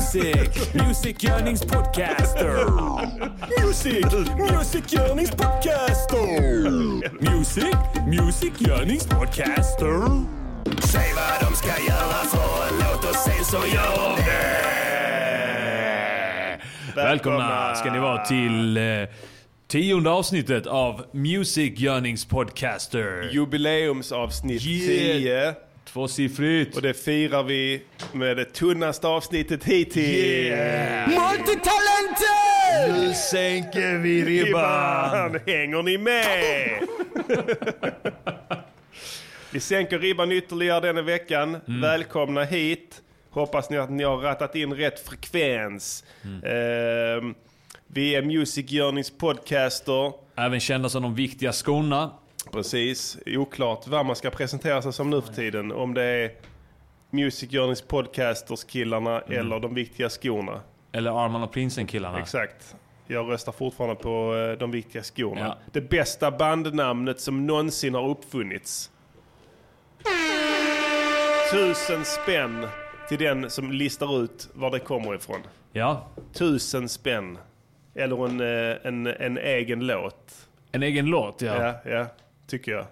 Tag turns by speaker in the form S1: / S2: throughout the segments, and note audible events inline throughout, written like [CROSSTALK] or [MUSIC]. S1: Music, musikgörningspodcaster. Music, musikgörningspodcaster. Music, musikgörningspodcaster. Säg vad de ska göra för en låt och sen så gör det. Välkomna ska ni vara till eh, tionde avsnittet av Musikgörningspodcaster.
S2: Jubileumsavsnitt
S1: Yeah.
S2: 10.
S1: Tvåsiffrigt.
S2: Och det firar vi med det tunnaste avsnittet hittills.
S1: Multitalenter! Nu sänker vi ribban.
S2: Ribban, hänger ni med? vi sänker ribban ytterligare denna veckan.
S1: Mm.
S2: Välkomna hit. Hoppas ni att ni har rattat in rätt frekvens.
S1: Mm.
S2: Ehm, vi är Music Journeys podcaster.
S1: Även kända som de viktiga skorna.
S2: Precis. Oklart vad man ska presentera sig som nu för tiden. Om det är Music Journeys podcasters-killarna
S1: Mm.
S2: eller de viktiga skorna.
S1: Eller Arman och Prinsen-killarna.
S2: Exakt. Jag röstar fortfarande på eh, de viktiga skorna.
S1: Ja.
S2: Det bästa bandnamnet som någonsin har uppfunnits. Tusen spänn till den som listar ut var det kommer ifrån.
S1: Ja.
S2: Tusen spänn. Eller en, eh, en, en egen låt.
S1: En egen låt, ja. ja.
S2: Ja, ja, tycker jag.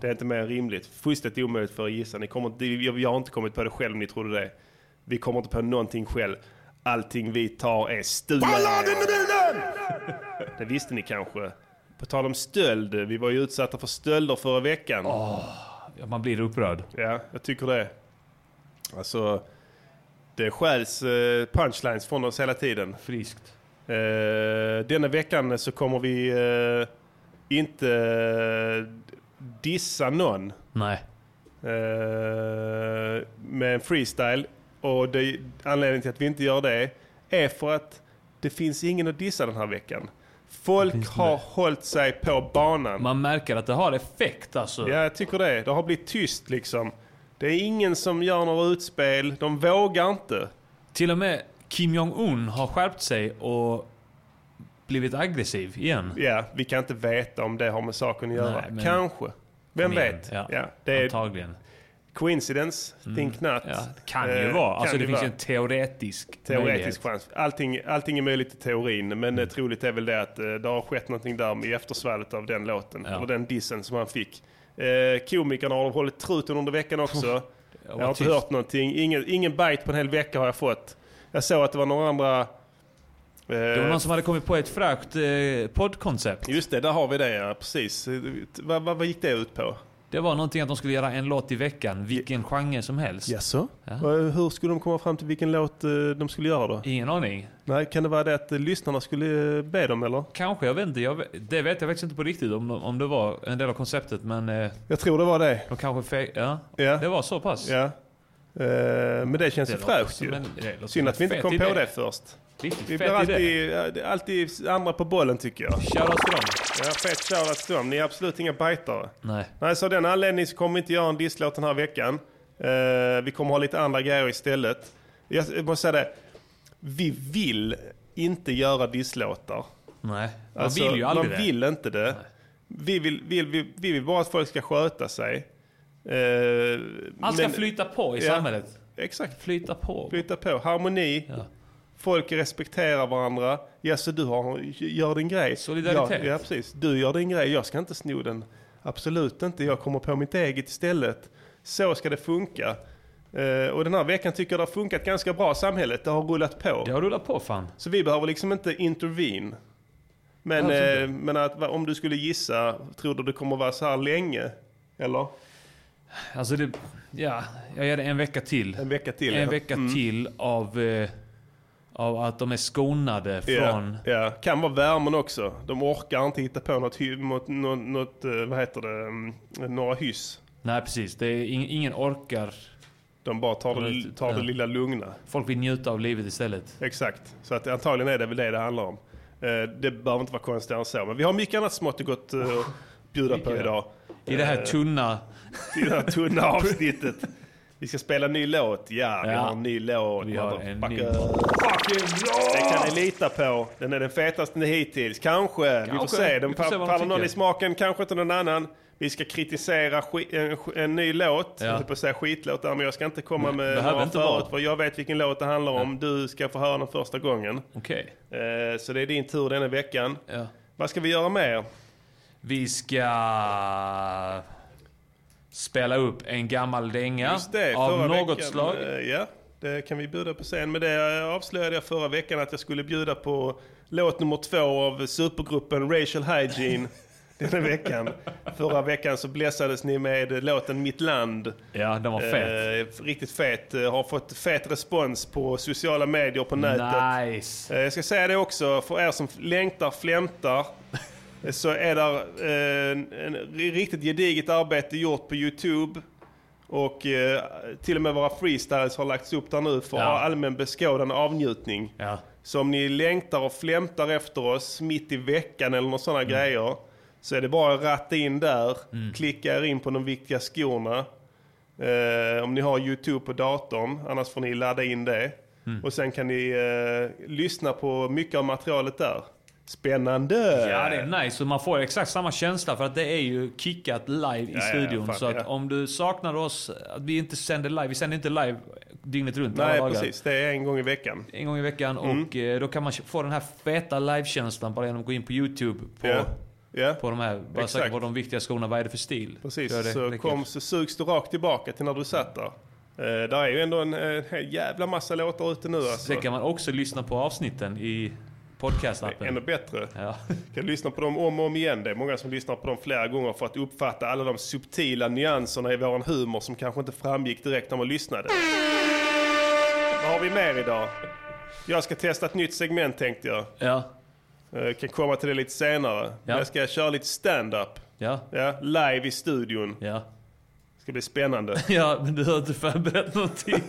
S2: Det är inte mer än rimligt. Fullständigt omöjligt för er att gissa. Ni kommer, inte- jag, jag har inte kommit på det själv om ni trodde det. Vi kommer inte på någonting själv. Allting vi tar är stulet. [LAUGHS] Det visste ni kanske. På tal om stöld. Vi var ju utsatta för stölder förra veckan.
S1: Ja, Man blir upprörd.
S2: Ja, jag tycker det. Alltså, det stjäls eh, punchlines från oss hela tiden.
S1: Friskt.
S2: Eh, denna veckan så kommer vi eh, inte eh, dissa någon.
S1: Nej.
S2: eh, med en freestyle. Och det, anledningen till att vi inte gör det är för att det finns ingen att dissa den här veckan. Folk har hållit sig på banan.
S1: Man märker att det har effekt alltså.
S2: Ja, jag tycker det. Det har blivit tyst liksom. Det är ingen som gör några utspel. De vågar inte.
S1: Till och med Kim Jong-Un har skärpt sig och blivit aggressiv igen.
S2: Ja, vi kan inte veta om det har med saken att göra.
S1: Nej, men-
S2: Kanske. Vem
S1: igen.
S2: vet?
S1: Ja.
S2: det är
S1: Antagligen. Mm.
S2: coincidence, think not.
S1: Ja, det kan
S2: Eh,
S1: ju vara. Alltså
S2: kan
S1: det
S2: ju
S1: finns ju
S2: vara.
S1: en teoretisk
S2: Teoretisk
S1: möjlighet.
S2: chans. Allting, allting är möjligt i teorin, men eh, troligt är väl det att eh, det har skett någonting där i eftersvallet av den låten,
S1: Ja.
S2: eller den dissen som han fick. Eh, komikerna har hållit truten under veckan också. jag har inte
S1: tyst.
S2: hört eh, någonting. Ingen, ingen bite på en hel vecka har jag fått. Jag såg att det var några andra... Eh,
S1: Det var någon som hade kommit på ett fräckt eh, poddkoncept.
S2: Just det, där har vi det ja, precis. Eh, Vad, vad, vad gick det ut på?
S1: Det var någonting att de skulle göra en låt i veckan, vilken genre som helst.
S2: Jaså?
S1: Ja.
S2: Vad- Hur skulle de komma fram till vilken låt eh, de skulle göra då?
S1: Ingen aning.
S2: Nej, kan det vara det att eh, lyssnarna skulle eh, be dem eller?
S1: Kanske, jag vet inte. Jag, vet- det vet jag faktiskt inte på riktigt om, om det var en del av konceptet. Men eh,
S2: Jag tror det var det.
S1: de kanske... Fe- ja,
S2: Ja.
S1: det var så pass.
S2: Ja. Eh, men det känns
S1: Det
S2: ju
S1: låter
S2: fräscht
S1: som
S2: ju.
S1: en- det låter som
S2: Synd att vi
S1: en
S2: inte
S1: fet
S2: kom
S1: idé.
S2: på det först.
S1: Riktigt
S2: Vi
S1: fet
S2: blir
S1: idé.
S2: alltid, ja, det är alltid andra på bollen tycker jag.
S1: Shoutouts till dem.
S2: Ja, fett shoutout till dem. Ni är absolut inga bajtare.
S1: Nej.
S2: Nej, så av den anledningen så kommer vi inte göra en disslåt den här veckan. Eh, vi kommer ha lite andra grejer istället. Jag jag måste säga det. Vi vill inte göra disslåtar.
S1: Nej. Man
S2: Alltså,
S1: vill ju aldrig
S2: man
S1: det.
S2: vill inte det. Vi vill, vill, vi, vi vill bara att folk ska sköta sig. Eh,
S1: Allt ska
S2: men-
S1: flyta på i
S2: Ja.
S1: samhället.
S2: Exakt.
S1: Flyta på.
S2: Flytta på. Harmoni.
S1: Ja.
S2: Folk respekterar varandra. Ja, så du har, gör din grej.
S1: Solidaritet.
S2: Ja, ja, precis. Du gör din grej. Jag ska inte sno den. Absolut inte. Jag kommer på mitt eget istället. Så ska det funka. Eh, och den här veckan tycker jag det har funkat ganska bra samhället. Det har rullat på.
S1: Det har rullat på fan.
S2: Så vi behöver liksom inte intervene. Men,
S1: Absolut.
S2: eh, men att, va- om du skulle gissa, tror du det kommer vara så här länge? Eller?
S1: Alltså det... Ja, jag ger det en vecka till.
S2: En vecka till?
S1: En
S2: ja. Mm.
S1: vecka till av... Eh, av att de är skonade från...
S2: Ja, ja. kan vara värmen också. De orkar inte hitta på något, hy- något, något, något eh, vad heter det, mm, några hyss.
S1: Nej precis, det är ing- ingen orkar.
S2: De bara tar det,
S1: Right,
S2: tar det
S1: ja.
S2: lilla lugna.
S1: Folk vill njuta av livet istället.
S2: Exakt. Så att antagligen är det väl det det handlar om. Eh, Det behöver inte vara konstigare än så. Men vi har mycket annat smått och gott eh, att bjuda på
S1: Mycket.
S2: idag.
S1: Eh, I det här tunna...
S2: I det här tunna avsnittet. Vi ska spela en ny låt. Ja, vi
S1: Ja.
S2: har en ny låt.
S1: Vi har en ny
S2: Motherfucker.
S1: låt.
S2: Det kan
S1: Ah.
S2: ni lita på. Den är den fetaste hittills. Kanske. Vi får
S1: Kanske.
S2: se. Den
S1: Vi får se
S2: fa-
S1: vad de
S2: faller någon
S1: tycker.
S2: i smaken, kanske inte någon annan. Vi ska kritisera ski- en, en ny låt.
S1: Ja.
S2: Jag höll på att säga skitlåt där, men jag ska inte komma med
S1: behöver
S2: några
S1: inte
S2: förut.
S1: vara.
S2: För jag vet vilken låt det handlar om. Du ska få höra den första gången.
S1: Okej.
S2: Eh, Så det är din tur denna veckan.
S1: Ja.
S2: Vad ska vi göra mer?
S1: Vi ska spela upp en gammal dänga
S2: Just det, förra
S1: av något
S2: veckan,
S1: slag.
S2: eh, Ja, det kan vi bjuda på sen. Men det eh, avslöjade jag förra veckan att jag skulle bjuda på låt nummer två av supergruppen Racial
S1: [LAUGHS]
S2: Hygiene denna veckan. Förra veckan så blessades ni med låten Mitt Land.
S1: Ja, den var fet.
S2: Eh, riktigt fet. Eh, Har fått fet respons på sociala medier på nätet.
S1: nice.
S2: Eh, Jag ska säga det också, för er som längtar, flämtar, eh, [LAUGHS] så är där eh, en, en riktigt gediget arbete gjort på Youtube. Och eh, till och med våra freestyles har lagts upp där nu för
S1: Ja.
S2: allmän beskådan avnjutning.
S1: Ja.
S2: Så om ni längtar och flämtar efter oss mitt i veckan eller några
S1: Mm.
S2: sådana grejer så är det bara att ratta in där, klicka er in på de viktiga skorna. Eh, om ni har YouTube på datorn, annars får ni ladda in det.
S1: Mm.
S2: Och sen kan ni eh, lyssna på mycket av materialet där. Spännande!
S1: Ja, det är nice. Och man får exakt samma känsla för att det är ju kickat live i
S2: ja,
S1: studion.
S2: fan,
S1: så att
S2: ja.
S1: om du saknar oss, att vi inte sänder live. Vi sänder inte live dygnet runt alla
S2: Nej,
S1: dagar.
S2: precis. Mm. Det är en gång i veckan.
S1: En gång i veckan. Och eh, då kan man få den här feta livekänslan bara genom att gå in på YouTube. På,
S2: Ja. Ja.
S1: på de här, bara
S2: Exakt.
S1: söka på de viktiga skorna. Vad är det för stil?
S2: Precis,
S1: Gör det,
S2: så,
S1: det är
S2: kom,
S1: kul.
S2: så sugs du rakt tillbaka till när du satt där. Eh, där är ju ändå en, en hel jävla massa låtar ute nu alltså.
S1: Sen kan man också lyssna på avsnitten i podcastappen.
S2: Ännu bättre.
S1: Ja.
S2: kan lyssna på dem om och om igen. Det är många som lyssnar på dem flera gånger för att uppfatta alla de subtila nyanserna i våran humor som kanske inte framgick direkt när man lyssnade. Vad har vi mer idag? Jag ska testa ett nytt segment tänkte jag.
S1: ja.
S2: Eh, kan komma till det lite senare. Men jag ska köra lite stand-up.
S1: Ja.
S2: Ja, live i studion.
S1: Ja.
S2: ska bli spännande.
S1: Ja, men du har inte
S2: [LAUGHS]
S1: förberett någonting.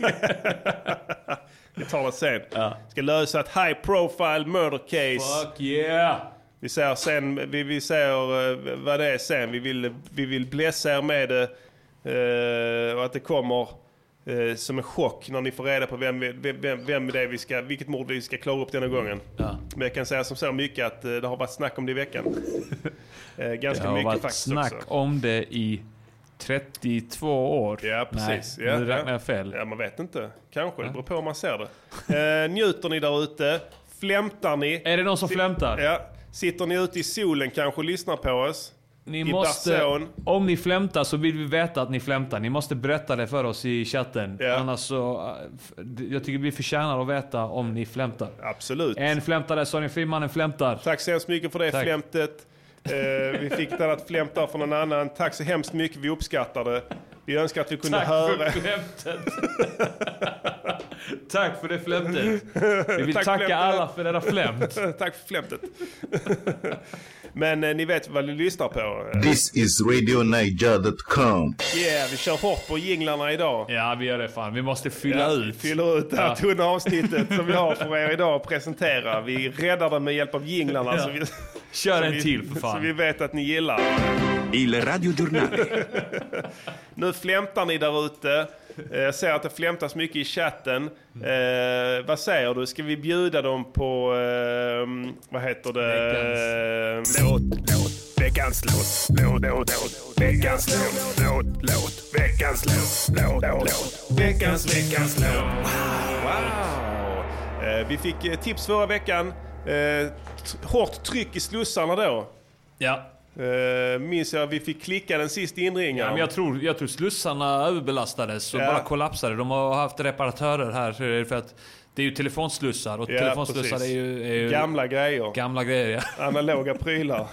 S2: Vi tar det sen. Ska lösa ett high profile murder case.
S1: Fuck yeah!
S2: Vi säger sen, vi, vi säger eh, vad det är sen. Vi vill, vi vill blessa er med det. eh, och att det kommer eh, som en chock när ni får reda på vem, vi- vem, vem- vem det är vi ska, vilket mord vi ska klara upp denna gången.
S1: Ja.
S2: Men jag kan säga som så mycket att eh, det har varit snack om det i
S1: [LAUGHS]
S2: veckan. Eh,
S1: Det
S2: ganska
S1: har
S2: mycket
S1: varit
S2: faktiskt
S1: snack
S2: också.
S1: om det i 32 år.
S2: Ja, precis.
S1: Nej,
S2: Ja,
S1: nu räknar
S2: ja.
S1: jag fel.
S2: Ja, man vet inte. Kanske, det beror på hur man ser det. Eh, njuter ni där ute? Flämtar ni?
S1: Är det någon som flämtar?
S2: Ja. Sitter ni ute i solen kanske och lyssnar på oss?
S1: Ni
S2: I
S1: måste,
S2: Barcelona.
S1: om ni flämtar så vill vi veta att ni flämtar. Ni måste berätta det för oss i chatten.
S2: Ja.
S1: Annars så... äh, f- Jag tycker vi förtjänar att veta om ni flämtar.
S2: Absolut.
S1: En flämtare, Sonny Frimannen flämtar.
S2: Tack så hemskt mycket för det
S1: Tack.
S2: flämtet. Eh, vi fick ett annat flämt där från någon annan. Tack så hemskt mycket, vi uppskattar det. Vi önskar att vi kunde
S1: Tack för
S2: höra. [LAUGHS]
S1: flämtet. [LAUGHS] Tack för det flämtet. Vi vill
S2: Tack
S1: tacka
S2: flämtet.
S1: alla för
S2: [LAUGHS]
S1: era flämt.
S2: Tack för flämtet. Men eh, ni vet vad ni lyssnar på. Eh,
S3: This is RadioNiger.com.
S2: Yeah, vi kör hårt på jinglarna idag.
S1: Ja, vi gör det fan. Vi måste fylla
S2: Ja, vi
S1: ut.
S2: fyller ut det här
S1: Ja.
S2: tunna avsnittet som vi har för er idag att presentera. Vi räddar det med hjälp av jinglarna.
S1: Ja.
S2: Så vi,
S1: Kör en
S2: vi-
S1: till för
S2: Så vi
S1: fan.
S2: vet att ni gillar.
S4: Il radiogiornale.
S2: Nu flämtar ni där ute. Eh, Jag ser att det flämtas mycket i chatten. Eh, vad säger du? Ska vi bjuda dem på... Eh, vad heter det?
S5: låt, låt, veckans låt, låt, låt, låt, veckans låt, låt, låt, veckans låt, låt, låt, veckans, veckans låt.
S2: Wow! Eh, vi fick eh, tips förra veckan. Eh, t- hårt tryck i slussarna då.
S1: Ja.
S2: Eh, minns jag vi fick klicka den sista
S1: Ja,
S2: inringaren.
S1: men jag, tror, jag tror slussarna överbelastades och
S2: Ja.
S1: bara kollapsade. De har haft reparatörer här för att det är ju telefonslussar och
S2: Ja,
S1: telefonslussar är
S2: precis.
S1: ju, är ju gamla.
S2: Gamla grejer.
S1: grejer. Ja.
S2: Analoga prylar.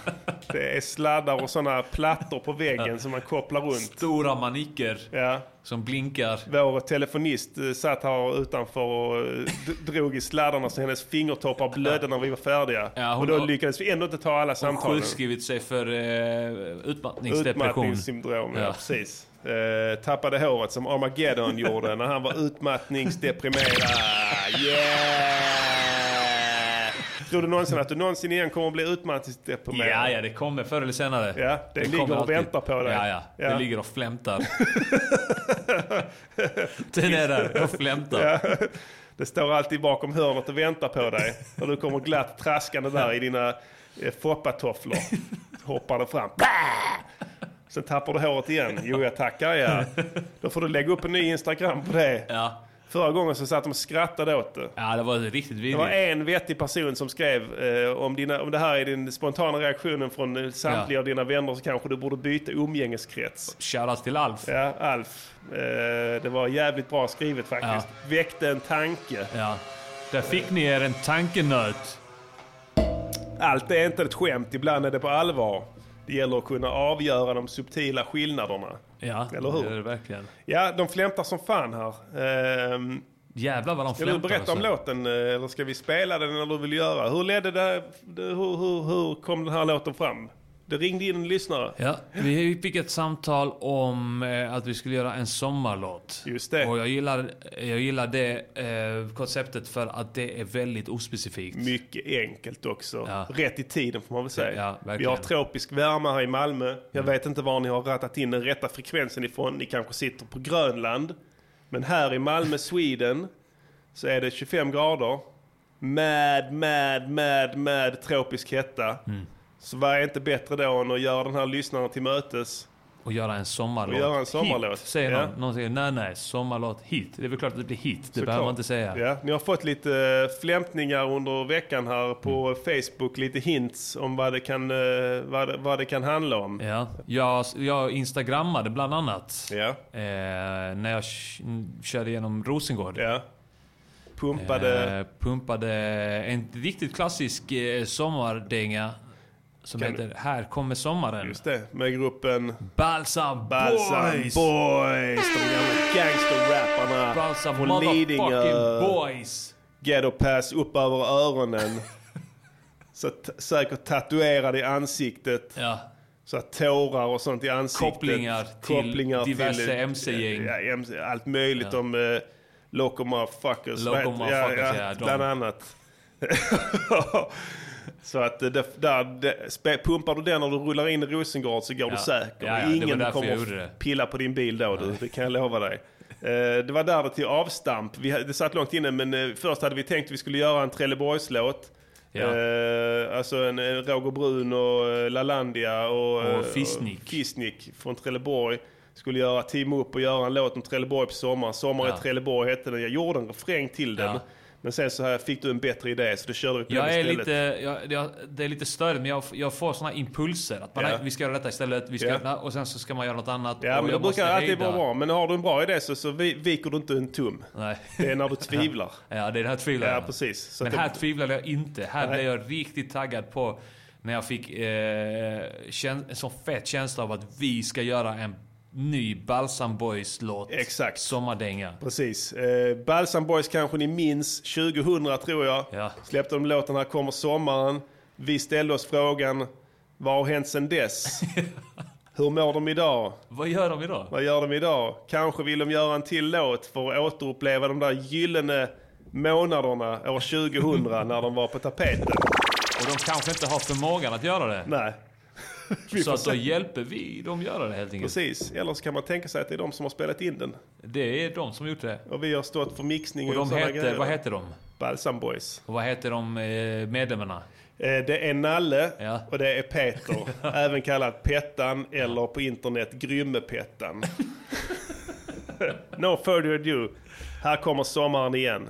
S2: Det är sladdar och sådana plattor på väggen som man kopplar runt.
S1: Stora maniker
S2: Ja.
S1: som blinkar.
S2: Vår telefonist eh, satt här utanför och eh, d- drog i sladdarna så hennes fingertoppar blödde när vi var färdiga.
S1: Ja, hon-
S2: och då lyckades vi ändå inte ta alla samtalen.
S1: Sjukskrivit sig för eh, utmattningsdepression.
S2: Utmattningssyndrom, ja.
S1: Ja.
S2: precis. Eh, tappade håret som Armageddon gjorde när han var utmattningsdeprimerad. Yeah! Tror du någonsin att du någonsin igen kommer att bli utmattningsdeprimerad?
S1: Ja, ja, det kommer förr eller senare.
S2: Ja, det ligger
S1: kommer
S2: och
S1: alltid.
S2: väntar på dig.
S1: Ja, ja,
S2: Ja.
S1: Det ligger
S2: [LAUGHS]
S1: och flämtar. Den är där och flämtar.
S2: [LAUGHS] Det står alltid bakom hörnet och väntar på dig. Och du kommer glatt traskande där i dina eh, foppatofflor. Hoppar den fram. Bah! Sen tappar du håret igen. Jo, jag tackar ja. Då får du lägga upp en ny Instagram på det.
S1: Ja.
S2: Förra gången så satt de och skrattade åt det.
S1: ja, det var riktigt
S2: Det var
S1: vidrigt.
S2: en vettig person som skrev eh, om, dina, om det här är din spontana reaktionen från eh, samtliga
S1: Ja.
S2: av dina vänner så kanske du borde byta umgängeskrets.
S1: Shoutout till Alf.
S2: Ja, Alf. Eh, det var jävligt bra skrivet faktiskt. Väckte en tanke.
S1: Ja. Där fick ni er en tankenöt.
S2: Allt är inte ett skämt, ibland är det på allvar. Det gäller att kunna avgöra de subtila skillnaderna.
S1: Ja,
S2: Eller hur?
S1: det är det verkligen.
S2: Ja, de flämtar som fan här. Ehm,
S1: Jävlar vad de
S2: Ska du
S1: flämtar.
S2: berätta om
S1: alltså.
S2: låten eh, eller ska vi spela den när du vill göra? Hur ledde det? det- Hur, hur, hur kom den här låten fram? Det ringde in en lyssnare.
S1: Ja, vi fick ett samtal om eh, att vi skulle göra en sommarlåt.
S2: Just det.
S1: Och jag gillar, jag gillar det eh, konceptet för att det är väldigt ospecifikt.
S2: Mycket enkelt också.
S1: Ja.
S2: Rätt i tiden får man väl säga.
S1: Ja, verkligen. Mm.
S2: vi har tropisk värme här i Malmö. Jag vet inte var ni har rattat in den rätta frekvensen ifrån. Ni kanske sitter på Grönland. Men här i
S1: [LAUGHS]
S2: Malmö, Sweden, så är det 25 grader. Mad, mad, mad, mad tropisk hetta.
S1: Mm.
S2: Så vad är inte bättre då än att göra den här lyssnaren till mötes?
S1: Och göra en sommarlåt.
S2: Och göra en sommarlåt.
S1: Hit, säger
S2: Ja.
S1: någon. Någon säger nej, nej, sommarlåt hit. Det är väl klart att det blir hit. Det behöver
S2: Såklart.
S1: man inte säga.
S2: Ja, ni har fått lite eh, flämtningar under veckan här på
S1: Mm.
S2: Facebook. Lite hints om vad det kan, eh, vad det, vad det kan handla om.
S1: Ja. Jag, jag instagrammade bland annat.
S2: Ja.
S1: Eh, när jag k- körde igenom Rosengård.
S2: Ja. Pumpade.
S1: Eh, pumpade en riktigt klassisk eh, sommardänga. Som
S2: Kan du-
S1: heter Här kommer sommaren.
S2: Just det, med gruppen
S1: Balsam,
S2: Balsam
S1: Boys!
S2: Boys. De gamla gangsterrapparna.
S1: Balsam
S2: Från Lidingö.
S1: motherfucking boys!
S2: Ghetto pass upp över öronen. Så t- säkert tatuerad i ansiktet.
S1: Ja.
S2: Så att tårar och sånt i ansiktet.
S1: Kopplingar till diverse MC-gäng.
S2: Ja, MC, allt möjligt
S1: Ja.
S2: om eh, Loco Motherfuckers.
S1: Loco
S2: Vad heter-
S1: Motherfuckers, ja, de.
S2: Bland annat. [LAUGHS] så att eh, det, där, det, spe- pumpar du den när du rullar in i Rosengård så går du
S1: Ja.
S2: säker.
S1: Ja, ja, det var
S2: Ingen
S1: därför
S2: kommer
S1: jag
S2: att
S1: gjorde det.
S2: pilla på din bil då du, det kan jag lova dig. Eh, Det var där det till avstamp. Vi, hade- det satt långt inne men eh, först hade vi tänkt att vi skulle göra en Trelleborgslåt.
S1: Ja.
S2: Eh, alltså en, en Roger Brun och eh, Lalandia och, eh,
S1: Och Fisnik.
S2: och Fisnik från Trelleborg. Skulle göra team upp och göra en låt om Trelleborg på sommaren. Sommar
S1: Ja.
S2: i Trelleborg hette den. Jag gjorde en refräng till den.
S1: Ja.
S2: Men sen så här fick du en bättre idé så då körde vi på
S1: Jag
S2: den
S1: är
S2: istället.
S1: lite, jag, jag, det är lite större, men jag, jag får såna impulser. Att man,
S2: Ja.
S1: nej, vi ska göra detta istället, vi ska
S2: Ja.
S1: göra det, och sen så ska man göra något annat.
S2: Ja
S1: och
S2: men det
S1: jag måste
S2: brukar alltid
S1: hejda.
S2: vara bra. Men har du en bra idé så, så vi- viker du inte en tum.
S1: Nej. [LAUGHS]
S2: Det är när du tvivlar.
S1: Ja, det är det här tvivlar
S2: Ja,
S1: jag.
S2: precis. Så
S1: Men
S2: att
S1: här
S2: det-
S1: tvivlade jag inte. Här
S2: Nej.
S1: blev jag riktigt taggad på när jag fick eh, kän- en sån fet känsla av att vi ska göra en ny Balsam Boys-låt.
S2: Exakt.
S1: Sommardänga.
S2: Precis. Eh, Balsam Boys kanske ni minns. 2000 tror jag.
S1: Ja.
S2: Släppte de låten Här kommer sommaren. Vi ställde oss frågan, vad har hänt sedan
S1: [LAUGHS]
S2: dess? Hur mår de idag?
S1: Vad gör de idag?
S2: Vad gör de idag? Kanske vill de göra en till låt för att återuppleva de där gyllene månaderna år 2000
S1: [LAUGHS]
S2: när de var på tapeten.
S1: Och de kanske inte har förmågan att göra det.
S2: Nej, [LAUGHS] vi
S1: så
S2: får
S1: att då
S2: se.
S1: hjälper vi dem göra det helt enkelt.
S2: precis. Eller så kan man tänka sig att det är de som har spelat in den.
S1: Det är de som gjort det.
S2: Och vi har stått för mixning
S1: Och
S2: och,
S1: de
S2: sådana
S1: heter,
S2: grejer.
S1: vad heter de?
S2: Balsam Boys.
S1: Och vad heter de eh, medlemmarna?
S2: Eh, Det är Nalle
S1: Ja.
S2: och det är Peter. även kallad Pettan eller på internet Grymme-Pettan. no further ado. Här kommer sommaren igen.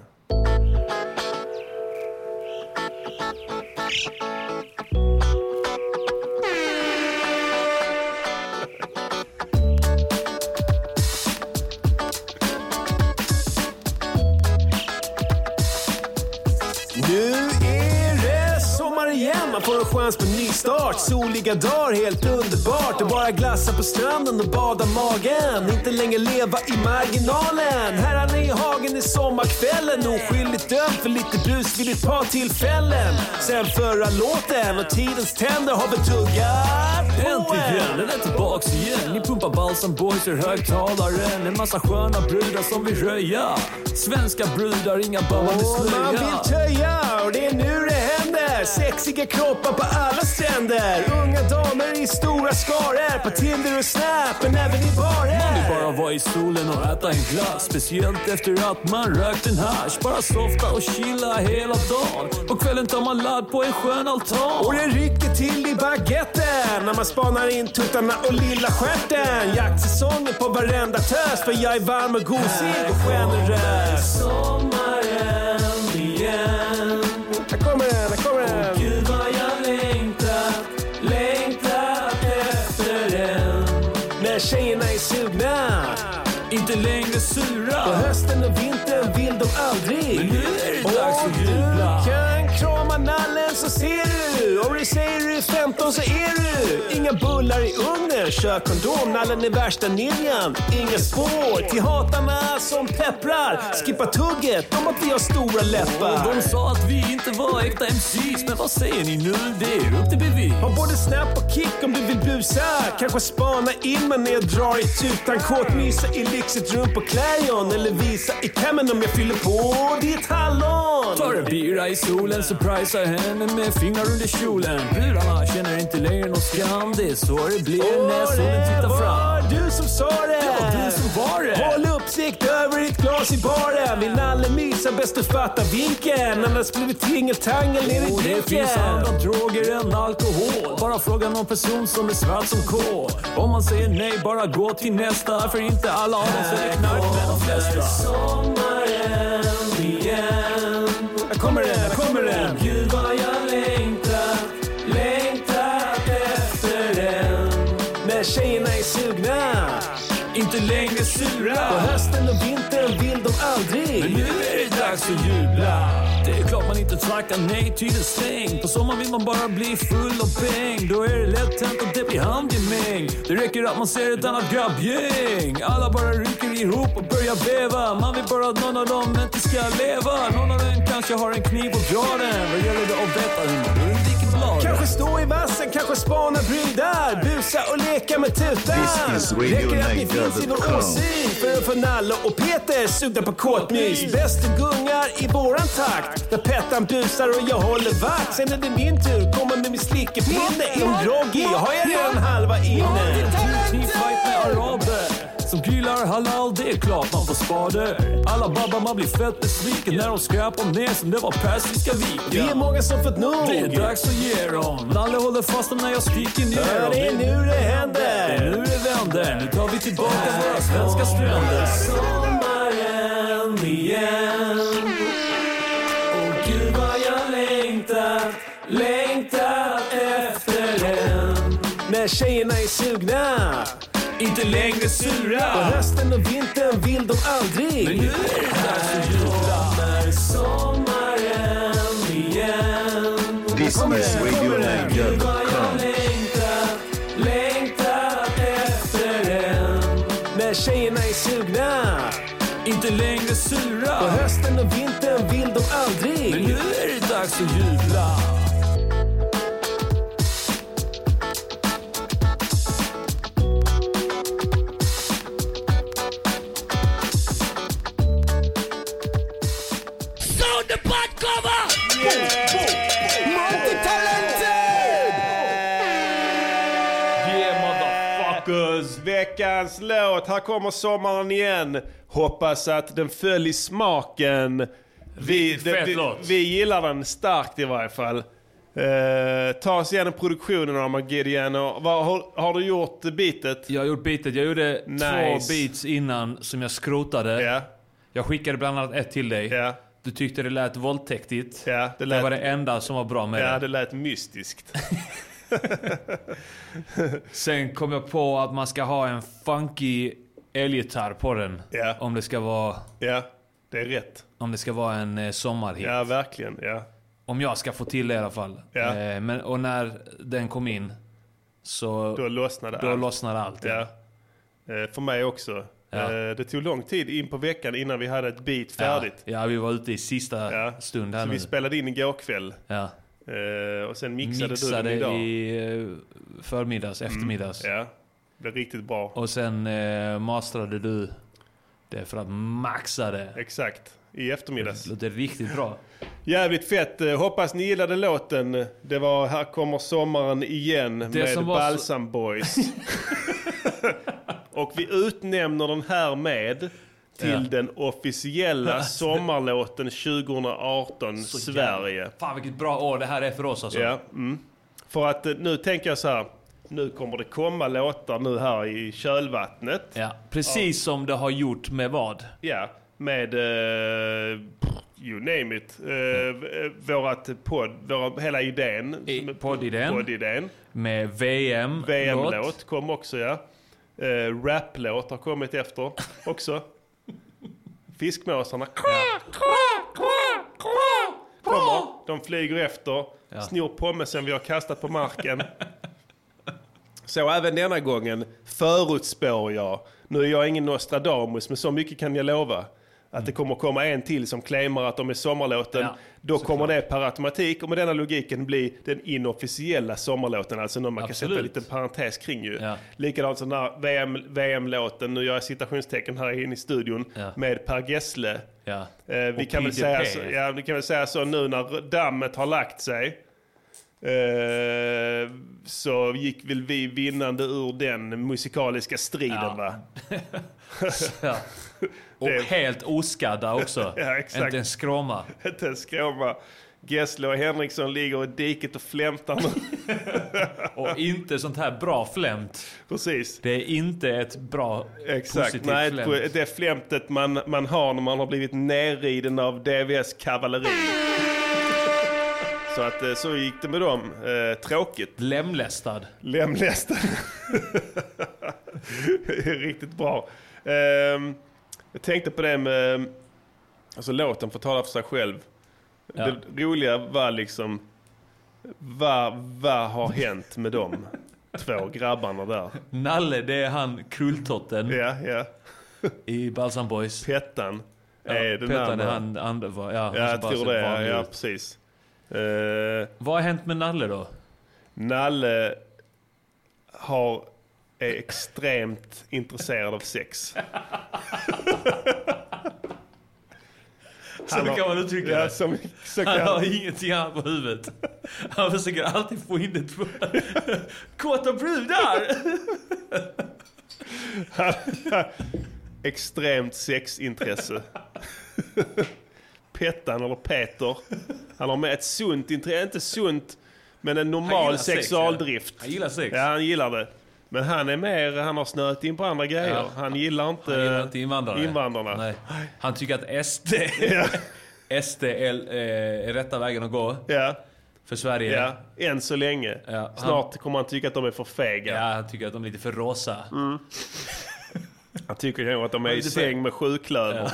S5: Nu är det sommar igen. Man får en chans på nystart. Soliga dagar, helt underbart. Och bara glassa på stranden och bada magen. Inte längre leva i marginalen. Herrarna i hagen är sommarkvällen. Oskyldigt dömd för lite brus vid ett par tillfällen. Sen förra låten och tidens tänder har betuggat på
S6: Äntligen är det tillbaks igen Ni pumpar balsam boys ur högtalaren En massa sköna brudar som vill röja Svenska brudar, inga ballande
S5: Och man
S6: slöja
S5: vill töja och det är nu det händer. Sexiga kroppar på alla stränder. Unga damer i stora skaror. På Tinder och Snap, men även i
S6: Man vill
S5: barer.
S6: bara vara i solen och äta en glass. Speciellt efter att man rökt en hasch. Bara softa och chilla hela dagen. På kvällen tar man ladd på en skön
S5: Och
S6: altan.
S5: det rycker till i baguetten när man spanar in tuttarna och lilla stjärten. Jaktsäsongen på varenda tös för jag är varm och gosig och generös.
S6: Sommaren igen.
S5: Här kommer den, här kommer den.
S6: Gud vad jag längtat, längtat efter en.
S5: När tjejerna är sugna.
S6: Inte längre sura.
S5: På hösten och vintern vill de aldrig.
S6: Men nu är det dags
S5: Om
S6: att jubla.
S5: du kan krama nallen så ser du. Om du säger du är 15 så är du. Inga bullar i ugnen, kör kondom. Nallen är värsta ninjan. Inga spår till hatarna som pepprar. Skippa tugget om att vi har stora läppar.
S6: De sa att vi inte var äkta MCs, men vad säger ni nu? Det är upp till bevis.
S5: Har både snap och kick om du vill busa. Kanske spana in mig när jag drar i tutan. Kåtmysa i lyxigt rum på Clarion. Eller visa i kammen om jag fyller på ditt hallon.
S6: Tar en bira i solen, surprisar henne med fingrar under kjolen. Brudar känner inte längre någon skam, det är så det blir när solen tittar fram.
S5: Det var du som sa det!
S6: Det var du som var det!
S5: Håll uppsikt över ditt glas i baren. Vill Nalle mysa bäst du fattar vinkeln. Annars blir det tingeltangel ner i
S6: Och Oh, det
S5: drinken.
S6: finns andra droger än alkohol. Bara fråga någon person som är svart som kol. Om man säger nej, bara gå till nästa. För inte alla av oss är det knark, men de flesta. Sommaren igen.
S5: Här kommer den, här kommer den.
S6: Gud vad jag längtat, längtat efter en.
S5: När tjejerna är sugna.
S6: Inte längre
S5: På
S6: sura.
S5: hösten och vintern vill de
S6: Men
S5: aldrig.
S6: nu är det dags att jubla. Det är klart man inte tackar nej till en släng. På sommaren vill man bara bli full och bäng. Då är det lätt hänt att det blir handgemäng. Det räcker att man ser ett annat grabbgäng. Alla bara rycker ihop och börjar veva. Man vill bara att någon av dem inte ska leva. Någon av dem kanske har en kniv och drar den. Vad gäller det att veta hur man undviker bladen?
S5: Kanske stå i vassen, kanske spana brudar. Busa och leka med tutan.
S3: This is Radio
S5: Räcker att ni finns i vår
S3: Nigeria.com.
S5: åsyn. För att få Nalle och Peter sugna på kåtmys. Bäst du gungar i våran takt. Där Pettan busar och jag håller vakt. Sen är det min tur, komma med min slickepinne. Är hon groggy har jag redan halva inne.
S6: Fight med araber som grillar halal, det är klart man får skador. Alla babbar man blir fett besviken när de skräpar ner som det var Persiska
S5: Vi är
S6: viken.
S5: många som fått
S6: Det
S5: nog.
S6: är dags att ge dem. Nalle håller fast dem när jag skriker ner
S5: Ja,
S6: dem.
S5: Det är nu det
S6: Det är
S5: händer.
S6: nu det vänder. Nu tar vi tillbaka våra svenska stränder. Sommaren igen. Och gud vad jag längtat, längtat efter en.
S5: När tjejerna är sugna.
S6: Inte längre
S5: På
S6: sura.
S5: hösten och vintern vill de aldrig.
S6: Men nu är det dags att jubla när sommaren igen.
S3: This is Radio Niger.com.
S6: Längtat, längtat efter en.
S5: När tjejerna är sugna.
S6: Inte längre sura.
S5: På hösten och vintern vill de
S6: Men
S5: aldrig.
S6: nu är det dags att jubla.
S1: Yeah motherfuckers!
S2: Veckans låt, här kommer sommaren igen. Hoppas att den föll i smaken. Vi,
S1: fet
S2: vi,
S1: låt.
S2: vi gillar den starkt i varje fall. Eh, ta oss igenom produktionen Armageddon. Och vad, har, har du gjort bitet?
S1: Jag har gjort beatet. Jag gjorde två
S2: Nice.
S1: beats innan som jag skrotade.
S2: Ja,
S1: Jag skickade bland annat ett till dig.
S2: ja,
S1: Du tyckte det lät våldtäktigt.
S2: ja. Det
S1: Det var det
S2: lät,
S1: enda som var bra med
S2: ja,
S1: det.
S2: det lät mystiskt.
S1: Sen kom jag på att man ska ha en funky elgitarr på den.
S2: Ja.
S1: Om, det ska vara,
S2: Ja, det är rätt.
S1: om det ska vara en eh, sommarhit.
S2: Ja, verkligen. Ja.
S1: Om jag ska få till det i alla fall.
S2: Ja.
S1: Eh, men, och när den kom in
S2: Då
S1: så då,
S2: lossnade allt.
S1: lossnade allt.
S2: Ja. Eh, För mig också.
S1: Ja.
S2: Eh, Det tog lång tid in på veckan innan vi hade ett beat
S1: Ja.
S2: färdigt.
S1: ja, vi var ute i sista
S2: Ja.
S1: stund här
S2: Så
S1: nu.
S2: vi spelade in igår kväll.
S1: ja.
S2: Eh, och sen mixade,
S1: Mixade
S2: du den idag. Mm.
S1: i eh, förmiddags, eftermiddags.
S2: Ja, det blev riktigt bra.
S1: Och sen eh, masterade du det för att maxa det.
S2: Exakt, i eftermiddags.
S1: Det låter riktigt bra.
S2: Jävligt fett. Eh, Hoppas ni gillade låten. Det var Här kommer sommaren igen med
S1: som var så-
S2: Balsam
S1: [LAUGHS]
S2: Boys. Och vi utnämner den här med till
S1: Ja.
S2: den
S1: [LAUGHS]
S2: officiella sommarlåten 2018 Sverige.
S1: Fan vilket bra år det här är för oss alltså.
S2: Ja, mm. För att eh, nu tänker jag så här. Nu kommer det komma låtar nu här i kölvattnet.
S1: Ja, precis som det har gjort med vad?
S2: Ja, med eh, you name it. Eh, v- eh, vårat podd, våra, hela idén.
S1: I-
S2: som är-
S1: poddidén.
S2: poddidén.
S1: Med VM.
S2: VM-låt kom också ja. Eh, rap-låt har kommit efter
S1: [LAUGHS]
S2: också. Fiskmåsarna. Kommer, de flyger efter, snor pommesen vi har kastat på marken. [LAUGHS] Så även denna gången förutspår jag, nu är jag ingen Nostradamus, men så mycket kan jag lova. Att det kommer komma en till som claimar att de är sommarlåten.
S1: Mm. Ja,
S2: Då kommer det per automatik och med denna logiken bli den inofficiella sommarlåten. Alltså någon man kan sätta
S1: Absolut.
S2: en liten parentes kring ju.
S1: Ja.
S2: Likadant som den här VM, VM-låten, nu gör jag citationstecken här inne i studion,
S1: Ja.
S2: med Per Gessle.
S1: Ja.
S2: Eh, vi,
S1: Och
S2: kan väl
S1: PDP.
S2: säga så, ja, vi kan väl säga så nu när dammet har lagt sig. Eh, så gick väl vi vinnande ur den musikaliska striden
S1: Ja.
S2: va? [LAUGHS]
S1: [LAUGHS] Ja. Och
S2: Det-
S1: helt oskadda också.
S2: [LAUGHS] Ja, exakt.
S1: Inte en skråma.
S2: Inte en skråma. Gessle och Henriksson ligger i diket och flämtar nu. [LAUGHS]
S1: Och inte sånt här bra flämt.
S2: Precis.
S1: Det är inte ett bra
S2: Exakt.
S1: positivt
S2: Nej,
S1: flämt.
S2: det- det flämtet man, man har när man har blivit nerriden av DVS
S1: [LAUGHS]
S2: kavalleri. Så att eh, så gick det med dem. Eh, tråkigt.
S1: Lemlästad.
S2: Lemlästad. [LAUGHS] Riktigt bra. Ehm, jag tänkte på det med... Alltså låten får tala för sig själv. Det roliga var liksom... Vad vad har hänt med de två grabbarna där?
S1: Nalle, det är han krulltotten
S2: Ja, ja.
S1: i Balsam Boys.
S2: Pettan är den
S1: Petan
S2: andra.
S1: är han, andra var, ja,
S2: ja, jag
S1: han som bara
S2: tror
S1: ser
S2: det. Ja,
S1: vanlig
S2: ja
S1: ut.
S2: precis. Eh,
S1: Vad har hänt med Nalle då?
S2: Nalle har, är extremt intresserad av sex.
S1: Så kan man uttrycka
S2: Ja,
S1: det.
S2: som,
S1: [LAUGHS]
S2: så kan,
S1: Han har ingenting annat på huvudet. Han försöker alltid få in det på... [LAUGHS] Kåta brudar!
S2: extremt sexintresse. Pettan eller Peter. Han har med ett sunt intresse, inte sunt, men en
S1: Han
S2: normal
S1: gillar sex,
S2: sexualdrift.
S1: ja. Han gillar sex.
S2: Ja, han gillar det. Men han är mer, han har snöat in på andra grejer.
S1: Ja.
S2: Han gillar inte,
S1: Han gillar inte invandrare.
S2: invandrarna. [LAUGHS]
S1: Nej. Han tycker att SD... SD är, eh, är rätta vägen att gå
S2: Ja,
S1: för Sverige.
S2: ja, än så länge.
S1: Ja, han-
S2: Snart kommer han tycka att de är för fega.
S1: Ja, han tycker att de är lite för rosa.
S2: Mm. Han tycker kanske att de är i
S1: lite
S2: säng med sjuklöver.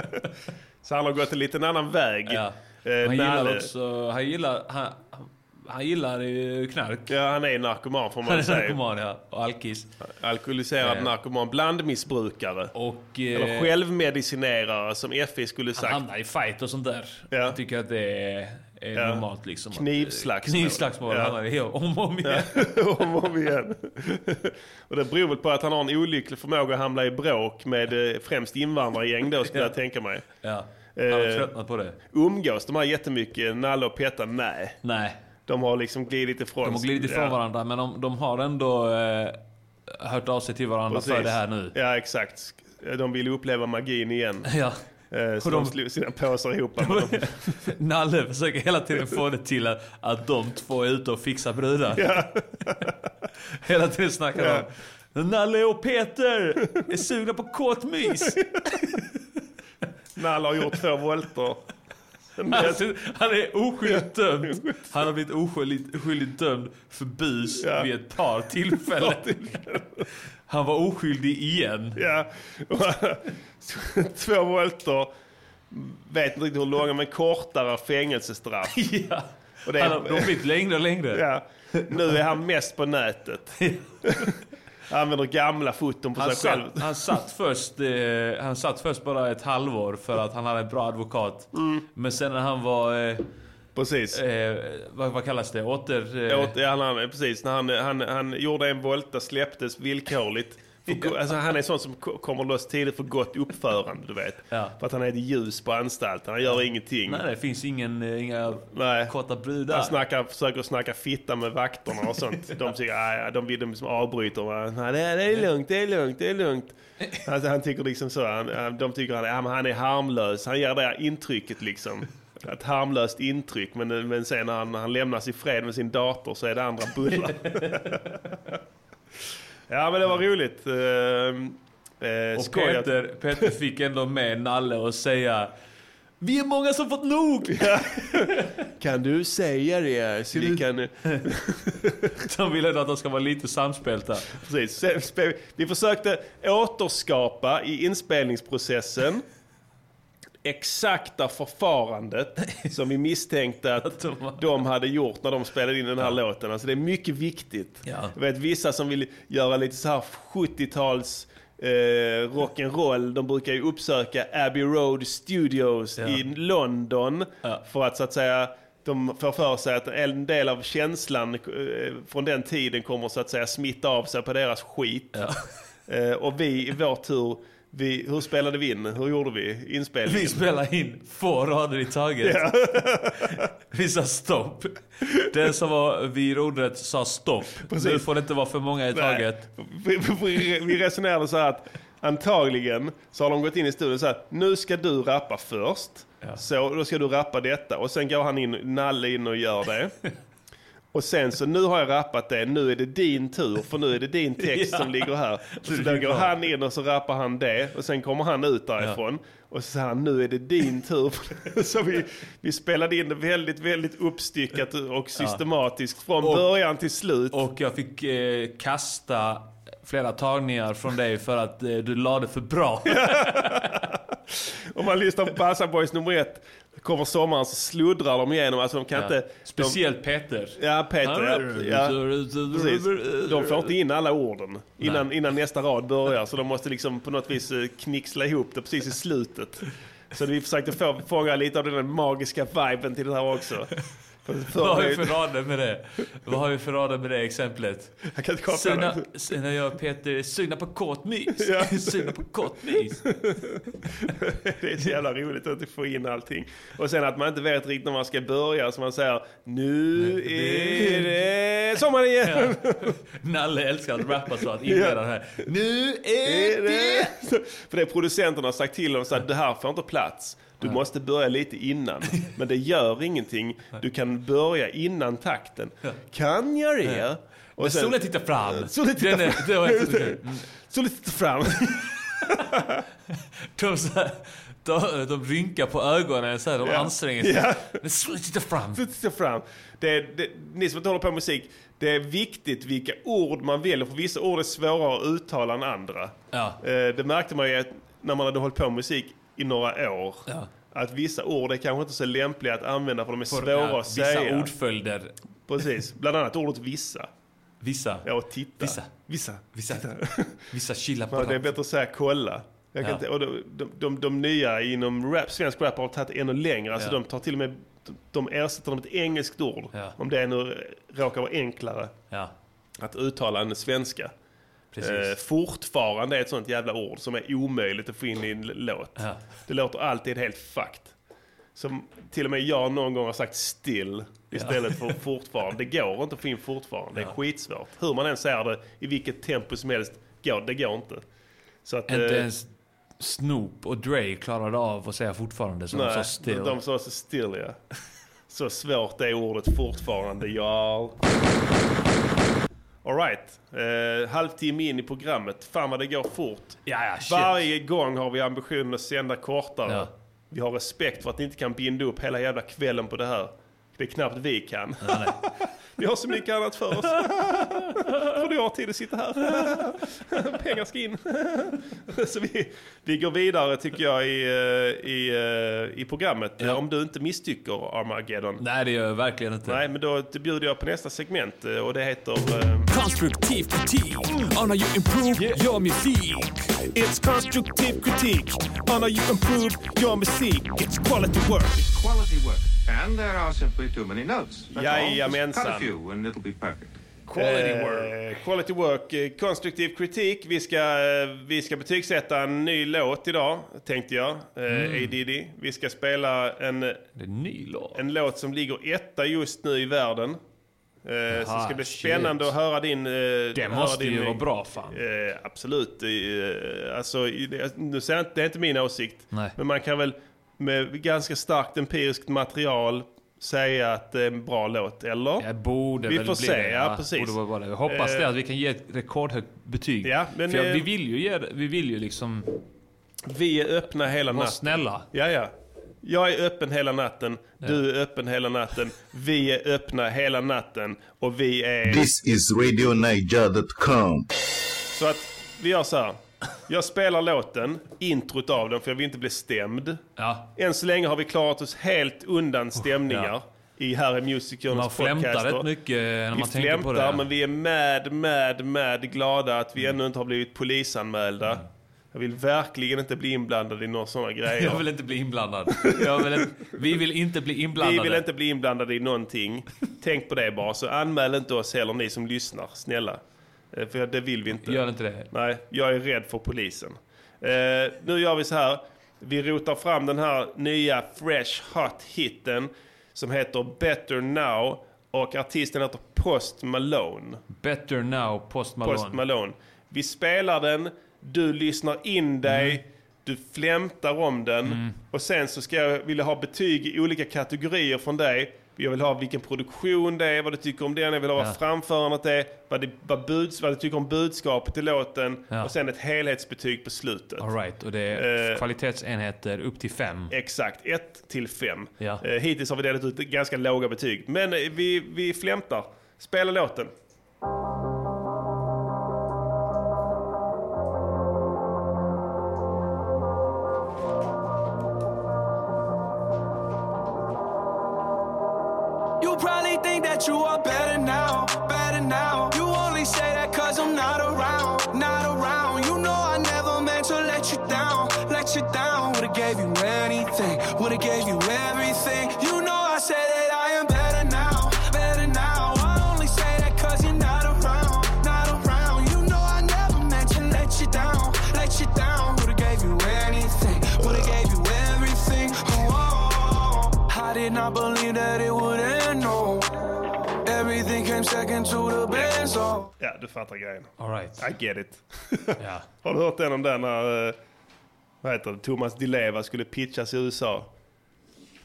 S2: [LAUGHS] så han har gått en liten annan väg.
S1: Ja.
S2: Eh,
S1: Han gillar
S2: Nalle-
S1: också... Han gillar... Han, han gillar eh, knark.
S2: Ja, han är narkoman får
S1: Han
S2: man
S1: är [LAUGHS]
S2: säga.
S1: narkoman, ja. Och alkis.
S2: Alkoholiserad
S1: Ja. Eh.
S2: narkoman, blandmissbrukare.
S1: Och...
S2: Eller självmedicinerare som FI skulle sagt.
S1: hamnar i fight och sånt där.
S2: Ja.
S1: Jag tycker att det är, är
S2: Ja.
S1: normalt liksom. att-
S2: Knivslagsmål.
S1: Knivslagsmål
S2: Ja.
S1: hamnar vi i om och om igen.
S2: [LAUGHS] om och om igen. och det beror väl på att han har en olycklig förmåga att hamna i bråk med eh, främst invandrargäng då skulle jag tänka mig.
S1: Ja. Han har
S2: Eh.
S1: tröttnat på det.
S2: Umgås de här jättemycket, Nalle och Petter? Nej.
S1: Nej,
S2: De har liksom glidit ifrån
S1: de har glidit ifrån
S2: ja.
S1: varandra men de, de har ändå eh, hört av sig till varandra för
S2: Precis.
S1: det här nu.
S2: Ja, exakt. De ville uppleva magin
S1: [LAUGHS]
S2: igen.
S1: Ja.
S2: Eh, Så
S1: Och
S2: de
S1: de-
S2: slog sina påsar
S1: [LAUGHS]
S2: ihop. Men de,
S1: Nalle försöker hela tiden få det till att, att de två är ute och fixar brudar. hela tiden snackar de om Nalle och Peter är sugna på kåtmys.
S2: Nalle har gjort två volter. typ- Men
S1: Han,
S2: jag-
S1: han är oskyldigt dömd. Han har blivit oskyldigt, oskyldigt dömd för bus
S2: Ja.
S1: vid ett par tillfällen. Han var oskyldig igen.
S2: Ja. Två volter. Vet inte riktigt hur långa, men kortare fängelsestraff.
S1: Ja.
S2: Och det
S1: Han har, de har
S2: är,
S1: blivit längre och längre.
S2: ja. Nu är han mest på nätet. Använder gamla foton på
S1: Han,
S2: sig själv.
S1: satt, han, satt först, eh, han satt först bara ett halvår för att han hade en bra advokat. Men sen när han var,
S2: Precis.
S1: eh, eh, vad, vad kallas det, åter... Eh,
S2: Åt- ja, han, han- precis. När han, han, han gjorde en volta, släpptes villkorligt. För, go- alltså, han är sån som ko- kommer loss tidigt för gott uppförande, du vet.
S1: Ja.
S2: För att han är ett ljus på anstalten, han gör ingenting.
S1: Nej, det finns ingen, eh, inga
S2: Nej.
S1: korta brudar.
S2: Han snackar, försöker snacka fitta med vakterna och sånt. De tycker, "Ah, ja, de, vill- de liksom avbryter. Va? Nej, det, är- det är lugnt, det är lugnt, det är lugnt. Alltså, han tycker liksom så, han, han- de tycker han, ja, men han är harmlös. Han ger det här intrycket liksom. Ett harmlöst intryck, men, men sen när han, när han lämnas i fred med sin dator så är det andra bullar. [LAUGHS] ja, men det var roligt. Eh, eh,
S1: och
S2: skoj att-
S1: Peter, Peter fick ändå med Nalle och säga Vi är många som fått nog! [LAUGHS]
S2: Kan du säga det? Så vi kan,
S1: De vill ändå att de ska vara lite samspelta.
S2: Precis. Sen spe- Vi försökte återskapa i inspelningsprocessen exakta förfarandet som vi misstänkte att [LAUGHS] de hade gjort när de spelade in den här låten. Alltså det är mycket viktigt.
S1: Ja.
S2: Jag vet vissa som vill göra lite så här 70-tals eh, rock'n'roll, de brukar ju uppsöka Abbey Road Studios i London
S1: Ja.
S2: för att så att säga de får för sig att en del av känslan eh, från den tiden kommer så att säga smitta av sig på deras skit. Eh, och vi i vår tur, vi, hur spelade vi in? Hur gjorde vi inspelningen?
S1: Vi spelar in två rader i taget. [LAUGHS] Vi sa stopp. Den som var vid rodret sa stopp. Nu får det inte vara för många i taget.
S2: Vi, vi, vi resonerade så här att antagligen så har de gått in i studion så här, nu ska du rappa först. Så då ska du rappa detta och sen går han in, Nalle in och gör det. Och sen så nu har jag rappat det, nu är det din tur för nu är det din text som ligger här. Och så då går han in och så rappar han det och sen kommer han ut därifrån. Och så säger han nu är det din tur. [LAUGHS] så vi, vi spelade in det väldigt, väldigt uppstyckat och systematiskt från början till slut.
S1: Och jag fick eh, kasta flera tagningar från dig för att eh, du lade för bra.
S2: Om man lyssnar på Bassa Boys nummer ett, kommer sommaren så sluddrar de igenom. Alltså de kan inte...
S1: Speciellt Peter.
S2: De, ja, Peter. Ja, ja, precis. De får inte in alla orden innan, innan nästa rad börjar. Så de måste liksom på något vis eh, knixla ihop det precis i slutet. Så vi försökte få, fånga lite av den där magiska viben till det här också. För, för,
S1: Vad har vi för rader med det? Vad har vi för rader med det exemplet?
S2: jag kan inte komma på
S1: Sugna,
S2: något.
S1: sugna jag och Peter är sugna på kåt mys.
S2: Ja.
S1: [LAUGHS] sugna på kåt mys.
S2: [LAUGHS] Det är så jävla roligt att du får in allting. Och sen att man inte vet riktigt när man ska börja. Så man säger nu är det sommar igen.
S1: Nalle älskar att rappa så att inleda den här. Nu är
S2: Är
S1: det...
S2: det? För det är producenterna har sagt till dem så att det här får inte plats. Du måste börja lite innan. Men det gör ingenting. Du kan börja innan takten. Kan jag det? Och sen,
S1: Solen tittar fram.
S2: Solen tittar
S1: Den är-
S2: fram.
S1: det
S2: [LAUGHS]
S1: var-
S2: Just det.
S1: Mm.
S2: solen tittar fram.
S1: De, så här, de, de rynkar på ögonen så här, de
S2: Ja.
S1: anstränger sig.
S2: Ja.
S1: Men solen tittar fram.
S2: Solen tittar fram. Det är, det, ni som inte håller på med musik, det är viktigt vilka ord man väljer. För vissa ord är svårare att uttala än andra.
S1: Ja.
S2: Eh, Det märkte man ju att när man hade hållit på med musik i några år.
S1: Ja.
S2: Att vissa ord är kanske inte så lämpliga att använda för de är svåra
S1: Ja,
S2: att säga.
S1: vissa ordföljder.
S2: Precis, bland annat ordet vissa.
S1: Vissa.
S2: Ja, och titta.
S1: Vissa.
S2: Vissa.
S1: Vissa.
S2: Titta. [LAUGHS]
S1: Vissa chilla på
S2: Ja, det är
S1: ratten.
S2: bättre att säga kolla. Jag kan
S1: Ja.
S2: inte, och de, de, de, de nya inom rap, svensk rap har tagit ännu längre. Alltså
S1: Ja.
S2: de tar till och med, de ersätter med ett engelskt ord.
S1: Ja.
S2: Om det nu råkar vara enklare
S1: Ja,
S2: att uttala än svenska.
S1: precis.
S2: Eh, fortfarande är ett sånt jävla ord som är omöjligt att få in i en l- låt.
S1: Ja.
S2: Det låter alltid helt fucked. Som till och med jag någon gång har sagt still istället för fortfarande. Det går inte att få in fortfarande. Det är skitsvårt. Hur man än säger det, i vilket tempo som helst, går, det går inte. Så att,
S1: Inte
S2: eh,
S1: ens Snoop och Dre klarade av att säga fortfarande som de
S2: nej,
S1: sa still.
S2: De sa så still ja. Så svårt är ordet fortfarande, y'all. Alright, eh, halvtimme in i programmet. Fan vad det går fort.
S1: Ja, ja, shit.
S2: Varje gång har vi ambitionen att sända kortare.
S1: Ja.
S2: Vi har respekt för att ni inte kan binda upp hela jävla kvällen på det här. Det är knappt vi kan. [LAUGHS] vi har så mycket annat för oss. för du har tid att sitta här. [LAUGHS] Pengar ska in. så vi, vi går vidare tycker jag i, eh, i, eh, i programmet. Om du inte misstycker Armageddon. Nej,
S1: Nej, det gör jag verkligen inte.
S2: men då bjuder jag på nästa segment eh, och det heter... eh,
S6: Konstruktiv kritik. Anna, you improve your music.
S5: It's constructive critique on how you improve your music. It's quality work.
S7: quality work. And there are simply too many notes. That's all. Just
S2: Jajamensan.
S7: Cut a few and it'll be perfect.
S1: Quality
S2: Eh,
S1: work.
S2: Quality work. eh, Konstruktiv kritik. Vi ska, eh, vi ska betygsätta en ny låt idag, tänkte jag. Mm. ADD. Vi ska spela en,
S1: Det är en ny låt.
S2: en låt som ligger etta just nu i världen. Eh, så det ska bli
S1: shit.
S2: spännande att höra din... eh,
S1: Det
S2: höra
S1: måste
S2: din-
S1: ju vara bra fan.
S2: Eh, absolut. Eh, alltså, i- det- nu säger jag inte, det är inte min åsikt.
S1: Nej.
S2: Men man kan väl med ganska starkt empiriskt material säga att det är en bra låt, eller?
S1: Jag borde
S2: Vi
S1: väl
S2: får
S1: bli
S2: se,
S1: det.
S2: ja, precis. Eh.
S1: Borde vara det. Jag hoppas det, att vi kan ge ett rekordhögt betyg.
S2: Ja, men,
S1: För jag,
S2: eh,
S1: vi vill ju ge det- Vi vill ju liksom
S2: Vi är öppna hela
S1: vara
S2: natten.
S1: snälla.
S2: Ja, ja. Jag är öppen hela natten, du är öppen hela natten, vi är öppna hela natten och vi är...
S3: This is RadioNiger.com.
S2: Så att vi gör så här. Jag spelar låten, introt av den, för jag vill inte bli stämd.
S1: Ja. Oh,
S2: Än så länge har vi klarat oss helt undan stämningar
S1: ja.
S2: i här i Music Journals
S1: Man flämtar
S2: podcaster.
S1: rätt mycket eh, när
S2: Vi
S1: man tänker på
S2: flämtar,
S1: det. Mm.
S2: men vi är mad, mad, mad glada att vi ännu inte har blivit polisanmälda. Jag vill verkligen inte bli inblandad i några
S1: [LAUGHS]
S2: sådana grejer.
S1: Jag vill inte
S2: [LAUGHS]
S1: bli inblandad. Jag vill inte, vi vill inte bli inblandade.
S2: Vi vill inte bli inblandade i någonting. Tänk på det bara. Så anmäl inte oss heller, ni som lyssnar. Snälla. Eh, För det vill vi inte.
S1: Gör inte det.
S2: Nej, jag är rädd för polisen. Eh, nu gör vi så här. Vi rotar fram den här nya fresh hot hitten som heter Better Now och artisten heter Post Malone.
S1: Better now, Post Malone.
S2: Post Malone. Vi spelar den, du lyssnar in dig,
S1: Mm.
S2: du flämtar om den och sen så ska jag vilja ha betyg i olika kategorier från dig. Jag vill ha vilken produktion det är, vad du tycker om den, jag vill ha vad framförandet är, vad, det, vad, buds, vad du tycker om budskapet i låten
S1: Ja.
S2: och sen ett helhetsbetyg på slutet.
S1: All right, och det är
S2: Eh.
S1: kvalitetsenheter upp till fem.
S2: Exakt, 1 till 5.
S1: Ja.
S2: Eh, hittills har vi delat ut ganska låga betyg, men eh, vi, vi flämtar. Spela låten.
S7: You probably think that you are better now, better now. You only say that cause I'm not around, not around. You know I never meant to let you down, let you down. Would've gave you anything, would've gave you everything. You know I say that I am better now, better now. I only say that cause you're not around, not around. You know I never meant to let you down, let you down. Would've gave you anything, would've gave you everything. Oh, I did not believe that it would end, no. Everything came second to the best, oh.
S2: Ja, du fattar grejen.
S1: All right.
S2: I get it.
S1: Ja.
S2: [LAUGHS] Har du hört den om den när eh, vad heter det, Thomas Di Leva skulle pitchas i USA?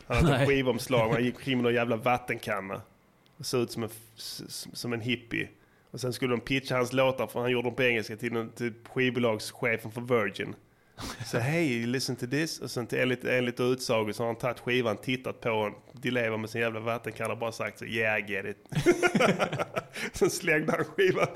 S2: Han hade
S1: Nej.
S2: ett skivomslag och han gick kring med någon jävla vattenkanna. Och såg ut som en, f- s- s- som en hippie. Och sen skulle de pitcha hans låtar, för han gjorde dem på engelska, till, den- till skivbolagschefen för Virgin. Så hej, listen to this. Och sen till, enligt, enligt utsago så har han tagit skivan, tittat på den, Di Leva med sin jävla vattenkanna och bara sagt så yeah I get it. [LAUGHS] Sen slängde han skivan.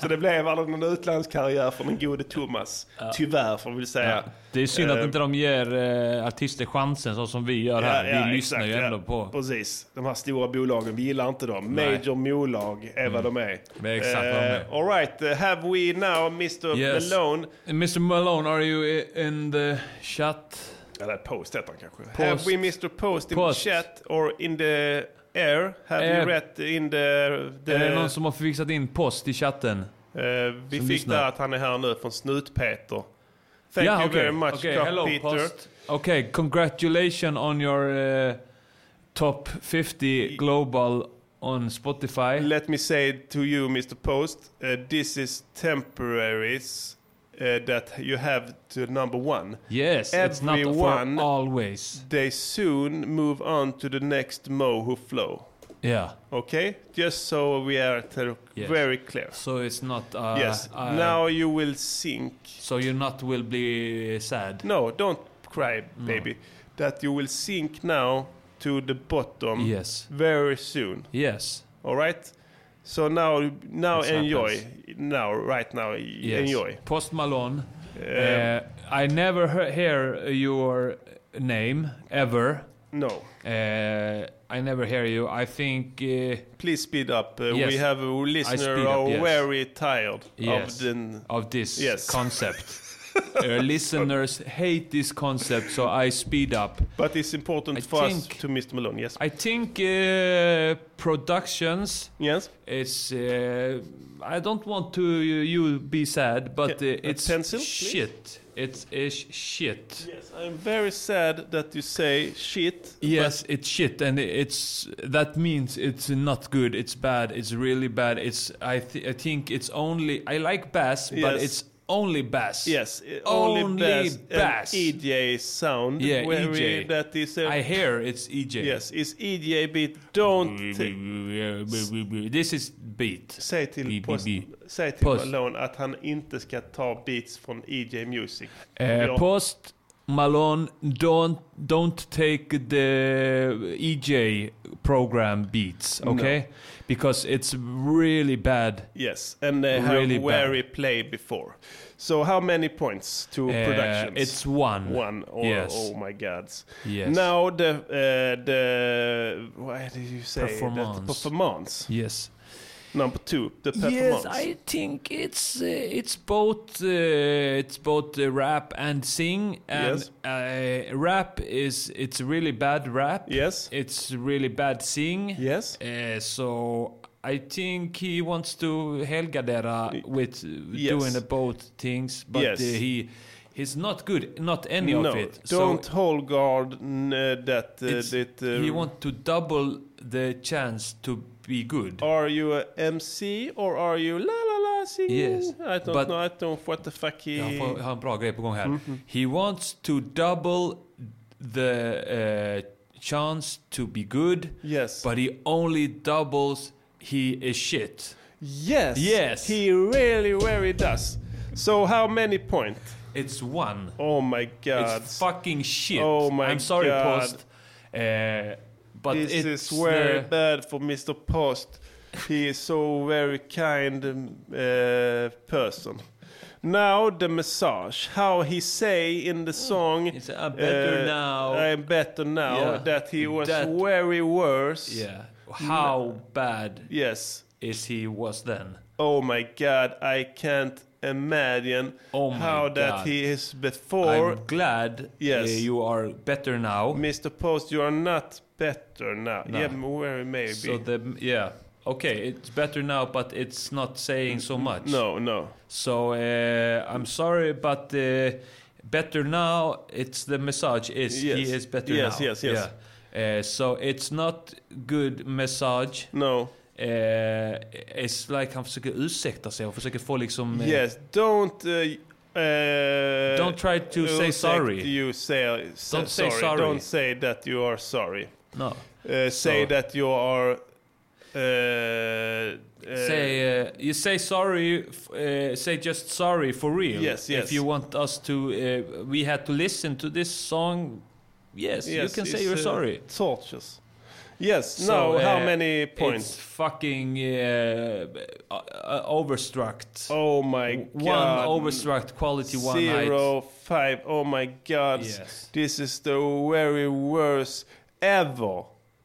S2: Så det blev aldrig någon utlandskarriär för den gode Thomas. Tyvärr får vi väl säga.
S1: Det är synd att
S2: Eh.
S1: inte de ger eh, artister chansen så som vi gör här. vi lyssnar ju
S2: exakt,
S1: ändå
S2: ja.
S1: på...
S2: Precis. De här stora bolagen, vi gillar inte dem.
S1: Nej. Mm.
S2: Major molag är vad de är.
S1: Det är exakt vad de är.
S2: Eh, All right, eh, have we now Mr
S1: Yes.
S2: Malone...
S1: Mr Malone, are you in the chat?
S2: Eller Post heter han kanske. Have we Mr Post in
S1: Post.
S2: the chat or in the air? Have
S1: Eh.
S2: you read in the... the
S1: Är det någon som har fixat in post i chatten?
S2: eh, vi fick
S1: lyssnar?
S2: där att han är här nu från Snut-Peter. Thank you
S1: okej.
S2: very much,
S1: Okej,
S2: Cup
S1: hello,
S2: Peter.
S1: post. Okej, congratulations on your eh, top 50 global on Spotify.
S2: Let me say to you, Mr. Post, uh, this is temporaries uh, that you have to number one.
S1: Yes, it's not
S2: everyone-
S1: for always.
S2: They soon move on to the next Moho flow.
S1: Yeah,
S2: Okay? Just so we are ter-
S1: Yes.
S2: very clear.
S1: so it's not... Uh,
S2: yes.
S1: uh,
S2: now you will sink.
S1: So you not will be sad.
S2: No, don't cry,
S1: Mm.
S2: baby. That you will sink now to the bottom
S1: Yes.
S2: very soon.
S1: Yes.
S2: All right? So now, now
S1: This
S2: enjoy. Now, right now, enjoy.
S1: Post Malone. Uh, I never he- hear your name ever.
S2: No.
S1: Uh, I never hear you. I think uh,
S2: Please speed up. Uh,
S1: Yes.
S2: We have a
S1: speed
S2: listener
S1: up,
S2: are
S1: yes.
S2: very tired
S1: yes,
S2: of the.
S1: of this
S2: Yes. [LAUGHS]
S1: concept. Our listeners hate this concept, so I speed up.
S2: But it's important
S1: I
S2: for us
S1: think-
S2: to Mr Malone, yes.
S1: I think uh, productions
S2: yes?
S1: is. Uh, I don't want to you, you be sad, but uh,
S2: Yeah, a
S1: it's
S2: pencil, please?
S1: shit. It's is shit.
S2: Yes, I'm very sad that you say shit.
S1: Yes, it's shit, and it's that means it's not good. It's bad. It's really bad. It's I th- I think it's only I like bass, but
S2: Yes.
S1: it's only bass.
S2: Yes, eh,
S1: only,
S2: only
S1: bass.
S2: best bass. and E EJ sound.
S1: Yeah,
S2: where
S1: EJ.
S2: we- That is a,
S1: I hear it's E EJ.
S2: yes, is EJ beat. Don't t-
S1: This is beat.
S2: säg till,
S1: Bi-
S2: post,
S1: bi- bi.
S2: säg till
S1: Post.
S2: Malone att han inte ska ta beats från EJ Music.
S1: Eh,
S2: Ja.
S1: post Malone, don't don't take the EJ program beats, okay? Because it's really bad.
S2: Yes, and they
S1: Really
S2: have very play before. So how many points to
S1: Uh,
S2: productions?
S1: it's one.
S2: One. Oh,
S1: Yes.
S2: oh my gods.
S1: Yes.
S2: Now the uh, the why did you say that?
S1: Performance.
S2: Performance.
S1: Yes.
S2: Number two, the performance.
S1: Yes, I think it's uh, it's both uh, it's both uh, rap and sing. And
S2: Yes.
S1: uh, rap is it's really bad rap.
S2: Yes.
S1: it's really bad sing.
S2: Yes.
S1: Uh, so I think he wants to helgardera with uh,
S2: Yes.
S1: doing the both things, but
S2: Yes.
S1: uh, he he's not good, not any
S2: no,
S1: of it.
S2: don't
S1: so
S2: hold guard n- uh, that uh,
S1: it's-
S2: that. Uh,
S1: he want to double the chance to be good.
S2: are you a MC or are you la la la singing?
S1: Yes,
S2: I don't
S1: but-
S2: know. I don't what the fuck he.
S1: Han får, har en bra grej på gång här.
S2: Mhm.
S1: He wants to double the eh, chance to be good.
S2: Yes.
S1: But he only doubles he is shit.
S2: Yes.
S1: Yes.
S2: He really, really does. So how many points?
S1: It's one.
S2: Oh my god.
S1: It's fucking shit.
S2: Oh my
S1: I'm sorry
S2: God.
S1: Post. Eh, but
S2: this
S1: it's eh, uh,
S2: is very
S1: the-
S2: bad for Mr. Post. He is so very kind um, uh, person. Now the massage. How he say in the song. uh,
S1: It's, "I'm better now."
S2: I'm better now.
S1: Yeah.
S2: That he was
S1: That-
S2: very worse.
S1: Yeah. How bad
S2: Yes.
S1: is he was then?
S2: Oh my God. I can't imagine
S1: Oh my
S2: how that
S1: God.
S2: he is before.
S1: I'm glad
S2: Yes.
S1: eh, you are better now.
S2: Mr. Post, you are not better now.
S1: No.
S2: Yeah, very maybe.
S1: So the yeah. Okay, it's better now, but it's not saying so much.
S2: no, no.
S1: So uh, I'm sorry, but uh, better now. It's the massage. Is he
S2: Yes.
S1: is better
S2: Yes,
S1: now?
S2: yes, yes.
S1: Yeah. Uh, so it's not good massage.
S2: No.
S1: Eh, it's like han försöker ursäkta sig och försöker få liksom... eh,
S2: Yes, don't. Uh, uh,
S1: Don't try to say
S2: don't
S1: sorry.
S2: You say,
S1: Don't say
S2: sorry.
S1: sorry.
S2: Don't say that you are sorry.
S1: No.
S2: Uh, say
S1: So-
S2: that you are. Uh, uh,
S1: Say, eh, you say sorry, f- eh, say just sorry for real.
S2: Yes, yes.
S1: If you want us to, eh, we had to listen to this song. Yes, you
S2: yes,
S1: can say
S2: it's,
S1: you're
S2: uh,
S1: sorry.
S2: Tortures. Yes. now,
S1: So,
S2: how
S1: uh,
S2: many
S1: It's
S2: points?
S1: fucking uh, uh, uh, overstruct.
S2: Oh my
S1: One
S2: god.
S1: overstruct quality one night.
S2: Zero five. Oh my god.
S1: Yes.
S2: This is the very worst ever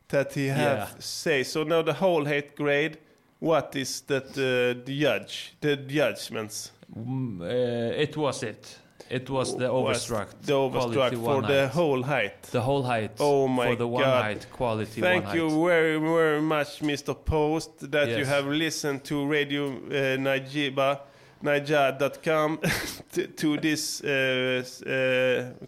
S2: that he have
S1: Yeah.
S2: say. So now the whole hate grade. What is that uh, the judge? The judgments.
S1: Mm, uh, it was it. It was the
S2: was
S1: overstruct.
S2: The
S1: quality
S2: overstruct for
S1: one
S2: the
S1: height.
S2: whole height.
S1: The whole height.
S2: Oh my
S1: For the one
S2: God.
S1: height quality
S2: Thank
S1: one
S2: you
S1: height.
S2: very, very much, Mr. Post, that you
S1: Yes.
S2: have listened to Radio uh, Najiba, Naija.com [LAUGHS] to, to this uh, s- uh,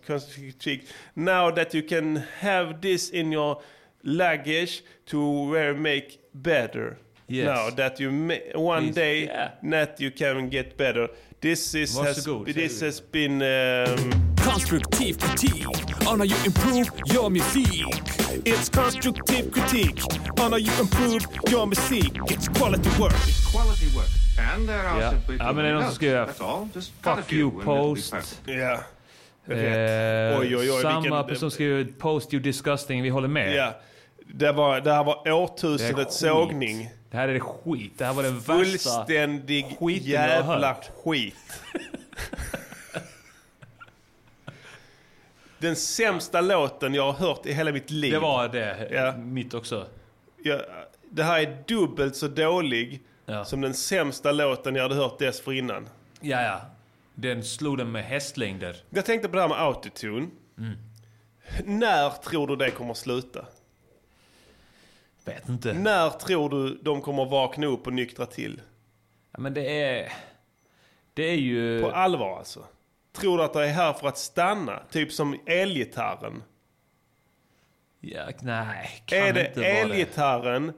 S2: constitution. Now that you can have this in your luggage to where make better.
S1: Yes.
S2: Now that you ma- one
S1: Please.
S2: day
S1: Yeah.
S2: that you can get better. This is has,
S1: Varsågod,
S2: this
S1: säger vi.
S2: has been um,
S6: Konstruktiv kritik. On how you improve your music.
S5: It's constructive critique on how you improve your music. It's quality work.
S8: quality work. And there are
S1: Yeah.
S8: simply
S1: Ja,
S8: too
S1: men det
S8: many
S1: är någon som
S8: notes.
S1: skriver
S8: That's all. Just cut a
S1: Fuck
S8: few
S1: you
S8: and it'll be
S1: post.
S8: perfect.
S2: yeah.
S1: Eh,
S2: Oj, oj, oj,
S1: samma
S2: vilken-
S1: person skriver post you disgusting, vi håller med.
S2: Ja. Det, var, det här var
S1: Det är
S2: årtusendets
S1: skit.
S2: sågning.
S1: Det här är skit. Det här var den värsta.
S2: Fullständig
S1: skiten jag har
S2: jävla
S1: hört.
S2: skit.
S1: [LAUGHS]
S2: Den sämsta låten jag har hört i hela mitt liv.
S1: Det var det.
S2: Ja.
S1: Mitt också.
S2: jag, det här är dubbelt så dålig
S1: Ja.
S2: som den sämsta låten jag hade hört dessförinnan.
S1: Ja, ja. Den slog den med hästlängder.
S2: Jag tänkte på det här med autotune.
S1: Mm.
S2: När tror du det kommer sluta?
S1: Vet inte.
S2: När tror du de kommer vakna upp och nyktra till?
S1: Ja, men det är... Det är ju...
S2: På allvar alltså. Tror du att det är här för att stanna? Typ som elgitarren.
S1: Ja, nej, kan
S2: Är det
S1: inte vara det.
S2: elgitarren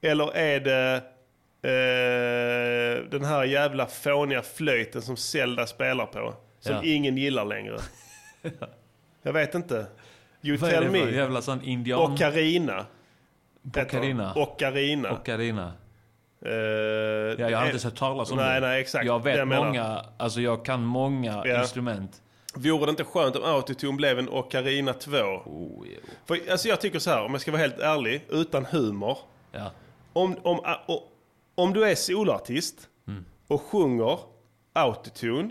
S2: eller är det eh, den här jävla fåniga flöjten som Zelda spelar på? Som
S1: Ja.
S2: ingen gillar
S1: [LAUGHS]
S2: längre. Jag vet inte. You
S1: Vad är
S2: tell
S1: det för
S2: me.
S1: jävla sån indian...
S2: Ocarina.
S1: Ocarina.
S2: Ocarina.
S1: Ocarina.
S2: Eh,
S1: Ja, jag har inte
S2: eh,
S1: sett talas om
S2: nej,
S1: det.
S2: nej, exakt.
S1: Jag vet
S2: Det jag menar.
S1: många, alltså jag kan många
S2: Ja.
S1: instrument.
S2: Vore det inte skönt om autotune blev en Ocarina 2?
S1: Oh, jo.
S2: För, alltså jag tycker så här, om jag ska vara helt ärlig, utan humor.
S1: ja.
S2: Om, om, o- om du är soloartist
S1: Mm.
S2: och sjunger autotune,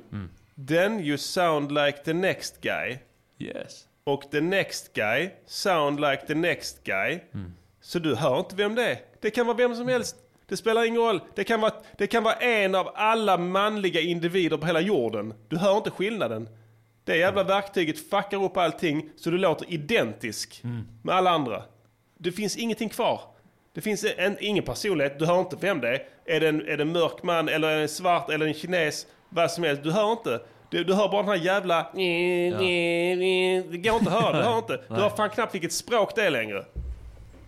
S2: then you sound like the next guy.
S1: Yes.
S2: Och the next guy sound like the next guy.
S1: Mm.
S2: Så du hör inte vem det är. Det kan vara vem som helst. Det spelar ingen roll. Det kan, vara, det kan vara en av alla manliga individer på hela jorden. Du hör inte skillnaden. Det jävla verktyget fuckar upp allting så du låter identisk
S1: Mm.
S2: med alla andra. Det finns ingenting kvar. Det finns en, ingen personlighet. Du hör inte vem det är. Är det en, är det en mörk man eller är det en svart eller en kines? Vad som helst. Du hör inte. Du, du hör bara den här jävla... Det går inte att höra. Du hör inte. Du hör fan knappt vilket språk det är längre.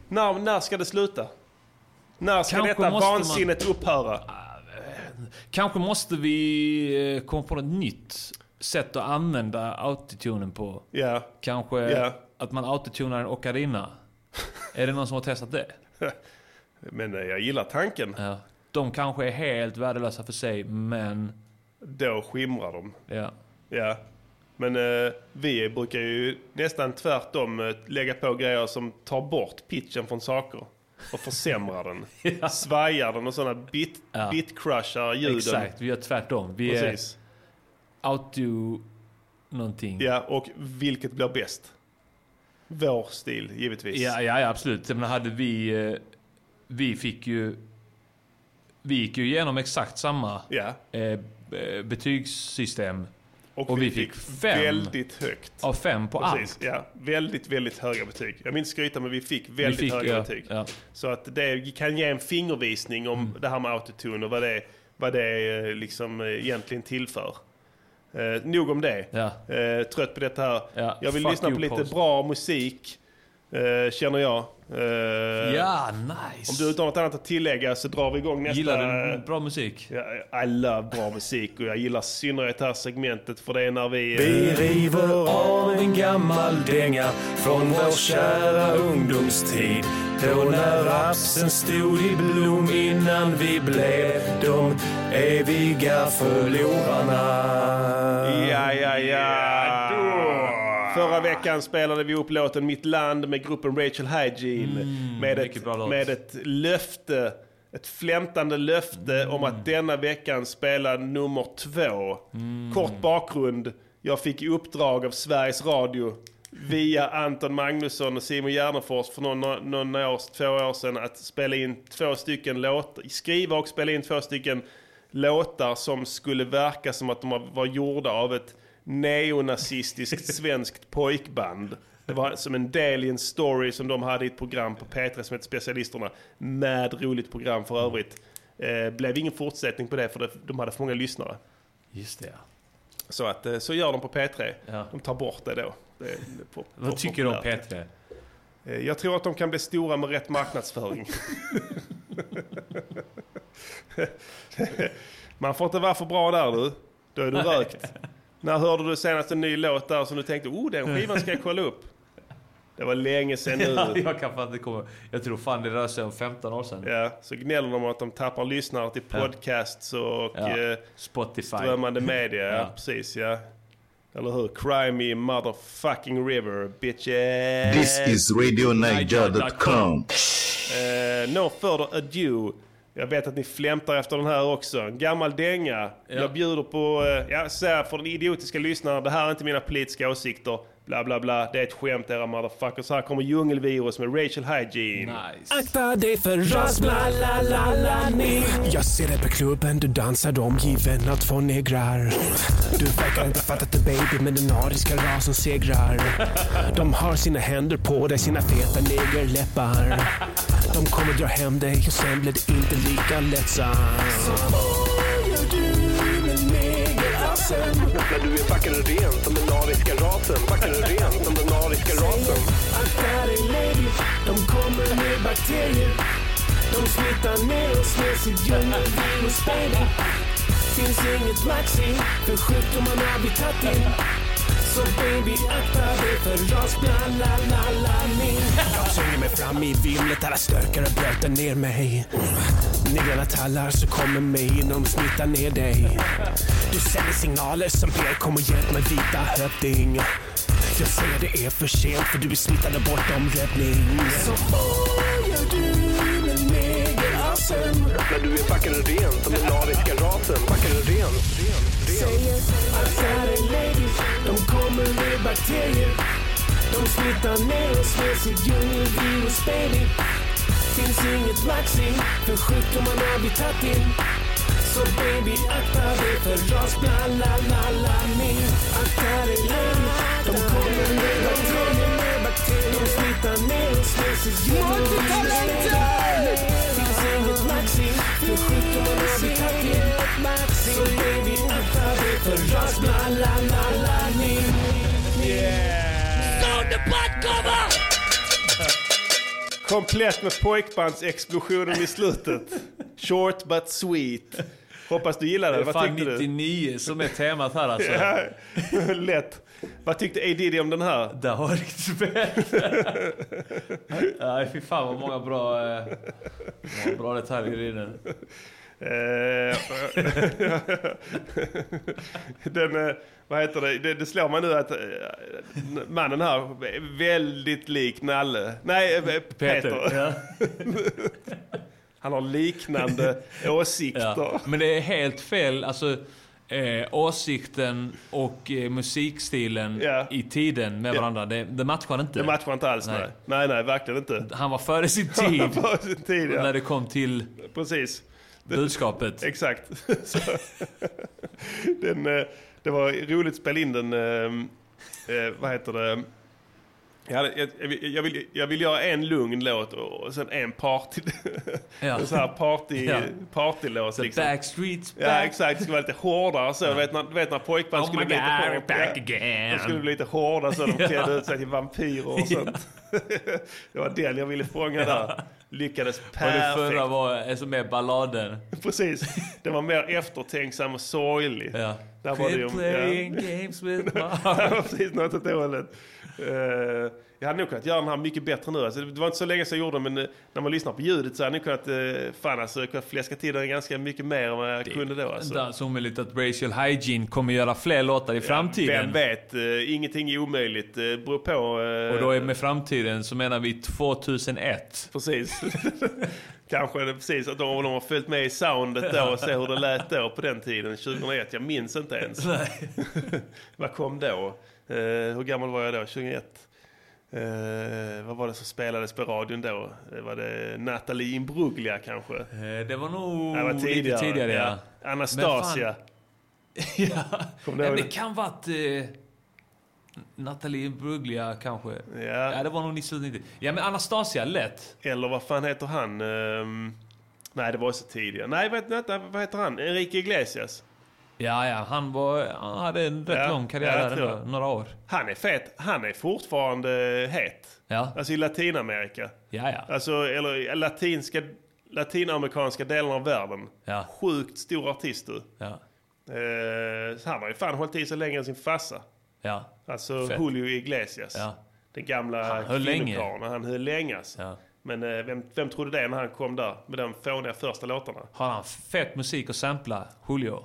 S2: När, när ska det sluta? När ska
S1: Kanske
S2: detta
S1: måste man-
S2: vansinnet upphöra?
S1: Kanske måste vi eh, komma på något nytt sätt att använda autotunen på.
S2: Ja.
S1: Kanske
S2: Ja.
S1: att man autotunar en ocarina. är det någon som har testat det?
S2: Men eh, jag gillar tanken.
S1: Ja. De kanske är helt värdelösa för sig, men...
S2: Då skimrar de.
S1: Ja.
S2: Ja. Men eh, vi brukar ju nästan tvärtom eh, lägga på grejer som tar bort pitchen från saker. Och försämrar
S1: [LAUGHS]
S2: den. Svajar den och sådana bit,
S1: Ja.
S2: bitcrushar ljuden.
S1: Exakt, vi gör tvärtom. Vi är
S2: Precis.
S1: auto... Någonting.
S2: Ja, och vilket blir bäst? Vår stil, givetvis.
S1: Ja, ja, ja absolut. Men hade vi... eh, Vi fick ju... Vi gick ju igenom exakt samma
S2: Ja.
S1: eh, eh, betygssystem
S2: Och,
S1: Och
S2: vi,
S1: vi
S2: fick,
S1: fick fem.
S2: väldigt högt.
S1: av fem på
S2: Precis,
S1: allt.
S2: ja. Väldigt, väldigt höga betyg. Jag vill inte skryta men vi fick
S1: Vi
S2: väldigt höga
S1: ja,
S2: betyg.
S1: ja. Mm.
S2: Så att det kan ge en fingervisning om det här med autotune och vad det, vad det eh, liksom eh, egentligen tillför. Eh, nog om det.
S1: Ja.
S2: Eh, trött på detta här.
S1: Ja,
S2: Jag vill
S1: fuck
S2: lyssna på
S1: you,
S2: lite
S1: Paul.
S2: bra musik, eh, känner jag. Eh,
S1: ja, nice!
S2: Om du inte har något annat att tillägga så drar vi igång nästa...
S1: Gillar
S2: eh,
S1: du bra musik?
S2: Ja, I love bra musik och jag gillar i synnerhet det här segmentet för det är när vi... eh,
S5: Vi river av en gammal dänga från vår kära ungdomstid. Då när rapsen stod i blom innan vi blev de eviga förlorarna.
S2: Ja, ja, ja. Förra veckan spelade vi upp låten Mitt land med gruppen Rachel Hygiene. med, ett,
S1: Mm, mycket bra låt.
S2: med ett löfte, ett flämtande löfte om
S1: Mm.
S2: att denna veckan spela nummer två.
S1: Mm.
S2: Kort bakgrund. Jag fick i uppdrag av Sveriges Radio via Anton Magnusson och Simon Gärdenfors för någon, någon års, två år sedan att spela in två stycken låtar, skriva och spela in två stycken låtar som skulle verka som att de var gjorda av ett
S1: [LAUGHS]
S2: neonazistiskt svenskt pojkband. Det var som en del i en story som de hade i ett program på P3 som hette Specialisterna. Med roligt program för övrigt. Eh, blev ingen fortsättning på det för det, de hade för många lyssnare.
S1: Just det, ja.
S2: Så, att, eh, så gör de på P3.
S1: Ja.
S2: De tar bort det då. Det, är- det, är pop-
S1: Vad
S2: pop-
S1: tycker du om
S2: populärt.
S1: P3?
S2: Eh, Jag tror att de kan bli stora med rätt marknadsföring. [LAUGHS] Man får inte vara för bra där du. Då är du rökt. När hörde du senast en ny låt där som du tänkte oh den skivan ska jag kolla upp? Det var länge sedan
S1: [LAUGHS] Ja,
S2: nu.
S1: [LAUGHS] jag kan fan inte komma... Jag tror fan det rör sig om 15 år sedan.
S2: Ja, så gnäller de om att de tappar lyssnare till podcasts och
S1: Ja.
S2: eh,
S1: Spotify.
S2: strömmande media. Ja.
S1: Ja.
S2: Precis ja. Eller hur? Cry me motherfucking river bitches.
S3: This is RadioNiger.com.
S2: Eh, no further ado. Jag vet att ni flämtar efter den här också. En gammal dänga. Jag bjuder på, eh, jag säger för den idiotiska lyssnaren, det här är inte mina politiska åsikter. Bla bla bla, det är ett skämt era motherfuckers. Här kommer djungelvirus med racial hygiene.
S1: Nice.
S9: Akta dig för rasblalalani Jag ser dig på klubben, du dansar omgiven av två negrar Du verkar inte fatta att det baby men den ariska rasen segrar De har sina händer på dig, sina feta negerläppar De kommer dra hem dig och sen blir det inte lika lättsamt Så vad gör du med negerassen?
S10: När du är vacker och ren som den ariska rasen. Vacker och ren som den ariska rasen.
S9: Akta dig lady, de kommer med bakterier De smittar ner oss med sitt djungelvirus baby Finns inget vaccin för sjukdomen har vi tagit in så baby akta dig för rasblalalalanin Jag tränger mig fram i vimlet, alla stökare blöter ner mig Negrarna tallar så kommer mig in, de smittar ner dig Du sänder signaler som ber kom och hjälp mig vita hövding jag säger det är för sent för du är smittad och bortom räddning Så vad gör du med negerasen?
S10: När du är vacker och ren som den ariska rasen. Vacker och ren. ren, ren.
S9: Säger akta dig lady, de kommer med bakterier De smittar ner oss med sitt djungelvirus baby Finns inget vaccin för sjukdomarna vi tagit in så baby akta dig för rasblalalalanin Akta dig lady, de kommer med bakterier De smittar ner oss med sitt djungelvirus baby Finns inget vaccin för sjukdomarna vi tagit in Så baby akta dig för rasblalalalanin
S2: Komplett med pojkbandsexplosionen i slutet.
S1: [LAUGHS]
S2: Short but sweet. Hoppas du gillade
S1: Det
S2: det.
S1: är
S2: Äh, Vad
S1: fan
S2: tyckte
S1: 99 som är temat här alltså.
S2: du? [LAUGHS] Lätt. Vad tyckte A. Diddy om den här?
S1: Där har jag riktigt bättre. Nej, fy fan vad många bra, eh, många bra detaljer i den.
S2: Eh, [LAUGHS] den eh, vad heter det? det? Det slår mig nu att eh, mannen här är väldigt lik Nalle. Nej, eh, Peter.
S1: Ja.
S2: Han har liknande åsikter.
S1: [LAUGHS] Ja. Men det är helt fel. Alltså, eh, åsikten och eh, musikstilen
S2: Ja.
S1: i tiden med
S2: Ja.
S1: varandra, det, det matchar inte.
S2: Det matchar inte alls. Nej, nej,
S1: Nej.
S2: nej, verkligen inte.
S1: Han var före sin tid
S2: På sin [LAUGHS] tid, ja.
S1: när det kom till
S2: Precis.
S1: budskapet.
S2: Exakt. [LAUGHS] Så, den, eh, det var roligt att spela in den, eh, eh, vad heter det? Jag, hade, jag, jag, vill- jag, vill, jag vill göra en lugn låt och, och sen en party. [LAUGHS]
S1: Ja.
S2: en sån här party,
S1: Ja.
S2: partylåt
S1: The
S2: liksom.
S1: Backstreets
S2: Ja
S1: back.
S2: exakt, det skulle vara lite hårdare så. Du vet när, du vet när pojkband
S1: oh
S2: skulle
S1: my
S2: bli
S1: god,
S2: lite hårdare.
S1: we're back
S2: De skulle
S1: again.
S2: bli lite hårda så
S1: [LAUGHS]
S2: de klädde ut sig till vampyrer och sånt. [LAUGHS] det var den jag ville fånga där. Lyckades
S1: Och det
S2: perfekt.
S1: förra var eh, som är balladen.
S2: Precis. Det var mer eftertänksam och sorglig.
S1: Ja.
S2: Där var det ju-
S1: Quit playing games with my
S2: [LAUGHS]
S1: heart.
S2: Det var precis något åt det hållet. Eh, jag hade nog kunnat göra den här mycket bättre nu. Alltså, det var inte så länge sedan jag gjorde den, men eh, när man lyssnar på ljudet så hade jag nog kunnat, uh, fan alltså, jag kunnat fläska till den ganska mycket mer än vad jag kunde då. Alltså.
S1: Dans omöjligt att racial hygiene kommer göra fler låtar i framtiden.
S2: Vem vet, eh, ingenting är omöjligt. Uh, beror på... eh,
S1: Och då är med framtiden så menar vi 2001.
S2: Precis. [LAUGHS] Kanske är det precis att de, de har följt med i soundet då och se hur det lät då på den tiden. 2001, jag minns inte ens.
S1: Nej.
S2: Vad kom då? Eh, hur gammal var jag då? 2001? Eh, vad var det som spelades på radion då? Eh, Var det Nathalie Imbruglia kanske?
S1: Eh, Det var nog
S2: det var
S1: lite tidigare ja.
S2: Anastasia.
S1: [LAUGHS] ja.
S2: Kommer du
S1: Nej,
S2: ihåg
S1: det
S2: det?
S1: kan varit eh, Nathalie Bruglia kanske.
S2: Ja.
S1: det var nog i slutet 90. Ja men Anastasia, lätt.
S2: Eller vad fan heter han? Ehm, nej, det var så tidigare. Nej, vet, vänta, vad heter han? Enrique Iglesias.
S1: Ja, ja, han, var, han hade en rätt
S2: Ja,
S1: lång
S2: ja,
S1: karriär
S2: jag
S1: där
S2: tror
S1: ändå,
S2: det.
S1: några år.
S2: Han är fet. Han är fortfarande het.
S1: Ja,
S2: Alltså i Latinamerika.
S1: ja, ja.
S2: Alltså, eller i latinska, latinamerikanska delen av världen.
S1: Ja.
S2: Sjukt stor artist du.
S1: ja,
S2: Eh, så han har ju fan hållit i sig längre än sin farsa.
S1: ja.
S2: Alltså
S1: Fett.
S2: Julio Iglesias.
S1: Ja.
S2: Den gamla
S1: Han höll länge.
S2: kvinnokarlen. Han höll länge. Alltså.
S1: Ja.
S2: Men eh, vem, vem trodde det när han kom där med de fåniga första låtarna?
S1: Har han fett musik att sampla, Julio?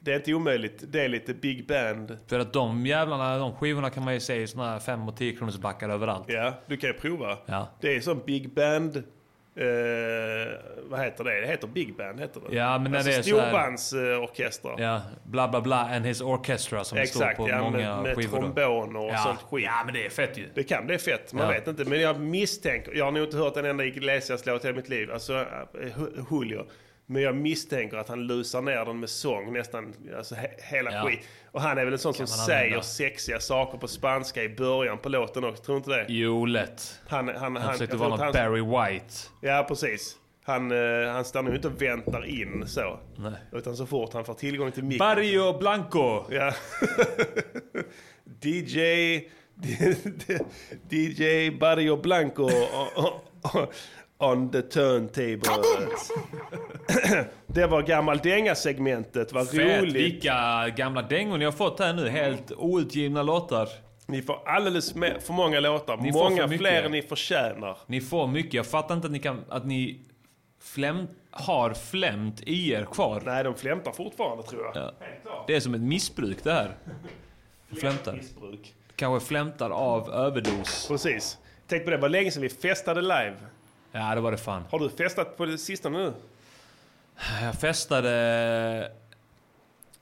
S2: Det är inte omöjligt. Det är lite big band.
S1: För att de jävlarna, de skivorna kan man ju se i såna här 5 och 10 kronors backar överallt.
S2: Ja, du kan ju prova.
S1: Ja.
S2: Det är som big band eh, vad heter det? Det heter Big Band. Heter det.
S1: Ja, men när
S2: alltså
S1: det är så här-
S2: storbandsorkestrar.
S1: Ja, bla bla bla and his orchestra som
S2: Exakt,
S1: står på
S2: ja,
S1: många
S2: med, med
S1: skivor. då.
S2: tromboner och
S1: ja.
S2: sånt skit.
S1: ja, men det är fett ju.
S2: Det kan bli fett, man
S1: Ja.
S2: vet inte. Men jag misstänker, jag har nog inte hört en enda Iglesias-låt i mitt liv, alltså eh, Ju- Julio. Men jag misstänker att han lusar ner den med sång nästan, alltså he- hela
S1: Ja.
S2: skit. Och han är väl en sån som
S1: man använda.
S2: säger sexiga saker på spanska i början på låten också, tror du inte det?
S1: Jo, lätt.
S2: Han, han, han,
S1: Han
S2: jag
S1: försökte
S2: tror
S1: vara
S2: att
S1: någon
S2: han-
S1: Barry White.
S2: Ja, precis. Han, eh, han stannar ju inte och väntar in så.
S1: Nej.
S2: Utan så fort han får tillgång till micken.
S1: Barrio Blanco.
S2: Ja. [LAUGHS] DJ... DJ Barrio Blanco on- on- on the turntables. [CLEARS THROAT] Det var gammal dänga-segmentet. Vad
S1: Fett,
S2: roligt.
S1: vilka gamla dängor ni har fått här nu. Helt outgivna låtar.
S2: Ni får alldeles me- för många låtar.
S1: Ni får
S2: Många
S1: för mycket.
S2: fler än ni förtjänar.
S1: Ni får mycket. Jag fattar inte att ni, kan, att ni fläm, har flämt i er kvar.
S2: Nej, de flämtar fortfarande tror jag. Helt klart.
S1: Det är som ett missbruk det här. Flämtar.
S2: Missbruk.
S1: Kanske flämtar av överdos.
S2: Precis. Tänk på det, det var länge sedan vi festade live.
S1: Ja, det var det fan.
S2: Har du festat på det sista nu?
S1: Jag festade...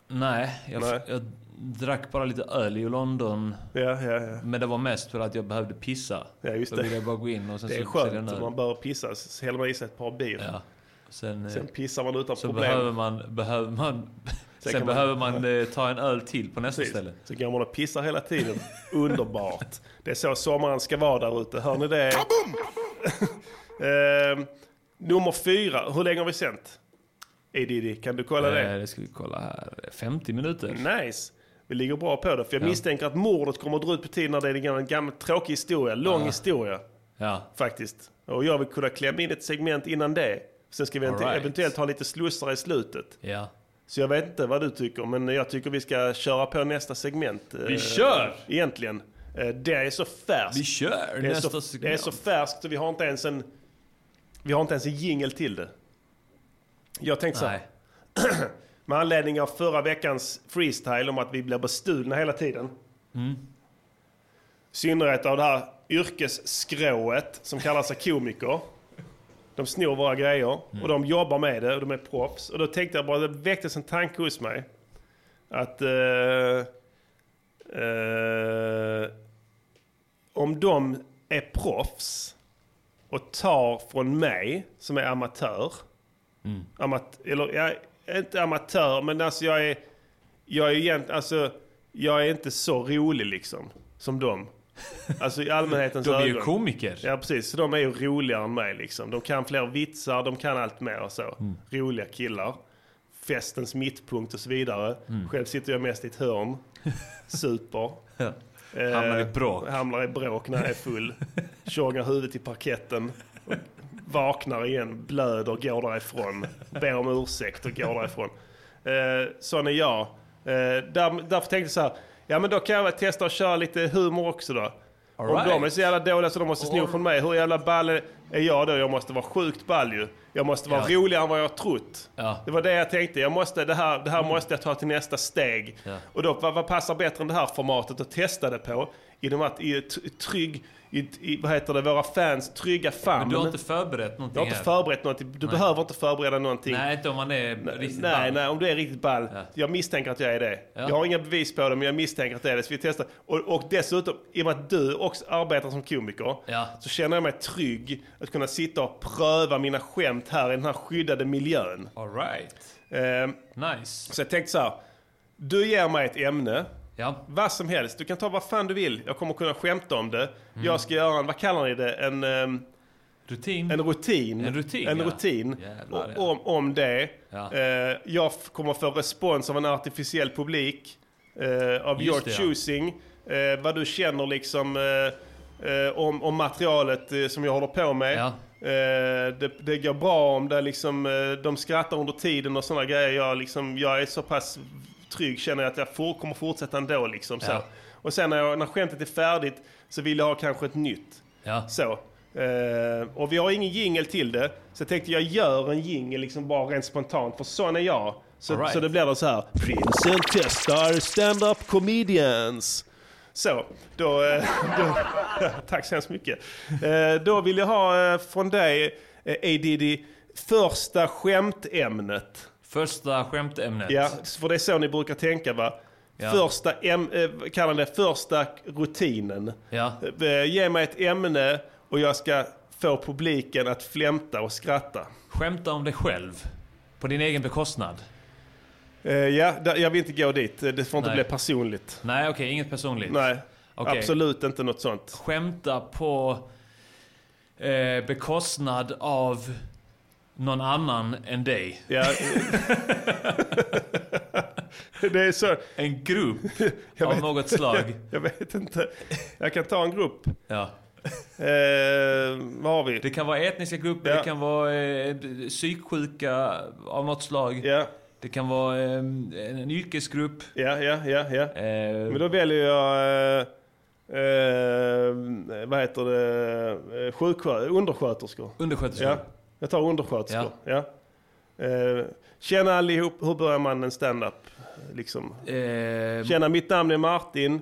S1: Nej, jag,
S2: Nej.
S1: jag drack bara lite öl i London.
S2: Ja, ja, ja.
S1: Men det var mest för att jag behövde pissa.
S2: Ja, just
S1: Då
S2: det.
S1: ville jag bara gå in och sen
S2: Det är
S1: så sälja
S2: skönt.
S1: en öl.
S2: Man bör pissa, så häller man i sig ett par bier.
S1: Ja. Sen, eh,
S2: Sen pissar man utan
S1: så
S2: problem.
S1: behöver man... Behöver man
S2: [LAUGHS]
S1: sen
S2: kan man-
S1: behöver man, eh, ta en öl till på nästa
S2: Precis.
S1: ställe.
S2: Så går man och pissar hela tiden. [LAUGHS] Underbart. Det är så sommaren ska vara där ute. Hör ni det? [LAUGHS] Ehm, nummer fyra. Hur länge har vi sänt? Edidi, kan du kolla
S1: Eh,
S2: det?
S1: det ska vi kolla här. 50 minuter.
S2: Nice. Vi ligger bra på det. För jag misstänker att mordet kommer att dra ut på tiden när det är en gammal, gammal tråkig historia. Lång historia
S1: Ja.
S2: faktiskt. Och jag vill kunna klämma in ett segment innan det. Sen ska vi
S1: All right.
S2: eventuellt ha lite slussar i slutet.
S1: ja.
S2: Så jag vet inte vad du tycker, men jag tycker vi ska köra på nästa segment. Vi
S1: kör!
S2: Egentligen. Eh, Det är så färskt.
S1: Vi kör
S2: det, är
S1: nästa
S2: så,
S1: segment.
S2: det är så färskt så vi har inte ens en... Vi har inte ens en jingel till det. Jag tänkte så här.
S1: Nej.
S2: Med anledning av förra veckans freestyle om att vi blir bestulna hela tiden.
S1: Mm.
S2: I synnerhet av det här yrkesskrået som kallar sig komiker. De snor våra grejer
S1: Mm.
S2: och de jobbar med det och de är proffs. Och då tänkte jag bara, det väcktes en tanke hos mig. Att... Eh, eh, om de är proffs och tar från mig som är amatör.
S1: Mm.
S2: Amat, eller jag är inte amatör, men alltså jag är... Jag är, egent, alltså, jag är inte så rolig liksom, som de. Alltså i allmänhetens
S1: [LAUGHS] De är ju
S2: ögon.
S1: komiker.
S2: Ja, precis. Så de är ju roligare än mig. Liksom. De kan fler vitsar, de kan allt mer och så.
S1: Mm.
S2: Roliga killar. Festens mittpunkt och så vidare.
S1: Mm.
S2: Själv sitter jag mest i ett
S1: [LAUGHS]
S2: hörn. Super. Eh,
S1: Hamnar i bråk.
S2: Hamnar i bråk när jag är full. Tjongar huvudet i parketten. Vaknar igen, blöder, går därifrån. Ber om ursäkt och går därifrån. Eh, sån är jag. Eh, där, därför tänkte jag så här. Ja men då kan jag väl testa att köra lite humor också då. Om
S1: right.
S2: de är så jävla dåliga så de måste sno från mig. Hur jävla ball är är jag då? Jag måste vara sjukt ball ju. Jag måste vara
S1: Ja.
S2: roligare än vad jag har trott.
S1: Ja. Mm.
S2: Det var det jag tänkte. Jag måste, det, här, det här måste jag ta till nästa steg.
S1: Ja.
S2: Och då, vad, vad passar bättre än det här formatet att testa det på? Genom att i, ett trygg, i, i vad heter det, våra fans trygga famn.
S1: Men du har inte förberett någonting
S2: Jag har inte
S1: här.
S2: förberett någonting. Du behöver inte förbereda någonting.
S1: Nej, inte om man är riktigt
S2: Nej,
S1: ball.
S2: nej, om du är riktigt ball.
S1: Ja.
S2: Jag misstänker att jag är det.
S1: Ja.
S2: Jag har inga bevis på det, men jag misstänker att det är det. Så vi testar. Och, och dessutom, i och med att du också arbetar som komiker,
S1: Ja.
S2: så känner jag mig trygg att kunna sitta och pröva mina skämt här i den här skyddade miljön.
S1: All right.
S2: Ehm,
S1: Nice.
S2: så jag tänkte så här. Du ger mig ett ämne.
S1: Ja.
S2: Vad som helst. Du kan ta vad fan du vill. Jag kommer kunna skämta om det.
S1: Mm.
S2: Jag ska göra en, vad kallar ni det? En... ehm,
S1: Rutin.
S2: en rutin.
S1: En rutin,
S2: En
S1: ja.
S2: rutin.
S1: Jävlar,
S2: O-
S1: ja.
S2: om, om det.
S1: Ja.
S2: Eh, jag f- kommer få respons av en artificiell publik. Eh, av your
S1: Just det, ja.
S2: choosing. Eh, vad du känner liksom eh, eh, om, om materialet eh, som jag håller på med.
S1: Ja.
S2: Eh, det, det går bra om det liksom, eh, de skrattar under tiden och sådana grejer. Jag, liksom, jag är så pass trygg känner jag att jag får, kommer fortsätta ändå. Liksom, så.
S1: Ja.
S2: Och sen när, jag, när skämtet är färdigt så vill jag ha kanske ett nytt.
S1: Ja.
S2: Så. Eh, och vi har ingen jingel till det. Så jag tänkte jag gör en jingel liksom bara rent spontant, för sån är jag. Så,
S1: All right.
S2: så det blir då så här. Prinsen testar stand-up comedians. Så, [LAUGHS] då, eh, då, tack så hemskt mycket. Eh, då vill jag ha eh, från dig eh, A. Diddy, första skämtämnet.
S1: Första skämtämnet.
S2: Ja, för det är så ni brukar tänka va?
S1: Ja.
S2: Första, äm, eh, kallar det första rutinen.
S1: Ja.
S2: Eh, Ge mig ett ämne och jag ska få publiken att flämta och skratta.
S1: Skämta om dig själv. På din egen bekostnad.
S2: Eh, Ja, där- jag vill inte gå dit. Eh, Det får inte
S1: Nej.
S2: bli personligt.
S1: Nej, okej, inget personligt.
S2: Nej,
S1: Okej.
S2: absolut inte något sånt.
S1: Skämta på eh, bekostnad av någon annan än dig.
S2: Ja. [LAUGHS] det är så.
S1: En [LAUGHS] grupp av något
S2: [LAUGHS]
S1: slag.
S2: Jag vet inte. Jag kan ta en grupp.
S1: Ja.
S2: Eh, vad har vi?
S1: Det kan vara etniska grupper,
S2: Ja.
S1: det kan vara eh, psyksjuka av något slag.
S2: Ja,
S1: Det kan vara eh, en, en yrkesgrupp.
S2: ja, ja, ja. ja.
S1: Eh,
S2: Men då väljer jag... Eh, eh, vad heter det? Eh, Sjuksköter, undersköterskor.
S1: undersköterskor.
S2: Ja, jag tar undersköterskor. Ja. Eh, tjena allihop, hur börjar man en stand-up? Liksom.
S1: Eh,
S2: Tjena, mitt namn är Martin.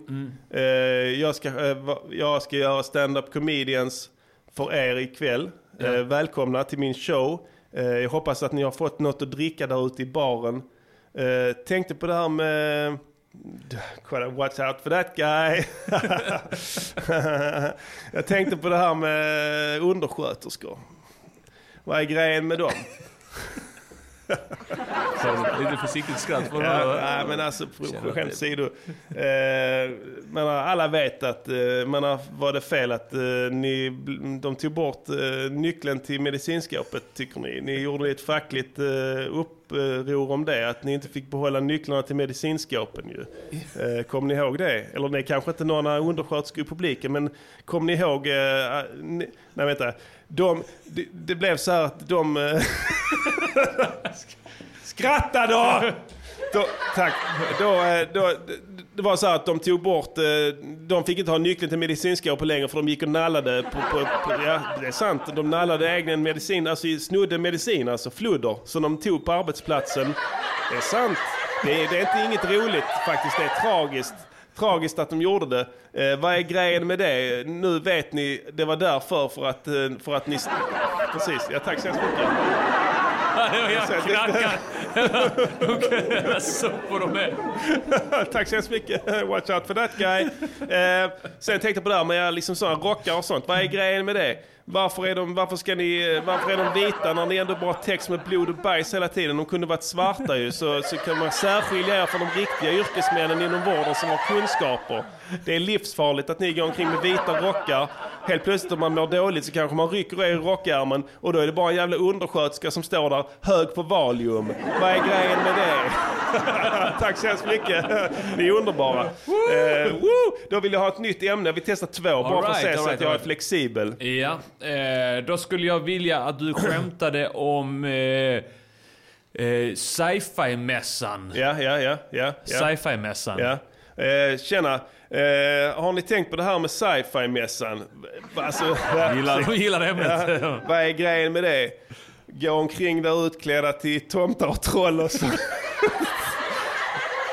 S2: Eh, jag, ska, eh, va- jag ska göra stand-up comedians för er ikväll. Eh, välkomna till min show. Eh, jag hoppas att ni har fått något att dricka där ute i baren. Eh, tänkte på det här med... Kolla, Watch out for that guy. [LAUGHS] jag tänkte på det här med undersköterskor. Vad är grejen med dem?
S1: så Lite försiktigt skratt. För
S2: Ja,
S1: ja.
S2: nej, men alltså, pro- skämt åsido. Eh, men alla vet att eh, men, eh, var det fel att eh, ni, de tog bort eh, nyckeln till medicinskåpet, tycker ni? Ni gjorde ett fackligt eh, uppror om det, att ni inte fick behålla nycklarna till medicinskåpen ju. Eh, kommer ni ihåg det? Eller det är kanske inte några undersköterskor i publiken, men kommer ni ihåg... Eh, eh, ni, nej, vänta. De, det, det blev så här att de... Eh, [LAUGHS] Skratta då! [LAUGHS] då tack. Då, eh, då, det- det var så här att de tog bort, eh, de fick inte ha nyckeln till medicinskåpet längre för de gick och nallade på, på, på ja det är sant, de nallade egen medicin, alltså snodde medicin, alltså fludder, som de tog på arbetsplatsen. Det är sant. Det är, det är inte inget roligt faktiskt, det är tragiskt. Tragiskt att de gjorde det. Eh, vad är grejen med det? Nu vet ni, det var därför för att, eh, för att ni... Precis, ja, tack så hemskt mycket.
S1: Jag knackar. [LAUGHS] Okej, sopor de är.
S2: [LAUGHS] Tack så hemskt mycket. Watch out for that guy. Eh, sen tänkte jag på det här med liksom sådana rockar och sånt. Vad är grejen med det? Varför är, de, varför, ska ni, eh, varför är de vita när ni ändå bara har text med blod och bajs hela tiden? De kunde varit svarta ju, så, så kan man särskilja er från de riktiga yrkesmännen inom vården som har kunskaper. Det är livsfarligt att ni går omkring med vita rockar. Helt plötsligt om man mår dåligt så kanske man rycker er i rockärmen och då är det bara en jävla undersköterska som står där hög på Valium. Vad är grejen med det? [LAUGHS] Tack så hemskt mycket. Ni är underbara. Eh, woo! Då vill jag ha ett nytt ämne. Vi testar två bara för att
S1: right,
S2: se
S1: all
S2: så
S1: right,
S2: att jag
S1: all
S2: är
S1: right.
S2: flexibel.
S1: Ja, eh, då skulle jag vilja att du skämtade om eh, eh, sci-fi-mässan.
S2: Ja, ja, ja. ja, ja,
S1: Sci-fi-mässan.
S2: ja. Eh, tjena, eh, har ni tänkt på det här med sci-fi-mässan? Alltså,
S1: [LAUGHS] Gillar, de gillar ämnet.
S2: Ja, vad är grejen med det? Gå omkring där utklädda till tomtar och troll och så.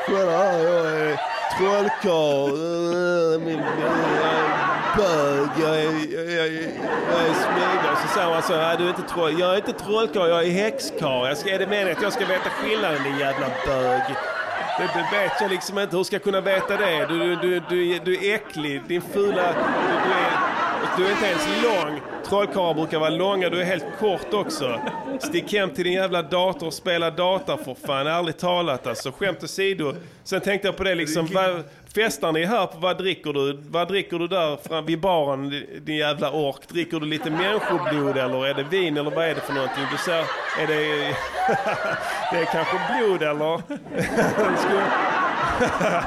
S2: Kolla här, jag är trollkarl. eh, min- Jag är bög. Jag är, jag, jag, jag är smygare. Så säger man så. Nej, du är inte troll. Jag är inte trollkarl, jag är häxkarl. Jag ska, är det meningen att jag ska veta skillnaden din jävla bög? Det, det vet jag liksom inte. Hur ska jag kunna veta det? Du, du, du, du, du är äcklig. Din fula... Du, du är... Du är inte ens lång. Trollkarlar brukar vara långa, du är helt kort också. Stick hem till din jävla dator och spela data för fan, ärligt talat alltså. Skämt åsido. Sen tänkte jag på det liksom, vad, festar ni här, på, vad dricker du? Vad dricker du där fram vid baren, din jävla ork? Dricker du lite människoblod eller är det vin eller vad är det för någonting? Du ser, är det... [LAUGHS] det är kanske blod eller? [LAUGHS] Skulle,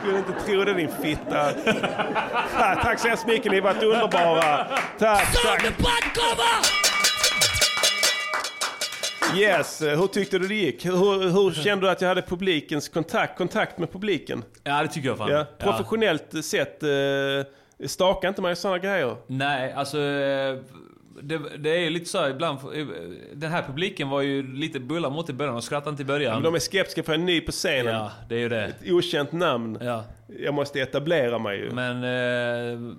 S2: skulle inte tro det din fitta. Ja, tack så hemskt mycket, ni har varit underbara. Tack, tack. Yes, eh, hur tyckte du det gick? Hur, hur kände du att jag hade publikens kontakt, kontakt med publiken?
S1: [LAUGHS] Ja, det tycker jag fan.
S2: Ja. Professionellt sett, eh, staka inte mig i sådana grejer.
S1: Nej, alltså... eh, Det, det är ju lite så här, ibland... eh, Den här publiken var ju lite bullar mot i början och skrattade inte i början.
S2: Men de är skeptiska för jag är ny på scenen.
S1: Ja, det är ju det.
S2: Okänt namn.
S1: Ja.
S2: Jag måste etablera mig ju.
S1: Men eh,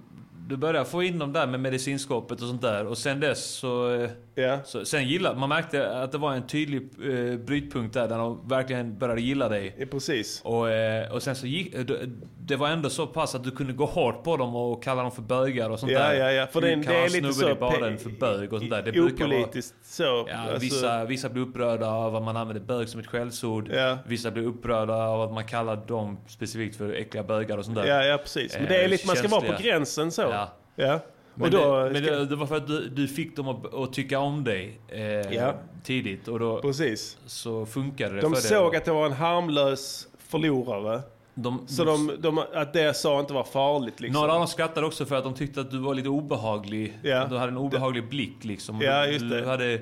S1: du började få in dem där med medicinskåpet och sånt där. Och sen dess så... eh,
S2: Ja.
S1: så sen gillade, man märkte att det var en tydlig eh, brytpunkt där, där de verkligen började gilla dig.
S2: Ja, precis.
S1: Och, eh, och sen så gick, eh, det- det var ändå så pass att du kunde gå hårt på dem och kalla dem för bögar och sånt
S2: Ja,
S1: där.
S2: ja, ja. För
S1: du
S2: det är- det är lite
S1: snubben
S2: så
S1: i
S2: pe-
S1: baren för bög och sånt där. Det brukar vara...
S2: Opolitiskt så.
S1: Ja,
S2: alltså.
S1: vissa, vissa blir upprörda av att man använder bög som ett skällsord.
S2: Ja.
S1: Vissa blir upprörda av att man kallar dem specifikt för äckliga bögar och sånt där.
S2: Ja, ja, precis. Men
S1: Eh,
S2: det är lite, man ska vara på
S1: känsliga.
S2: gränsen så.
S1: Ja.
S2: ja.
S1: Men,
S2: Och då...
S1: det, men
S2: ska-
S1: det, det var för att du, du fick dem att, att tycka om dig eh,
S2: Ja.
S1: tidigt och då
S2: Precis.
S1: så funkade det
S2: De
S1: för
S2: såg
S1: dig.
S2: att det var en harmlös förlorare.
S1: de,
S2: Så de, de, att det jag sa inte var farligt liksom.
S1: Mm. Några av dem skrattade också för att de tyckte att du var lite obehaglig.
S2: Ja.
S1: Du hade en obehaglig blick liksom. Och
S2: Ja,
S1: du,
S2: just
S1: du
S2: det.
S1: hade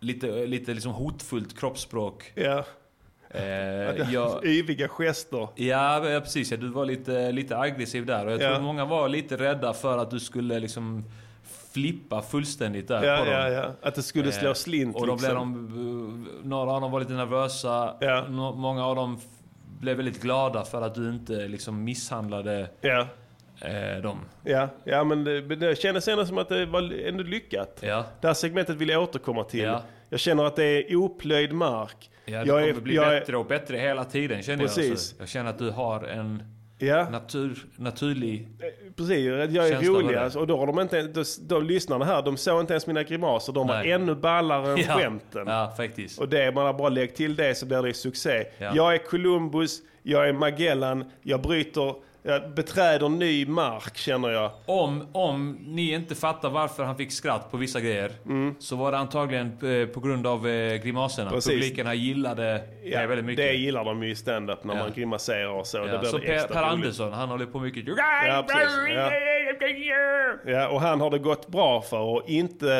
S1: lite, lite liksom hotfullt kroppsspråk.
S2: [LAUGHS] Ja.
S1: Eh,
S2: [LAUGHS]
S1: jag,
S2: Yviga gester.
S1: Ja, ja, precis. Ja, du var lite, lite aggressiv där. Och jag
S2: Ja.
S1: tror många var lite rädda för att du skulle liksom flippa fullständigt där
S2: Ja,
S1: på dem.
S2: ja, ja. Att det skulle slå
S1: Eh,
S2: slint
S1: Och då blev
S2: liksom.
S1: de, eh, några av dem var lite nervösa.
S2: Ja.
S1: Nå- Många av dem f- blev väldigt glada för att du inte liksom misshandlade
S2: Ja.
S1: eh, dem.
S2: Ja, ja men det, men det kändes ändå som att det var ändå lyckat.
S1: Ja.
S2: Det här segmentet vill jag återkomma till.
S1: Ja.
S2: Jag känner att det är oplöjd mark.
S1: Ja, det
S2: jag
S1: kommer
S2: är,
S1: bli
S2: jag
S1: bättre och bättre hela tiden känner jag.
S2: Precis.
S1: Alltså. Jag känner att du har en
S2: Är, ja, eh,
S1: natur, naturlig...
S2: precis. Jag är
S1: Känns det
S2: rolig.
S1: bra?
S2: Alltså, och då har de inte, de, de lyssnarna här, de såg inte ens mina grimaser. De var
S1: Nej.
S2: ännu ballare än skämten.
S1: ja, faktiskt.
S2: Och det, man har bara läggt till det så blir det succé.
S1: Ja.
S2: Jag är Columbus, jag är Magellan, jag bryter, jag beträder ny mark känner jag.
S1: Om, om ni inte fattar varför han fick skratt på vissa grejer så var det antagligen eh, på grund av eh, grimaserna.
S2: Mm. Precis.
S1: Publikerna gillade det väldigt mycket.
S2: det gillar de ju i stand-up när
S1: Ja.
S2: man grimaserar och så.
S1: ja.
S2: Det blir
S1: så
S2: det
S1: per,
S2: extra
S1: per
S2: roligt.
S1: Andersson, han håller på mycket.
S2: Ja, precis. Ja. Ja, och han har det gått bra för och inte,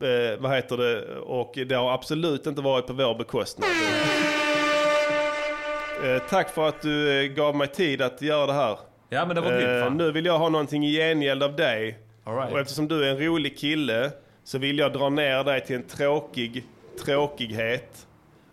S2: eh, vad heter det, och det har absolut inte varit på vår bekostnad. Eh, tack för att du eh, gav mig tid att göra det här.
S1: Ja, men det var grymt.
S2: Eh,
S1: fan.
S2: nu vill jag ha någonting i gengäld av dig.
S1: All right.
S2: Och eftersom du är en rolig kille så vill jag dra ner dig till en tråkig tråkighet.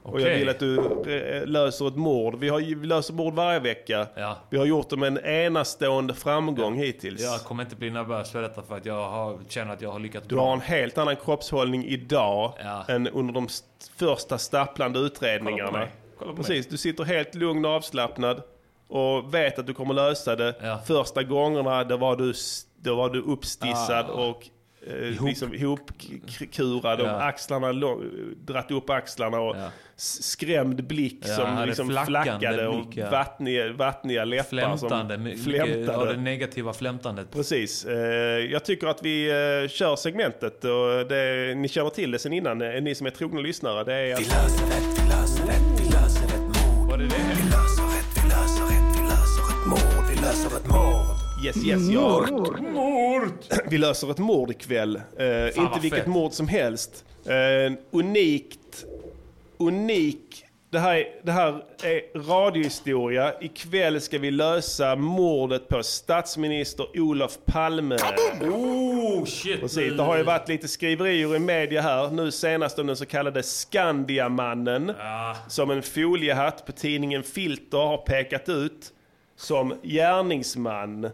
S2: Och jag
S1: Okej.
S2: vill att du eh, löser ett mord. Vi, har, ju- vi löser mord varje vecka.
S1: Ja.
S2: Vi har gjort det med en enastående framgång hittills.
S1: Jag kommer inte bli nervös för detta för att jag har, känner att jag har lyckats
S2: Du har en helt annan kroppshållning idag
S1: Ja.
S2: än under de st- första stapplande utredningarna.
S1: Kolla på mig. Kolla på
S2: Precis, du sitter helt lugn och avslappnad och vet att du kommer lösa det.
S1: Ja.
S2: Första gångerna då var du, s- då var du uppstissad
S1: Ah.
S2: och eh, liksom ihopkurad och
S1: Ja.
S2: axlarna lång- dratt upp axlarna och
S1: Ja.
S2: s- skrämd blick
S1: Ja,
S2: som
S1: hade
S2: liksom
S1: flackande
S2: flackade och
S1: blick, ja.
S2: vattniga, vattniga läppar
S1: Flämtande,
S2: som
S1: mycket
S2: flämtade.
S1: av det negativa flämtandet.
S2: Precis. Eh, Jag tycker att vi eh, kör segmentet. Och det, ni känner till det sen innan, eh, ni som är trogna lyssnare. Det är att,
S1: Var det det?
S2: yes, yes, ja. [CLEARS THROAT] Vi löser ett mord ikväll. Eh, inte
S1: vad
S2: vilket
S1: fett.
S2: mord som helst. Eh, unikt. Unik. Det här, är- det här är radiohistoria. Ikväll ska vi lösa mordet på statsminister Olof Palme.
S1: Oh shit!
S2: Precis, det har ju varit lite skriverier i media här. Nu senast om den så kallade Skandiamannen. Som en foliehatt på tidningen Filter har pekat ut som gärningsman. Eh,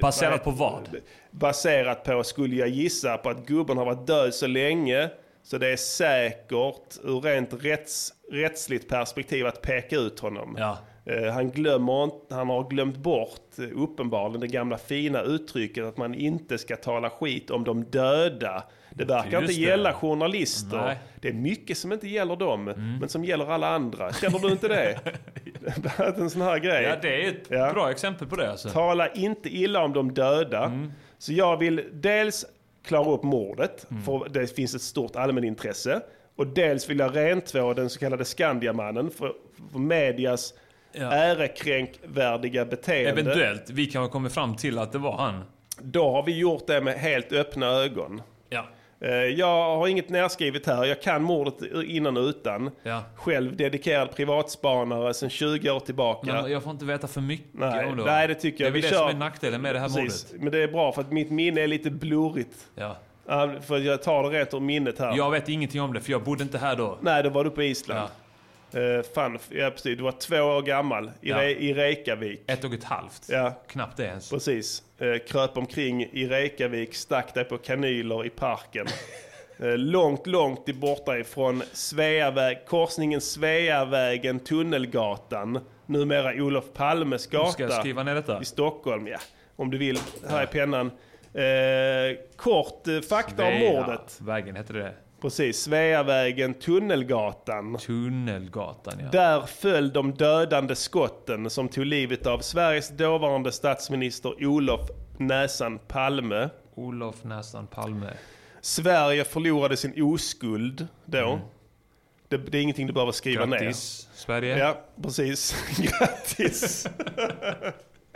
S1: Baserat
S2: heter-
S1: på vad?
S2: Baserat på, skulle jag gissa, på att gubben har varit död så länge. Så det är säkert ur rent rätts, rättsligt perspektiv att peka ut honom.
S1: Ja.
S2: Eh, Han, glömmer, inte- han har glömt bort eh, uppenbarligen det gamla fina uttrycket att man inte ska tala skit om de döda. Det verkar
S1: Just
S2: inte
S1: det.
S2: gälla journalister.
S1: Nej. Mm.
S2: Det är mycket som inte gäller dem, men som gäller alla andra. Känner du inte
S1: [LAUGHS]
S2: det? [LAUGHS] Bland annat en sån här grej.
S1: Ja, det är ett
S2: Ja.
S1: bra exempel på det alltså.
S2: Tala inte illa om de döda.
S1: Mm.
S2: Så jag vill dels klara upp mordet,
S1: Mm.
S2: för det finns ett stort allmänintresse. Och dels vill jag rentvå den så kallade Skandiamannen för, för medias
S1: Ja.
S2: ärekränkvärdiga beteende.
S1: Eventuellt. Vi kan ha kommit fram till att det var han.
S2: Då har vi gjort det med helt öppna ögon.
S1: Ja.
S2: Eh, Jag har inget närskrivet här. Jag kan mordet innan och utan.
S1: Ja.
S2: Själv dedikerad privatspanare sedan 20 år tillbaka.
S1: Men jag får inte veta för mycket
S2: Nej,
S1: om det.
S2: nej, det tycker jag.
S1: Det är väl
S2: Vi
S1: det
S2: kör.
S1: som är nackdelen med det här
S2: Precis.
S1: mordet.
S2: Men det är bra för att mitt minne är lite blurrigt.
S1: Ja.
S2: Ja, För jag tar det rätt ur minnet här.
S1: Jag vet ingenting om det, för jag bodde inte här då.
S2: Nej, då var du på Island. Eh, fan, ja precis. Du var två år gammal i,
S1: Ja.
S2: Re- i Reykjavik.
S1: Ett och ett halvt.
S2: Ja.
S1: Knappt det ens.
S2: Precis. Eh, kröp omkring i Reykjavik, stack dig på kanyler i
S1: [LAUGHS]
S2: parken. Eh, långt, långt i- borta ifrån Sveaväg, korsningen Sveavägen, Tunnelgatan, numera Olof Palmes gata
S1: Ska jag skriva ner detta?
S2: i Stockholm. Ja, om du vill. Här är pennan. Eh, kort eh, fakta om
S1: Svea.
S2: mordet.
S1: Vägen hette det.
S2: Precis, Sveavägen, Tunnelgatan.
S1: Tunnelgatan ja.
S2: Där föll de dödande skotten som tog livet av Sveriges dåvarande statsminister Olof Näsan Palme.
S1: Olof Näsan Palme.
S2: Sverige förlorade sin oskuld då. Det, det är ingenting du behöver skriva ner.
S1: Mm. Grattis Sverige.
S2: Ja, precis. [LAUGHS] Grattis!
S1: [LAUGHS]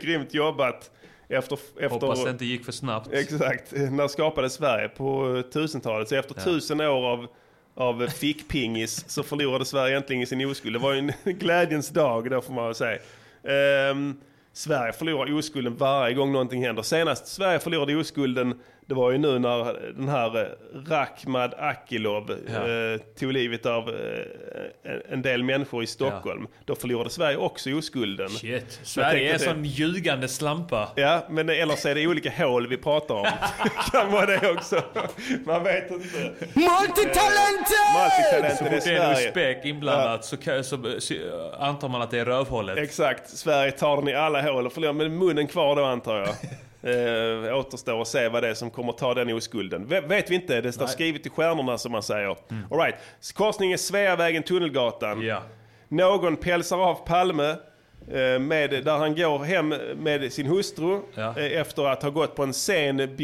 S2: Grymt jobbat. Efter, efter,
S1: Hoppas det inte gick för snabbt.
S2: Exakt. När skapades Sverige? På eh, 1000-talet. Så efter tusen år av, av fickpingis så förlorade Sverige äntligen sin oskuld. Det var ju en [LAUGHS] glädjens dag då får man väl säga. Ehm, Sverige förlorar oskulden varje gång någonting händer. Senast Sverige förlorade oskulden, det var ju nu när den här eh, Rakhmad Akilov eh, tog livet av eh, en- en del människor i Stockholm. Då förlorade Sverige också oskulden.
S1: Shit.
S2: Jag
S1: Sverige är
S2: tänkte det.
S1: som ljugande slampa.
S2: Ja, men eller så är det olika hål vi pratar om. kan vara det också. Man vet inte. Multitalenter!
S1: Det
S2: Multitalenter
S1: är en
S2: i Sverige.
S1: uzbek inblandat så, kan, så, så antar man att det är rövhålet.
S2: Exakt, Sverige tar den i alla hål och förlorar med munnen kvar då antar jag. Eh, återstår att se vad det är som kommer ta den oskulden. V- vet vi inte, det står skrivet i stjärnorna som man säger. All right. Korsningen Sveavägen, Tunnelgatan.
S1: Ja.
S2: Någon pälsar av Palme eh, med, där han går hem med sin hustru
S1: Ja.
S2: eh, efter att ha gått på en sen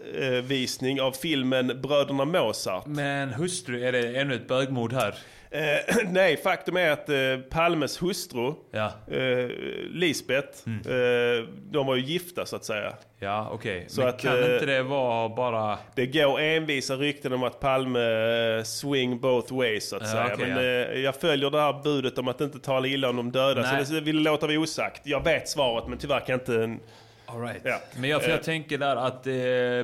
S2: biografvisning av filmen Bröderna Mozart.
S1: Men hustru, är det ännu ett bögmord här?
S2: Eh, [CLEARS THROAT] nej, faktum är att eh, Palmes hustru,
S1: Ja, Mm.
S2: eh, Lisbeth, eh, de var ju gifta så att säga.
S1: ja okej.
S2: Så
S1: Men
S2: att,
S1: kan
S2: eh,
S1: inte det vara bara...
S2: Det går envisa rykten om att Palme eh, swing both ways så att
S1: Ja,
S2: säga.
S1: okej,
S2: Men eh, jag följer det här budet om att inte tala illa om de döda.
S1: Nej.
S2: Så det vill låta vi osagt. Jag vet svaret men tyvärr kan jag inte...
S1: All right.
S2: ja.
S1: Men jag, för jag tänker där att eh,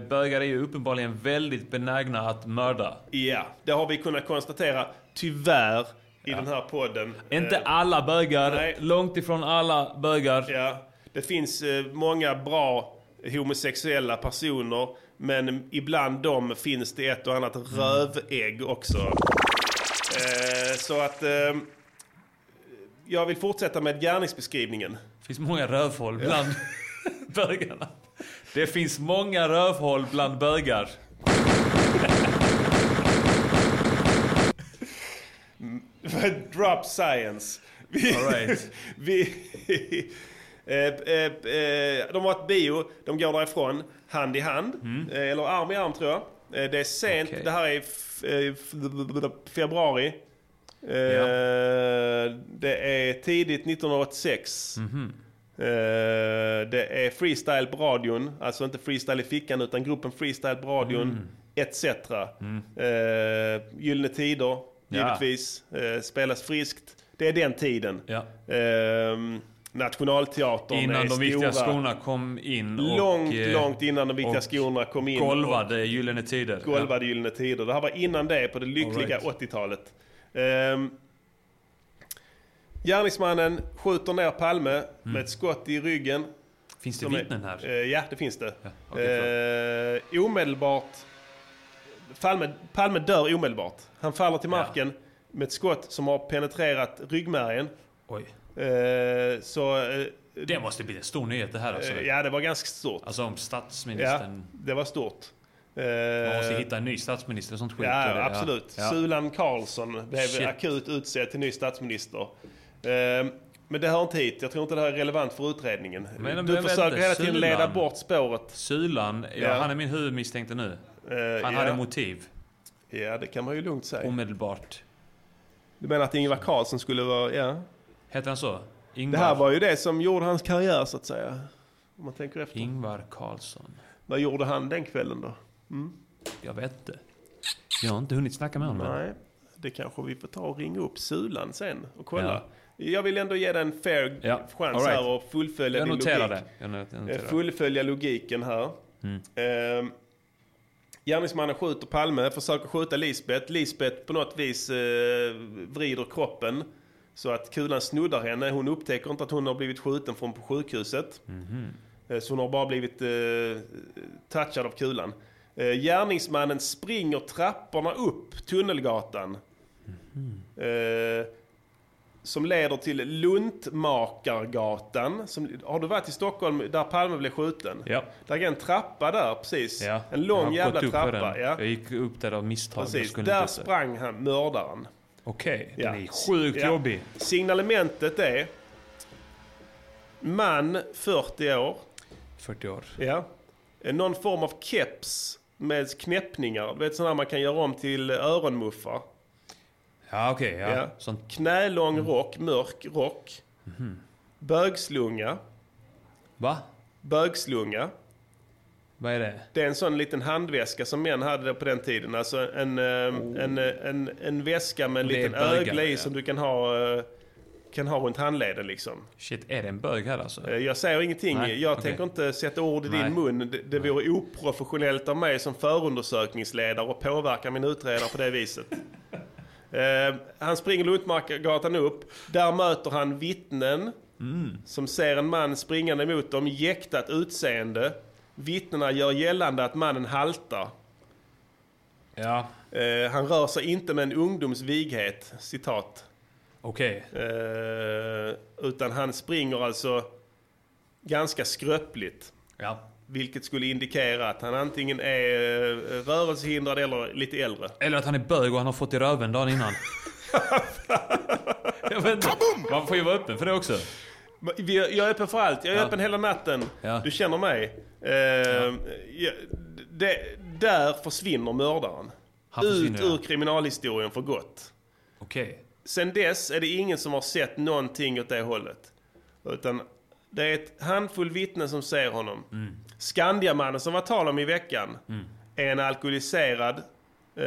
S1: bögar är ju uppenbarligen väldigt benägna att mörda.
S2: Ja, det har vi kunnat konstatera tyvärr i den här podden.
S1: Inte
S2: Eh,
S1: alla bögar,
S2: nej.
S1: långt ifrån alla bögar.
S2: Ja, det finns eh, många bra homosexuella personer. Men ibland dem finns det ett och annat rövägg också. Eh, så att eh, jag vill fortsätta med gärningsbeskrivningen.
S1: Det finns många rövhål
S2: [LAUGHS]
S1: bland bögarna. Det finns många rövhål bland bögar.
S2: Drop science. Vi,
S1: All right.
S2: [LAUGHS] vi, eh, eh, eh, de har ett bio, de går därifrån hand i hand. Eh, eller arm i arm tror jag. Eh, det är sent,
S1: Mm. Okej.
S2: det här är f- eh, f- februari. Eh, Det är tidigt 1986.
S1: Mhm.
S2: Eh, det är freestyle på radion, alltså inte freestyle i fickan utan gruppen freestyle på radion
S1: Mm.
S2: etc. Eh, gyllene tider, givetvis. Eh, spelas friskt. Det är den tiden.
S1: Ja.
S2: Eh, nationalteatern är
S1: Innan de viktiga
S2: stora.
S1: skorna kom in och...
S2: Långt,
S1: eh,
S2: långt innan de viktiga
S1: och
S2: skorna kom in.
S1: Golvade Gyllene Tider.
S2: Och golvade Gyllene Tider. Det här var innan det, på det lyckliga
S1: All
S2: 80-talet. Um, gärningsmannen skjuter ner Palme med ett skott i ryggen.
S1: Ja. Finns det
S2: De är-
S1: vittnen här?
S2: Eh, ja, det finns det.
S1: Ja, okej,
S2: Eh, omedelbart... Palme, Palme dör omedelbart. Han faller till marken med ett skott som har penetrerat ryggmärgen.
S1: Oj.
S2: Eh, så... eh,
S1: Det måste bli en stor nyhet det här alltså.
S2: eh, ja, det var ganska stort.
S1: Alltså om
S2: Ja,
S1: statsministern...
S2: det var stort. Eh,
S1: Man måste hitta en ny statsminister och sånt skit.
S2: Ja,
S1: eller?
S2: absolut.
S1: Ja.
S2: Sulan Karlsson blev
S1: Shit.
S2: akut utsedd till ny statsminister. Ehm, men det hör inte hit. Jag tror inte det här är relevant för utredningen.
S1: Men-
S2: du
S1: men
S2: försöker
S1: vänta,
S2: hela tiden
S1: Sulan.
S2: leda bort spåret.
S1: Sulan, ja,
S2: Ja.
S1: han är min huvudmisstänkte nu.
S2: Eh,
S1: Han
S2: ja.
S1: hade motiv.
S2: Ja, det kan man ju lugnt säga.
S1: Omedelbart.
S2: Du menar att Ingvar Carlsson skulle vara... Ja.
S1: Hette han så?
S2: Det
S1: Ingvar,
S2: här var ju det som gjorde hans karriär, så att säga. Om man tänker efter.
S1: Ingvar Carlsson.
S2: Vad gjorde han den kvällen då?
S1: Jag vet inte. Jag har inte hunnit snacka med honom.
S2: Nej, det kanske vi får ta och ringa upp Sulan sen och kolla. Jag vill ändå ge dig en fair
S1: Ja,
S2: chans
S1: all right.
S2: här och fullfölja
S1: Jag
S2: din
S1: noterar
S2: logik.
S1: det. Jag not-
S2: Eh,
S1: jag noterar det.
S2: fullfölja logiken här. Mm. Ehm, Gärningsmannen skjuter Palme, försöker skjuta Lisbeth. Lisbeth på något vis eh, vrider kroppen så att kulan snuddar henne. Hon upptäcker inte att hon har blivit skjuten från på sjukhuset. Eh, Så hon har bara blivit eh, touchad av kulan. Eh, gärningsmannen springer trapporna upp tunnelgatan. Eh, som leder till Luntmakargatan. Som, har du varit i Stockholm där Palme blev skjuten?
S1: Ja.
S2: Där är en trappa där precis.
S1: Ja.
S2: En
S1: jag
S2: lång
S1: har
S2: jävla
S1: gått upp för
S2: trappa.
S1: den.
S2: Ja.
S1: Jag gick upp där av misstag. Jag
S2: Precis.
S1: skulle
S2: Där
S1: inte upp där.
S2: sprang han, mördaren.
S1: Okej,
S2: Ja.
S1: den är sjukt
S2: Ja.
S1: jobbig.
S2: Signalementet är man 40 år.
S1: 40 år.
S2: Ja. Eh, Någon form av keps med knäppningar. Du vet sådana man kan göra om till öronmuffar.
S1: Ja, okej. ja.
S2: Ja.
S1: Sånt
S2: Knälång
S1: Mm.
S2: rock, mörk rock.
S1: Mhm.
S2: Bögslunga.
S1: Va?
S2: Bögslunga.
S1: Vad är det?
S2: Det är en sån liten handväska som män hade på den tiden. Alltså en, eh, en, eh, en, en väska med en
S1: Oh. Och det är
S2: liten
S1: bögar,
S2: ögla i
S1: ja.
S2: som du kan ha, eh, kan ha runt handleden liksom.
S1: Shit, är det en bög här alltså?
S2: Eh, Jag säger ingenting.
S1: Nej,
S2: jag
S1: okej.
S2: tänker inte sätta ord i
S1: Nej.
S2: din mun. Det, det vore oprofessionellt av mig som förundersökningsledare och påverka min utredare på det
S1: [LAUGHS]
S2: viset. Eh, han springer Luntmarkagatan upp. Där möter han vittnen
S1: Mm.
S2: som ser en man springande mot dem, jäktat utseende. Vittnena gör gällande att mannen haltar.
S1: Ja,
S2: Eh, han rör sig inte med en ungdomsvighet, citat.
S1: okej.
S2: Eh, utan han springer alltså ganska skröpligt.
S1: Ja.
S2: Vilket skulle indikera att han antingen är eh, rörelsehindrad eller lite äldre.
S1: Eller att han är bög och han har fått i röven
S2: [LAUGHS]
S1: dagen innan. jag vet inte. Man får ju vara öppen för det också.
S2: Men vi- Jag är öppen för allt. Jag är
S1: Ja.
S2: öppen hela natten.
S1: Ja.
S2: Du känner mig. Eh, jag- det, där försvinner mördaren.
S1: Han
S2: Ut
S1: försvinner, ja.
S2: ur kriminalhistorien för gott.
S1: Okej.
S2: Sen dess är det ingen som har sett någonting åt det hållet. Utan det är ett handfull vittnen som ser honom. Skandiamannen som var tal om i veckan är en alkoholiserad eh,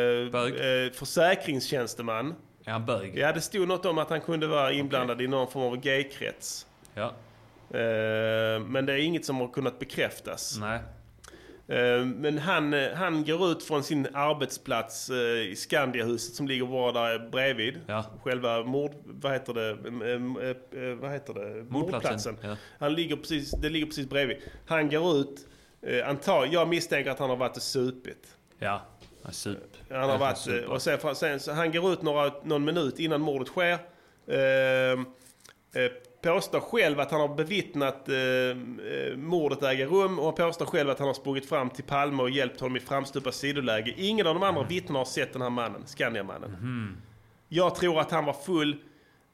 S2: eh, försäkringstjänsteman.
S1: Är han bög?
S2: Ja, det stod något om att han kunde vara inblandad i någon form av gaykrets.
S1: Ja.
S2: Eh, men det är inget som har kunnat bekräftas.
S1: Nej.
S2: Eh, Men han, eh, han går ut från sin arbetsplats eh, i Skandiahuset som ligger bara där bredvid.
S1: Ja.
S2: Själva mord... Vad heter det? Em, em, eh, eh, Vad heter det? Mordplatsen.
S1: ja.
S2: Han ligger precis, det ligger precis bredvid. Han går ut. eh, Antar, jag misstänker att han har varit och supit.
S1: Ja. Han är sup.
S2: Han har varit, eh, och sen, sen, så han går ut några, någon minut innan mordet sker. Eh, eh, påstår själv att han har bevittnat eh, eh, mordet äga rum och påstår själv att han har sprungit fram till Palme och hjälpt honom i framstupa sidoläge. Ingen av de andra vittnena har sett den här mannen, Skandiamannen. Jag tror att han var full,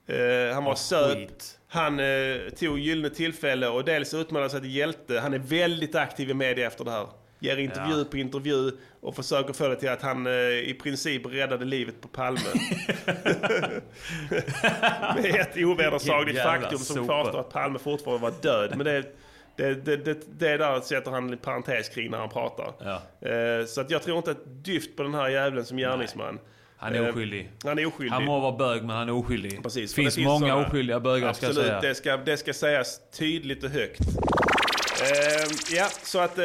S2: eh, han var söt, han eh, tog gyllene tillfälle och dels utmålade sig till hjälte. Han är väldigt aktiv i media efter det här. Ger intervju på intervju och försöker få det till att han eh, i princip räddade livet på
S1: [LAUGHS]
S2: Palme. Med ett ovedersagligt
S1: Vilken jävla
S2: faktum som
S1: sopa.
S2: kvarstår att Palme fortfarande var död. Men det, det, det, det, det där sätter han en parentes kring när han pratar.
S1: Ja.
S2: Eh, så att jag tror inte ett dyft på den här jävlen som gärningsman.
S1: Han är
S2: Eh,
S1: oskyldig.
S2: Han är oskyldig.
S1: Han må vara bög men han är oskyldig.
S2: Precis, för
S1: finns
S2: det
S1: många
S2: sådana-
S1: oskyldiga bögar ska jag
S2: Absolut,
S1: säga.
S2: Det, ska, det ska sägas tydligt och högt. Eh, ja, så att eh,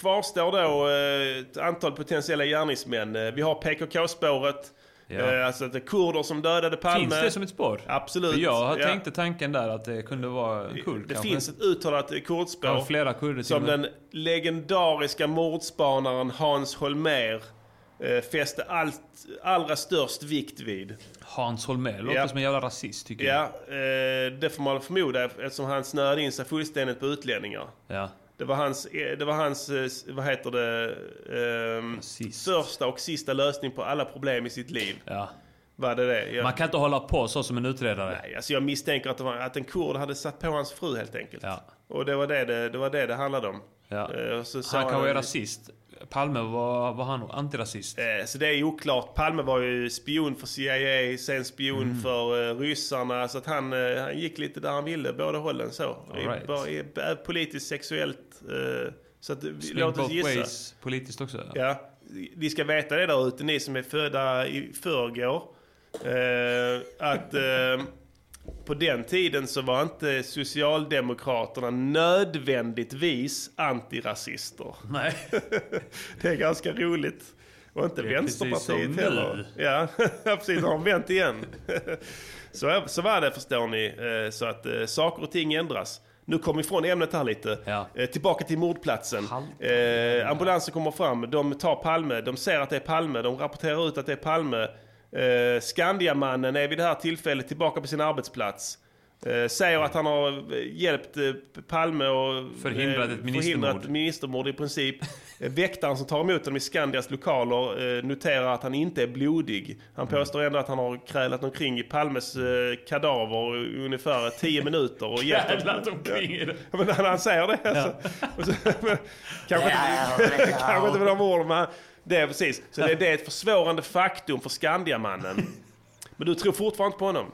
S2: kvarstår då eh, ett antal potentiella gärningsmän. Eh, vi har PKK-spåret,
S1: Ja.
S2: eh, alltså att det är kurder som dödade Palme.
S1: Finns det som ett spår?
S2: Absolut.
S1: För jag
S2: ja.
S1: tänkte tanken där att det kunde vara en kurd
S2: Det
S1: kanske.
S2: finns ett uttalat eh, kurdspår.
S1: Ja, flera kurder till
S2: Som
S1: och med.
S2: den legendariska mordspanaren Hans Holmér eh, fäste allt, allra störst vikt vid.
S1: Hans Holmér låter
S2: Ja.
S1: som en jävla rasist tycker jag.
S2: Ja, eh, det får man förmoda eftersom han snöade in sig fullständigt på utlänningar.
S1: Ja.
S2: Det var hans, eh, det var hans eh, s- vad heter det, ehm,
S1: Rasist.
S2: första och sista lösning på alla problem i sitt liv.
S1: ja.
S2: Var det det? Jag,
S1: Man kan inte hålla på så som en utredare.
S2: Nej, alltså jag misstänker att, det var, att en kurd hade satt på hans fru helt enkelt.
S1: Ja.
S2: Och det var det det, det, var det, det handlade om.
S1: Ja.
S2: Eh, och så sa
S1: Han kan vara
S2: han-
S1: rasist. Palme var, var han antirasist.
S2: Eh, Så det är ju oklart. Palme var ju spion för CIA, sen spion
S1: Mm.
S2: för eh, ryssarna. Så att han, eh, han gick lite där han ville, båda hållen så.
S1: All right.
S2: I- bara i- b- politiskt, sexuellt. eh, Så att, vi-
S1: Swing
S2: låt oss
S1: both
S2: gissa.
S1: ways politiskt också.
S2: Ja, ni ska veta det där ute, ni som är födda i förrgår. Eh, att eh, på den tiden så var inte Socialdemokraterna nödvändigtvis antirasister.
S1: Nej.
S2: Det är ganska roligt. Och inte
S1: är precis som
S2: Vänsterpartiet
S1: nu.
S2: heller. Ja, [LAUGHS] precis. Har de vänt igen? så, så var det förstår ni. Eh, Så att eh, saker och ting ändras. Nu kom vi ifrån ämnet här lite.
S1: Ja.
S2: Eh, Tillbaka till mordplatsen. Eh, ambulansen kommer fram, de tar Palme, de ser att det är Palme, de rapporterar ut att det är Palme. Eh, Skandiamannen är vid det här tillfället tillbaka på sin arbetsplats. Eh, säger att han har eh, hjälpt eh, Palme och
S1: Förhindrat ett ministermord.
S2: förhindrat Eh, ministermord i princip. Eh, Väktaren som tar emot honom i Skandias lokaler eh, noterar att han inte är blodig. Han
S1: Mm.
S2: påstår ändå att han har krälat omkring i Palmes eh, kadaver i ungefär 10 minuter och hjälpt honom.
S1: Jävlar omkring i det.
S2: Ja, Men när han säger det alltså. Och så, men, kanske, inte, kanske inte med de orden men det är precis. Så det, det är ett försvårande faktum för Skandiamannen. Men du tror fortfarande inte på honom?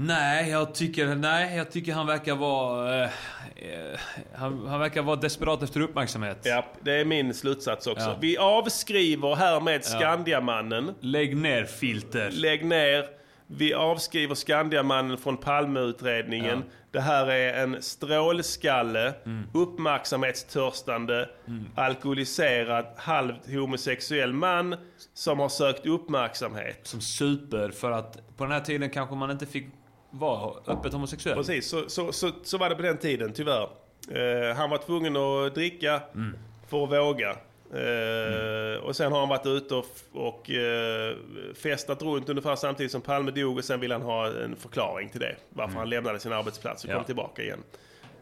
S1: Nej, jag tycker, nej, jag tycker han verkar vara... eh, eh, han, han verkar vara desperat efter uppmärksamhet.
S2: Ja, det är min slutsats också.
S1: Ja.
S2: Vi avskriver härmed Skandiamannen.
S1: Lägg ner filter.
S2: Lägg ner. Vi avskriver Skandiamannen från Palmeutredningen. Det här är en strålskalle, uppmärksamhetstörstande, alkoholiserad, halvt homosexuell man som har sökt uppmärksamhet.
S1: som super för att på den här tiden kanske man inte fick vara öppet homosexuell.
S2: Precis, så, så, så, så var det på den tiden tyvärr. Eh, han var tvungen att dricka
S1: Mm.
S2: för att våga. Eh, Och sen har han varit ute och, f- och eh, festat runt ungefär samtidigt som Palme dog och sen vill han ha en förklaring till det. Varför han lämnade sin arbetsplats och
S1: Mm. Ja.
S2: kom tillbaka igen.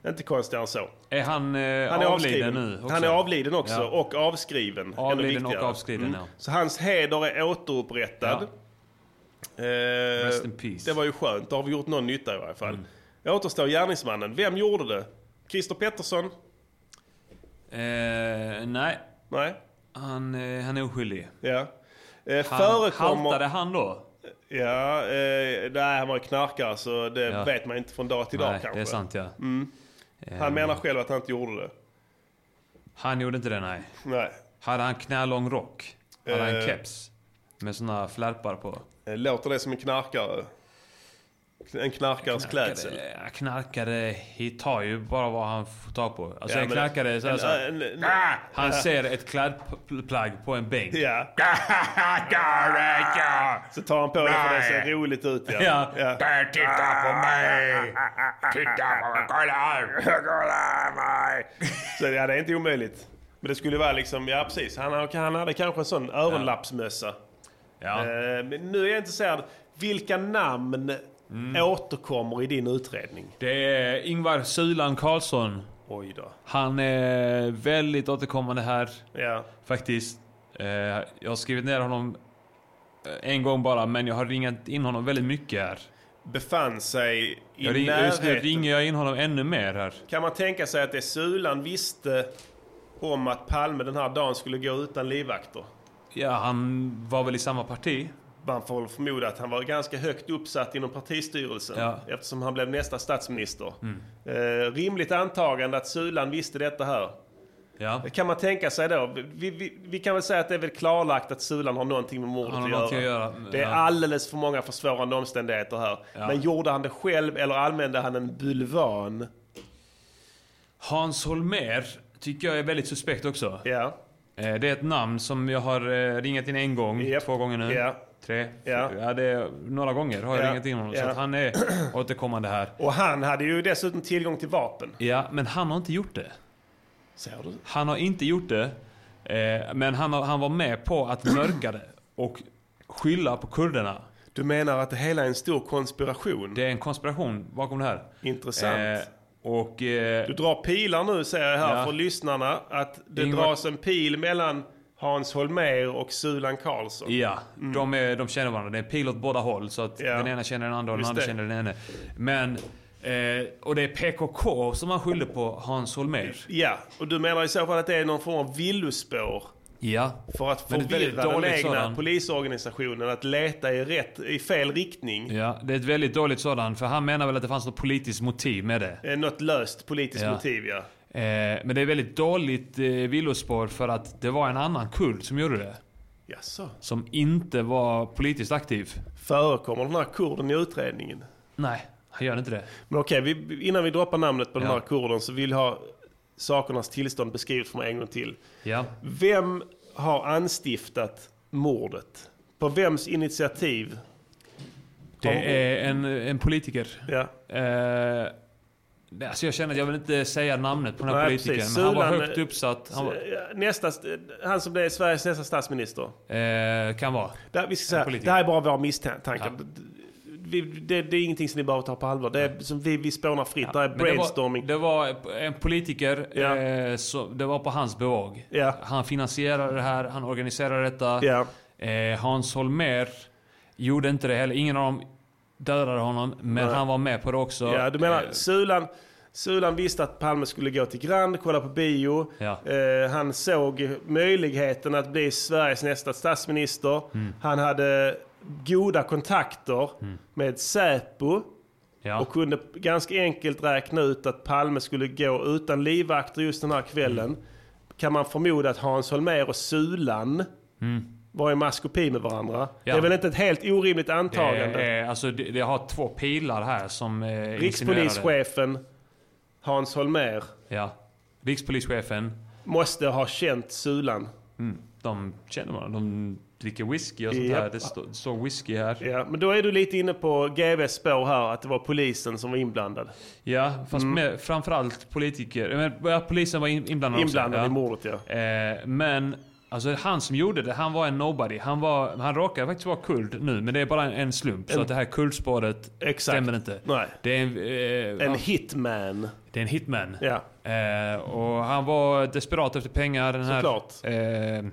S2: Inte konstigare än så.
S1: Är han, eh,
S2: Han är
S1: avliden
S2: avskriven.
S1: nu också?
S2: Han är avliden också
S1: Ja.
S2: och avskriven. ännu
S1: Avliden och
S2: viktigare. Mm.
S1: avskriven, ja.
S2: Så hans heder är återupprättad.
S1: Ja.
S2: Eh,
S1: Rest in peace. Mm.
S2: Det var ju skönt. Då har vi gjort någon nytta i varje fall. Återstår gärningsmannen. Vem gjorde det? Christer Pettersson?
S1: Eh, nej,
S2: Nej.
S1: han, eh, han är oskyldig.
S2: Ja. Eh,
S1: Han,
S2: förekommer...
S1: Haltade han då?
S2: Ja, eh, nej, han var ju knarkare så det
S1: Ja.
S2: vet man inte från dag till dag
S1: nej,
S2: kanske. Mm.
S1: det är sant ja.
S2: Han menar själv att han inte gjorde det.
S1: Han gjorde inte det nej.
S2: Nej.
S1: Hade han knälång rock? Hade han
S2: Eh.
S1: keps? Med såna flärpar på?
S2: Eh, Låter det som en knarkare? En knarkares klädsel?
S1: Knarkare, Eh, knarkare he tar ju bara vad han får tag på. Alltså
S2: Ja,
S1: en
S2: men-
S1: knarkare, så här,
S2: en-
S1: så här,
S2: en- en-
S1: Ah! han ser ett klädplagg på en bänk.
S2: [LAUGHS] Ja. Så tar han på det för det ser roligt ut. Ja.
S1: Ja.
S2: Titta på mig! Titta på mig! Kolla här! Kolla mig! Så ja, det är inte omöjligt. Men det skulle vara liksom, ja precis. Han, har- han hade kanske en sån öronlappsmössa.
S1: Ja.
S2: Eh, Men nu är jag intresserad. Vilka namn Mm. återkommer i din utredning?
S1: Det är Ingvar Sulan Karlsson.
S2: Oj då.
S1: Han är väldigt återkommande här
S2: Ja.
S1: faktiskt. Eh, Jag har skrivit ner honom eh, en gång bara, men jag har ringat in honom väldigt mycket här.
S2: Befann sig i
S1: Jag ring, just nu
S2: närheten.
S1: ringer jag in honom ännu mer här.
S2: Kan man tänka sig att det Sulan visste om att Palme den här dagen skulle gå utan livvakter?
S1: Ja, han var väl i samma parti?
S2: Man får väl förmoda att han var ganska högt uppsatt inom partistyrelsen
S1: Ja. Mm.
S2: eftersom han blev nästa statsminister. Eh, rimligt antagande att Sulan visste detta här.
S1: Ja.
S2: Kan man tänka sig då? Vi, vi, vi kan väl säga att det är väl klarlagt att Sulan har någonting med mordet
S1: Han har
S2: att,
S1: någonting
S2: göra.
S1: att göra,
S2: Det är
S1: ja.
S2: alldeles för många försvårande omständigheter här.
S1: Ja.
S2: Men gjorde han det själv eller använde han en bulvan?
S1: Hans Holmér tycker jag är väldigt suspekt också.
S2: Ja.
S1: Eh, Det är ett namn som jag har eh, ringat in en gång,
S2: Japp.
S1: två gånger nu.
S2: Ja.
S1: Tre,
S2: Ja.
S1: fyra. Ja, det är, några gånger har jag
S2: Ja.
S1: ringat in honom. Så
S2: Ja.
S1: att han är [CLEARS THROAT] återkommande här.
S2: Och han hade ju dessutom tillgång till vapen.
S1: Ja, men han har inte gjort det.
S2: Ser du?
S1: Han har inte gjort det. Eh, men han, har, han var med på att mörka det och skylla på kurderna.
S2: Du menar att det hela är en stor konspiration?
S1: Det är en konspiration bakom det här.
S2: Intressant.
S1: Eh, och... Eh,
S2: Du drar pilar nu säger jag här
S1: Ja.
S2: för lyssnarna. Att det
S1: Ingvar-
S2: dras en pil mellan Hans Holmér och Sulan Karlsson.
S1: ja, de, är, de känner varandra. Det är en pil åt båda håll. Så att
S2: Mm. Ja.
S1: den ena känner den andra och den
S2: Just
S1: andra
S2: det.
S1: känner den ene. Men... Eh, och det är PKK som han skyllde på Hans Holmér.
S2: Ja, och du menar i så fall att det är någon form av villospår
S1: Ja.
S2: för att
S1: Men det är ett väldigt
S2: förvirra den
S1: dåligt
S2: egna
S1: sådant.
S2: polisorganisationen att leta i, rätt, i fel riktning.
S1: Ja, det är ett väldigt dåligt sådant. För han menar väl att det fanns något politiskt motiv med det.
S2: Eh, Något löst politiskt
S1: Ja.
S2: motiv ja.
S1: Eh, men det är väldigt dåligt eh, villospår för att det var en annan kurd som gjorde det.
S2: Jaså?
S1: Som inte var politiskt aktiv.
S2: Förekommer den här kurden i utredningen?
S1: Nej, han gör inte det.
S2: Men okej, vi, innan vi droppar namnet på den
S1: Ja.
S2: här kurden så vill jag ha sakernas tillstånd beskrivet för mig en gång till.
S1: Ja.
S2: Vem har anstiftat mordet? På vems initiativ?
S1: Det är en, en politiker.
S2: Ja.
S1: Eh, nej, alltså jag känner att jag vill inte säga namnet på den här
S2: Nej,
S1: politikern.
S2: precis.
S1: Men han var
S2: Sulan-
S1: högt uppsatt. Han var,
S2: Nästa, st- han som blev Sveriges nästa statsminister.
S1: eh, kan vara.
S2: Där, vi ska säga,
S1: politiker.
S2: det här är bara våra misstankar. Vi, det, det är ingenting som ni behöver ta på allvar. Det är, som vi, vi spånar fritt. det här är
S1: Men det var-
S2: brainstorming.
S1: Det var, en politiker.
S2: Ja.
S1: Eh, så, det var på hans bevåg.
S2: Ja.
S1: Han finansierade det här. Han organiserade detta.
S2: Ja.
S1: Eh, Hans Holmér gjorde inte det heller. Ingen av dem dödade honom. Men han var med på det också.
S2: Ja, du menar
S1: Eh,
S2: Sulan, Sulan visste att Palme skulle gå till Grand, kolla på bio.
S1: Ja.
S2: Eh, han såg möjligheten att bli Sveriges nästa statsminister.
S1: Mm.
S2: Han hade goda kontakter med Säpo
S1: ja.
S2: och kunde ganska enkelt räkna ut att Palme skulle gå utan livvakter just den här kvällen.
S1: Mm.
S2: Kan man förmoda att Hans Holmér och Sulan var i maskopi med varandra?
S1: Mm. Ja.
S2: Det är väl inte ett helt orimligt antagande?
S1: Det, är, alltså, det, det har två pilar här som eh, insinuerar det.
S2: Rikspolischefen Hans Holmér
S1: Ja. Rikspolischefen.
S2: måste ha känt Sulan.
S1: De känner man. De dricker whisky och sånt
S2: Japp.
S1: här. Det står står whisky här.
S2: Ja, men då är du lite inne på GVs spår här, att det var polisen som var inblandad.
S1: Ja, fast
S2: Mm.
S1: med, framförallt politiker. Men, ja, polisen var in, inblandad också,
S2: Inblandad
S1: ja.
S2: i mordet ja.
S1: Eh, men alltså, han som gjorde det, han var en nobody. Han, var, han råkar faktiskt vara kurd nu, men det är bara en, en slump. Så att det här kurdspåret
S2: Exakt.
S1: stämmer inte.
S2: Nej.
S1: Det är en, eh,
S2: En
S1: ja,
S2: hitman.
S1: det är en hitman.
S2: Ja.
S1: Eh, och han var desperat efter pengar. Den här,
S2: Såklart.
S1: eh,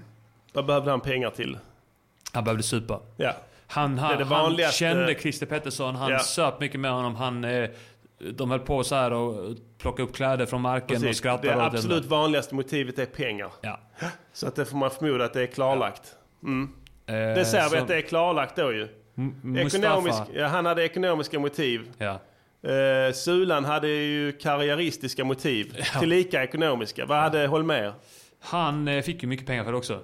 S2: Vad behövde han pengar till?
S1: han behövde supa.
S2: Ja.
S1: Han,
S2: Det är
S1: han,
S2: det
S1: han
S2: vanligaste-
S1: kände Christer Pettersson, han
S2: Ja.
S1: söp mycket med honom. Han, eh, de höll på så här och plockade upp kläder från marken och
S2: Precis.
S1: skrattade.
S2: Det
S1: åt
S2: absolut vanligaste motivet är pengar.
S1: Ja.
S2: Så att det får man förmoda att det är klarlagt. Det
S1: Eh,
S2: ser vi
S1: så-
S2: att det är klarlagt då ju.
S1: M- Mustafa.
S2: Ekonomisk, ja, han hade ekonomiska motiv.
S1: Ja.
S2: Eh, Sulan hade ju karriäristiska motiv. Tillika ekonomiska. Vad hade Holmér?
S1: Han eh, fick ju mycket pengar för det också.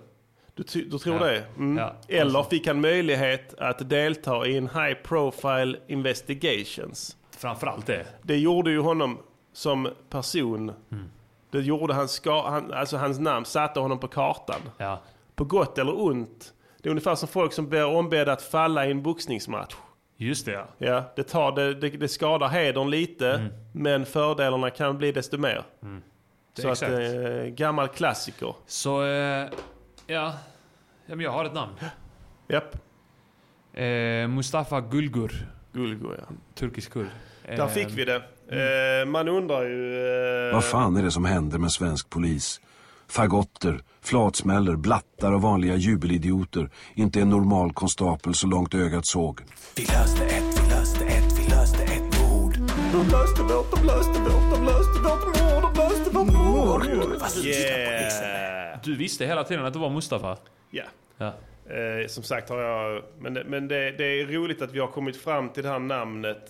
S2: Du, ty- du tror
S1: Ja.
S2: det? Mm.
S1: Ja.
S2: Eller fick han möjlighet att delta i en high profile investigations?
S1: Framförallt det.
S2: Det gjorde ju honom som person.
S1: Mm.
S2: Det gjorde hans, ska, han, alltså hans namn, satte honom på kartan.
S1: Ja.
S2: På gott eller ont. Det är ungefär som folk som blir ombedda att falla i en boxningsmatch.
S1: Just det ja.
S2: Ja, det, tar, det, det, det skadar hedern lite,
S1: Mm.
S2: men fördelarna kan bli desto mer.
S1: Det,
S2: Så
S1: är
S2: att,
S1: Mm. exakt.
S2: eh, gammal klassiker.
S1: Så, eh, ja. ja men jag har ett namn.
S2: Japp,
S1: Eh, Mustafa Gulgur.
S2: Gulgo ja.
S1: Turkisk kurd.
S2: Där fick vi det. Eh, man undrar ju... eh,
S11: Vad fan är det som händer med svensk polis? Fagotter, flatsmäller, blattar och vanliga jubelidioter. Inte en normal konstapel så långt ögat såg.
S9: Vi löste ett, vi löste ett, vi löste ett mord. De löste vårt, de löste vårt, de löste vårt mord, de löste vårt mord. Fast
S2: Yeah.
S1: Du visste hela tiden att det var Mustafa?
S2: Ja.
S1: Ja.
S2: Eh, som sagt har jag... Men, men det, det är roligt att vi har kommit fram till det här namnet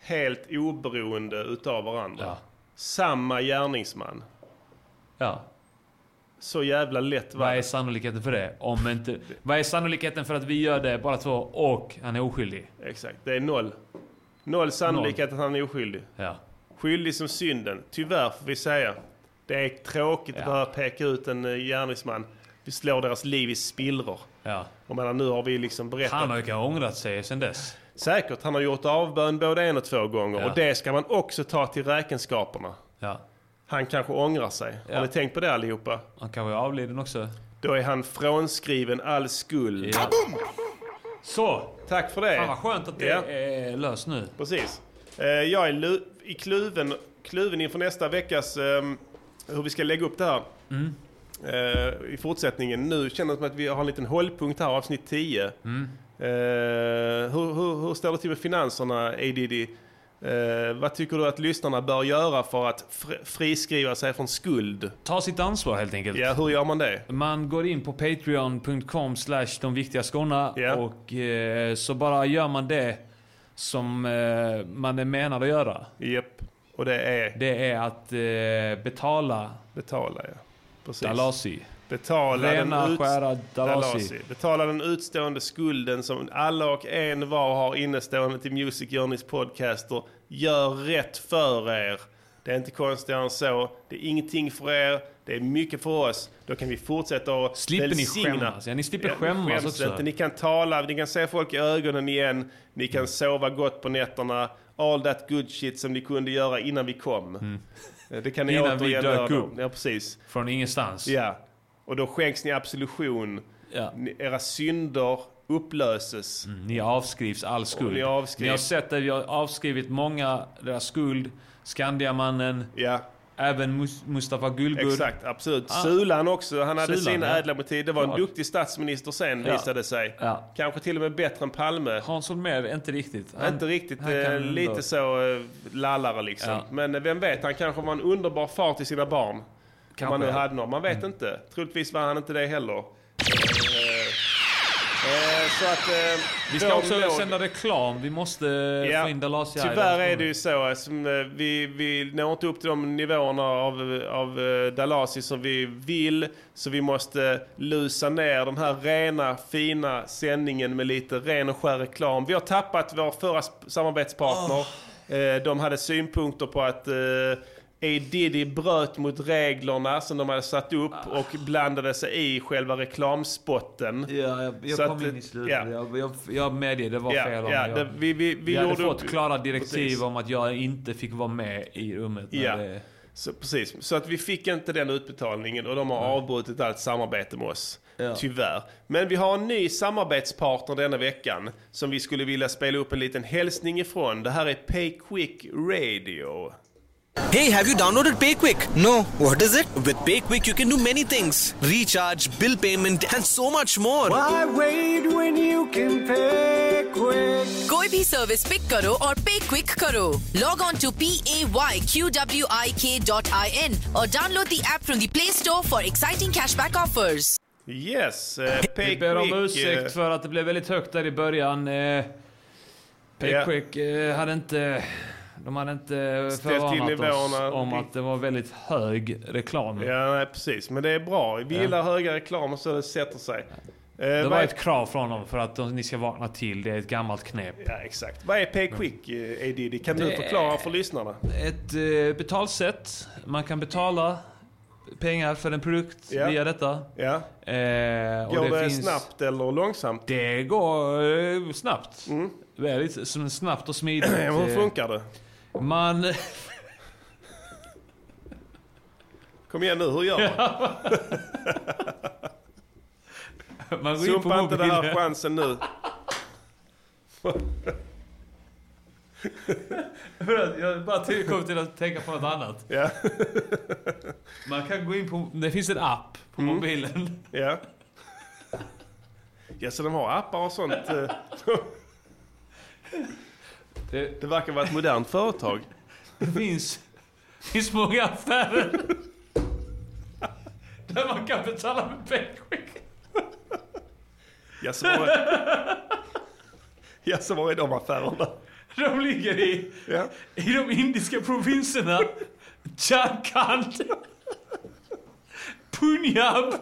S2: helt oberoende utav varandra.
S1: Ja.
S2: Samma gärningsman.
S1: ja.
S2: Så jävla lätt var
S1: Vad är
S2: det.
S1: sannolikheten för det? Om inte, vad är sannolikheten för att vi gör det bara två och han är oskyldig?
S2: Exakt. Det är noll. Noll sannolikhet att han är oskyldig.
S1: Ja.
S2: Skyldig som synden. Tyvärr får vi säga. Det är tråkigt att behöva peka ut en eh, gärningsman. Vi slår deras liv i spillror.
S1: ja.
S2: Och menar, nu har vi liksom berättat.
S1: Han har ju kanske ångrat sig sen dess.
S2: Säkert, han har gjort avbön både en och två gånger.
S1: Ja.
S2: Och det ska man också ta till räkenskaperna.
S1: Ja.
S2: Han kanske ångrar sig.
S1: Ja.
S2: Har ni tänkt på det allihopa?
S1: Han kanske är avliden också.
S2: Då är han frånskriven all skuld.
S1: Ja. Så!
S2: Tack för det.
S1: Fan vad skönt att det
S2: Ja.
S1: är löst nu.
S2: Precis. Eh, Jag är lu- i kluven, kluven inför nästa veckas, ehm, hur vi ska lägga upp det här.
S1: Mm.
S2: Eh, I fortsättningen. Nu känner det som att vi har en liten hållpunkt här, avsnitt 10.
S1: Mm.
S2: Eh, hur, hur, hur står det till med finanserna, ADD? Eh, vad tycker du att lyssnarna bör göra för att fr- friskriva sig från skuld?
S1: Ta sitt ansvar helt enkelt.
S2: Ja, hur gör man det?
S1: Man går in på patreon.com slash de viktiga skorna
S2: Ja.
S1: och eh, så bara gör man det som eh, man är menad att göra.
S2: Japp. Och det är
S1: Det är att eh, betala
S2: betala, ja. Precis.
S1: Dalasi.
S2: Betala
S1: Rena
S2: den, ut...
S1: skära Dalasi.
S2: Betala den utstående skulden som alla och en var har innestående till Music Journeys podcaster. Gör rätt för er. Det är inte konstigare än så. Det är ingenting för er. Det är mycket för oss. Då kan vi fortsätta att
S1: Slipper ni
S2: välsigna.
S1: skämmas? Ja, ni slipper
S2: ni
S1: skämmas
S2: skäms
S1: också.
S2: Inte. Ni kan tala, ni kan se folk i ögonen igen. Ni
S1: Mm.
S2: kan sova gott på nätterna. All that good shit som ni kunde göra innan vi kom. Eh, Det kan ni
S1: Mm. Innan vi
S2: återigen
S1: dök
S2: göra.
S1: upp.
S2: Ja, precis.
S1: Från ingenstans.
S2: Ja, och då skänks ni absolution.
S1: Ja. Mm.
S2: Ni- Era synder upplöses.
S1: Ni avskrivs all skuld.
S2: ni avskrivs.
S1: Ni har sett det, vi har avskrivit många deras skuld. Skandiamannen,
S2: Ja,
S1: även Mus- Mustafa Gulbur.
S2: exakt. Absolut.
S1: Ah.
S2: Sulan också. Han hade
S1: Sulan,
S2: sina
S1: ja.
S2: ädla motiv. Det var en
S1: Klart.
S2: duktig statsminister sen,
S1: Ja.
S2: visade det sig.
S1: Ja.
S2: Kanske till och med bättre än Palme.
S1: Hans Holmér, inte riktigt. Han-
S2: Inte riktigt,
S1: han kan
S2: eh,
S1: ändå-
S2: lite så eh, lallare liksom.
S1: Ja.
S2: Men eh, vem vet, han kanske var en underbar far till sina barn. Om
S1: Kanske. Mm.
S2: man nu hade någon, man vet inte. Troligtvis var han inte det heller. Eh, eh, så att... eh,
S1: Vi ska
S2: vår
S1: också
S2: nåd-
S1: sända reklam. Vi måste eh, få in Dalasi här i
S2: Tyvärr är
S1: dagsordningen.
S2: det ju så. eh, Som, eh, vi, vi når inte upp till de nivåerna av, av eh, Dalasi som vi vill. Så vi måste eh, lusa ner den här rena, fina sändningen med lite ren och skär reklam. Vi har tappat vår förra sp- samarbetspartner.
S1: Ah.
S2: Eh, De hade synpunkter på att eh, A. Diddy bröt mot reglerna som de hade satt upp
S1: Ah.
S2: och blandade sig i själva reklamspotten.
S1: Ja, jag, jag
S2: Så
S1: kom
S2: att,
S1: in i slutet.
S2: ja.
S1: Jag, jag, jag medger, det var
S2: Ja,
S1: fel av
S2: ja,
S1: mig.
S2: det-
S1: Jag,
S2: vi- vi- vi
S1: vi hade
S2: gjorde-
S1: fått klara direktiv
S2: Precis.
S1: om att jag inte fick vara med i rummet. När
S2: Ja,
S1: det,
S2: så, precis. Så att vi fick inte den utbetalningen och de har avbrutit allt samarbete med oss. Tyvärr. Men vi har en ny samarbetspartner denna veckan som vi skulle vilja spela upp en liten hälsning ifrån. Det här är Pay Quick Radio.
S12: Hey, have you downloaded PayQuick? No. What is it? With PayQuick, you can do many things recharge, bill payment, and so much more.
S9: Why wait when you can pay quick?
S13: कोई भी service pick करो और pay quick करो log on to P A Y Q W I K dot I N और download the app from the play store for exciting cashback offers
S2: Yes, eh, Pay
S1: Vi ber om
S2: Quick, eh,
S1: ursäkt för att det blev väldigt högt där i början. Eh,
S2: Ja.
S1: Payquick eh, hade inte... De hade inte
S2: Ställt
S1: förvarnat
S2: till
S1: oss
S2: nivåerna.
S1: om att det var väldigt hög reklam.
S2: Ja, nej, precis. Men det är bra. Vi gillar höga reklamer så det sätter sig. Eh,
S1: Det
S2: vad
S1: var
S2: är-
S1: ett krav från dem för att de, ni ska vakna till. Det är ett gammalt knep.
S2: Ja, exakt. Vad är Pay Quick, eh, Edidi? Kan du
S1: Det-
S2: förklara för lyssnarna?
S1: Ett eh, betalsätt. Man kan betala pengar för en produkt
S2: Ja.
S1: via detta.
S2: Ja.
S1: Eh, och
S2: Går det,
S1: finns-
S2: snabbt eller långsamt?
S1: Det går eh, snabbt. Väldigt som snabbt och smidigt.
S2: Mm. [CLEARS THROAT] Ja, Hur
S1: Eh,
S2: funkar det?
S1: Man... [LAUGHS]
S2: Kom igen nu, hur gör man?
S1: man går in på
S2: Sumpa inte den här
S1: mobilen.
S2: chansen
S1: [LAUGHS]
S2: nu.
S1: Jag bara till- kom till att tänka på något annat.
S2: Ja.
S1: Man kan gå in på... Det finns en app på
S2: Mm.
S1: mobilen.
S2: Ja. Ja, så de har appar och sånt. eh.
S1: Det-
S2: Det verkar vara ett modernt företag.
S1: Det finns, det finns många affärer. Där man kan betala med payquick.
S2: Ja, så var det. Ja, så var det de affärerna.
S1: De ligger i,
S2: Ja.
S1: i de indiska provinserna. Jharkhand. Punjab.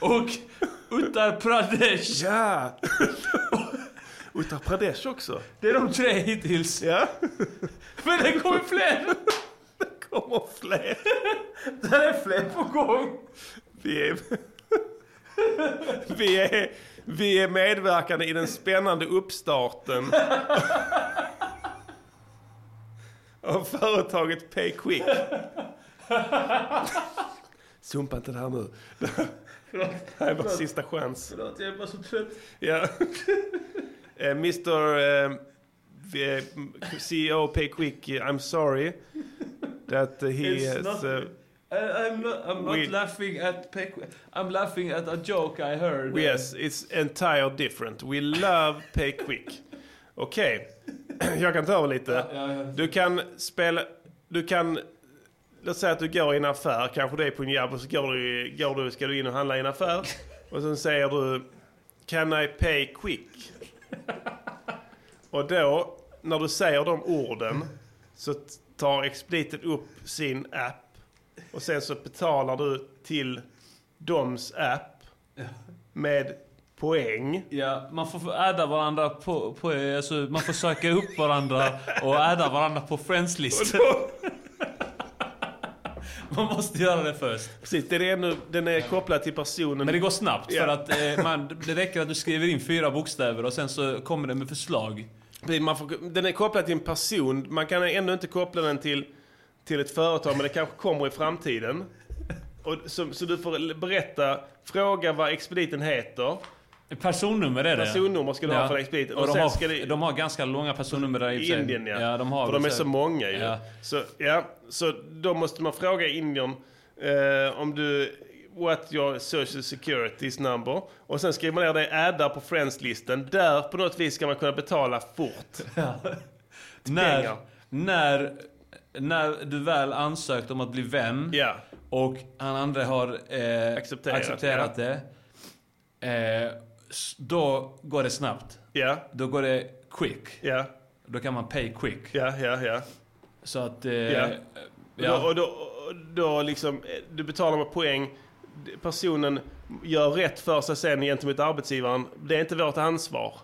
S1: Och Uttar Pradesh.
S2: Ja! Uttar Pradesh också.
S1: Det är de tre hittills.
S2: Ja.
S1: [LAUGHS] Men det kommer
S2: [LAUGHS]
S1: fler.
S2: Kommer fler.
S1: [LAUGHS] Det är fler på gång.
S2: Vi är, [LAUGHS] vi, är, vi är medverkande i den spännande
S1: [LAUGHS]
S2: uppstarten av företaget PayQuick. [LAUGHS] Sumpa inte det här nu. [LAUGHS] Det här är vår sista chans.
S1: Förlåt, jag är bara så trött.
S2: Ja. [LAUGHS] Eh, Mr eh, vi- eh, CEO PayQuick, eh, I'm sorry that eh, he
S1: It's
S2: has...
S1: not-
S2: eh,
S1: I, I'm not, I'm not
S2: We-
S1: laughing at payquick. I'm laughing at a joke I heard.
S2: Yes, it's entire different. We love pay quick. Okej, [CLEARS THROAT] jag kan ta över lite. Du kan spela... Du kan... Låt säga att du går i en affär, kanske det är Punjab, och så går du, i- går du, ska du in och handla i en affär. Och sen säger du Can I pay quick? Och då, när du säger de orden, så t- tar expediten upp sin app och sen så betalar du till doms app med poäng.
S1: Ja, man får adda varandra på, på alltså, man får söka upp varandra och adda varandra på friends-listor. [LAUGHS] Man måste göra det först.
S2: Precis, den är, ännu, den är kopplad till personen.
S1: Men det går snabbt
S2: Ja.
S1: för att eh, man, det räcker att du skriver in fyra bokstäver och sen så kommer det med förslag.
S2: Precis, Man får, den är kopplad till en person. Man kan ännu inte koppla den till, till ett företag, men det kanske kommer i framtiden. Och, så, så du får berätta, fråga vad expediten heter.
S1: Personnummer är det.
S2: Personnummer ska du ha för expediten.
S1: Och,
S2: Och
S1: de,
S2: sen
S1: har,
S2: ska det-
S1: de har ganska långa personnummer där i och
S2: I
S1: för sig.
S2: Indien ja.
S1: ja de har
S2: För
S1: väl
S2: de är så många ju.
S1: Ja.
S2: Så, ja, så då måste man fråga Indien eh, om du... What your social security's number. Och sen skriver man ner det addar på friends-listen. Där på något vis ska man kunna betala fort.
S1: När,
S2: pengar.
S1: när, när du väl ansökt om att bli vän och han andra har eh, accepterat, det. Eh, s- då går det snabbt. Då går det quick. Då kan man pay quick.
S2: Ja, ja, ja.
S1: Så att... Eh,
S2: Ja.
S1: ja.
S2: Och, då, och, då, och då liksom, eh, du betalar med poäng. Personen gör rätt för sig sen gentemot arbetsgivaren. Det är inte vårt ansvar.